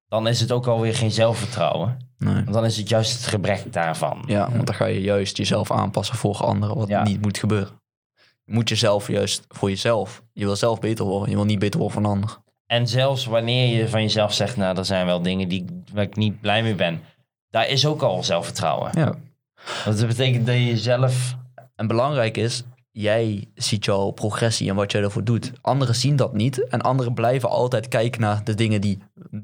Dan is het ook alweer geen zelfvertrouwen. Nee. Want dan is het juist het gebrek daarvan. Ja, want dan ga je juist jezelf aanpassen voor anderen, wat Ja. niet moet gebeuren. Je moet jezelf juist voor jezelf. Je wil zelf beter worden. Je wil niet beter worden van een ander. En zelfs wanneer je van jezelf zegt, nou, er zijn wel dingen die, waar ik niet blij mee ben. Daar is ook al zelfvertrouwen. Ja. Want dat betekent dat je jezelf... En belangrijk is, jij ziet jouw progressie en wat jij ervoor doet. Anderen zien dat niet. En anderen blijven altijd kijken naar de dingen die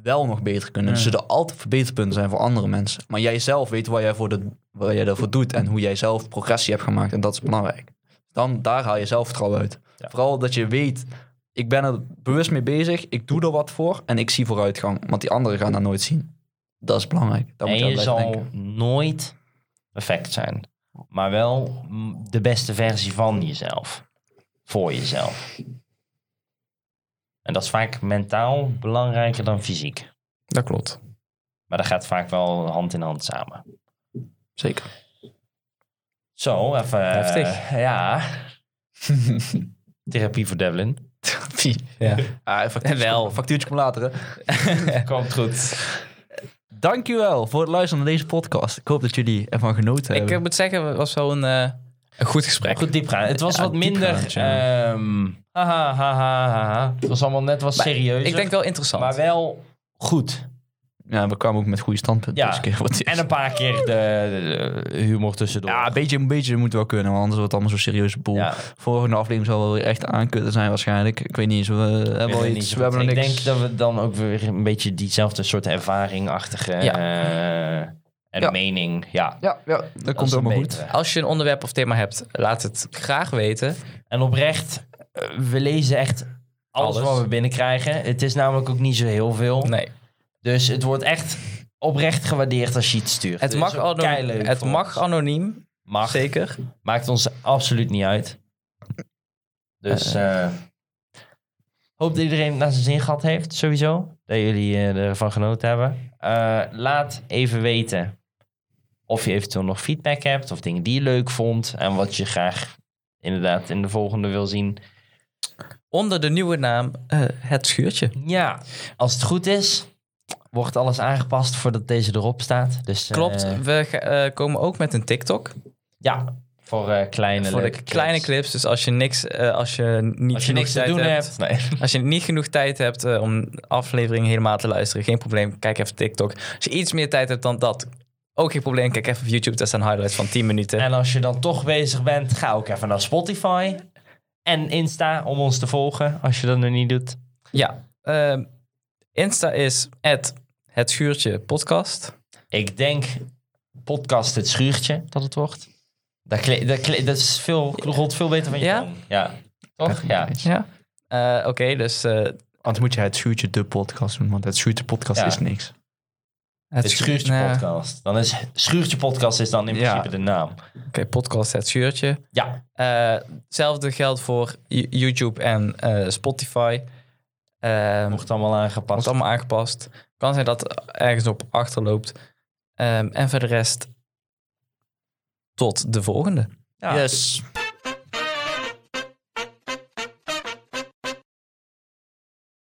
wel nog beter kunnen. Dus er zullen altijd verbeterpunten zijn voor andere mensen. Maar jij zelf weet waar jij, voor de, waar jij ervoor doet en hoe jij zelf progressie hebt gemaakt. En dat is belangrijk. Dus Dan, daar haal je zelfvertrouwen uit. Ja. Vooral dat je weet, ik ben er bewust mee bezig. Ik doe er wat voor en ik zie vooruitgang. Want die anderen gaan dat nooit zien. Dat is belangrijk. Daar moet en je aan je blijven zal denken. nooit perfect zijn. Maar wel mm, de beste versie van jezelf. Voor jezelf. En dat is vaak mentaal belangrijker dan fysiek. Dat klopt. Maar dat gaat vaak wel hand in hand samen. Zeker. Zo, even... eh, Heftig. ja. Therapie voor Devlin. Ja. Ah, factuurtje, Wel. wel. factuurtje komt later, hè. Komt goed. Dankjewel voor het luisteren naar deze podcast. Ik hoop dat jullie ervan genoten Ik hebben. eh, moet zeggen, het was wel een, eh, een goed gesprek. Goed diepgaan. Het was Ja, wat minder... diepgaand, ehm haha, haha, haha. Het was allemaal net wat serieuzer. Ik denk wel interessant. Maar wel goed. Ja, we kwamen ook met goede standpunten Ja. deze keer. Wat En een paar keer de, de- de humor tussendoor. ja, een beetje, een beetje moet wel kunnen, want anders wordt het allemaal zo'n serieuze boel. Ja. Volgende aflevering zal wel weer echt aankutten zijn waarschijnlijk. Ik weet niet eens, we hebben Ik al weet iets, niet we hebben ik nog niks. denk dat we dan ook weer een beetje diezelfde soort ervaringachtige Ja. eh, en Ja. mening. Ja, Ja, ja, dat, is komt helemaal een goed. betere. Als je een onderwerp of thema hebt, laat het graag weten. En oprecht, eh, we lezen echt alles, Alles. wat we binnenkrijgen. Het is namelijk ook niet zo heel veel. Nee, Dus het wordt echt oprecht gewaardeerd als je iets stuurt. het Dus mag, ook anoniem, keileuk het voor mag ons. anoniem, Mag. zeker. Maakt ons absoluut niet uit. Dus eh, hoop dat iedereen naar zijn zin gehad heeft, sowieso. Dat jullie eh, ervan genoten hebben. Eh, laat even weten of je eventueel nog feedback hebt, of dingen die je leuk vond en wat je graag inderdaad in de volgende wil zien. Onder de nieuwe naam eh, Het Schuurtje. Ja, als het goed is, wordt alles aangepast voordat deze erop staat. Dus, eh, Klopt, we ga- eh, komen ook met een TikTok. ja, voor eh, kleine voor de leuke kleine clips. Dus als je niks, eh, als je niet Als je genoeg niks te tijd doen hebt. hebt, Nee. Als je niet genoeg tijd hebt eh, om de aflevering helemaal te luisteren, geen probleem. Kijk even TikTok. Als je iets meer tijd hebt dan dat, ook geen probleem. Kijk even op YouTube. Daar staan highlights van 10 minuten. En als je dan toch bezig bent, ga ook even naar Spotify en Insta om ons te volgen als je dat nog niet doet. Ja. ehm, Insta is het schuurtje podcast. Ik denk podcast het schuurtje dat het wordt. Dat, kle- dat, kle- dat is veel, rolt veel beter van je Ja? tong. Ja. Toch? Ja. Ja. Eh, Oké, dus eh, Anders moet je het schuurtje de podcast doen, want het schuurtje podcast Ja. is niks. Het schuurtje nou, podcast. Dan is schuurtje podcast is dan in Ja. principe de naam. Oké, podcast het schuurtje. Ja. Eh, Hetzelfde geldt voor Y- YouTube en eh, Spotify. Ehm, Mocht allemaal aangepast. Wordt allemaal aangepast. Kan zijn dat ergens op achterloopt. Ehm, en voor de rest, tot de volgende. Ja. Yes.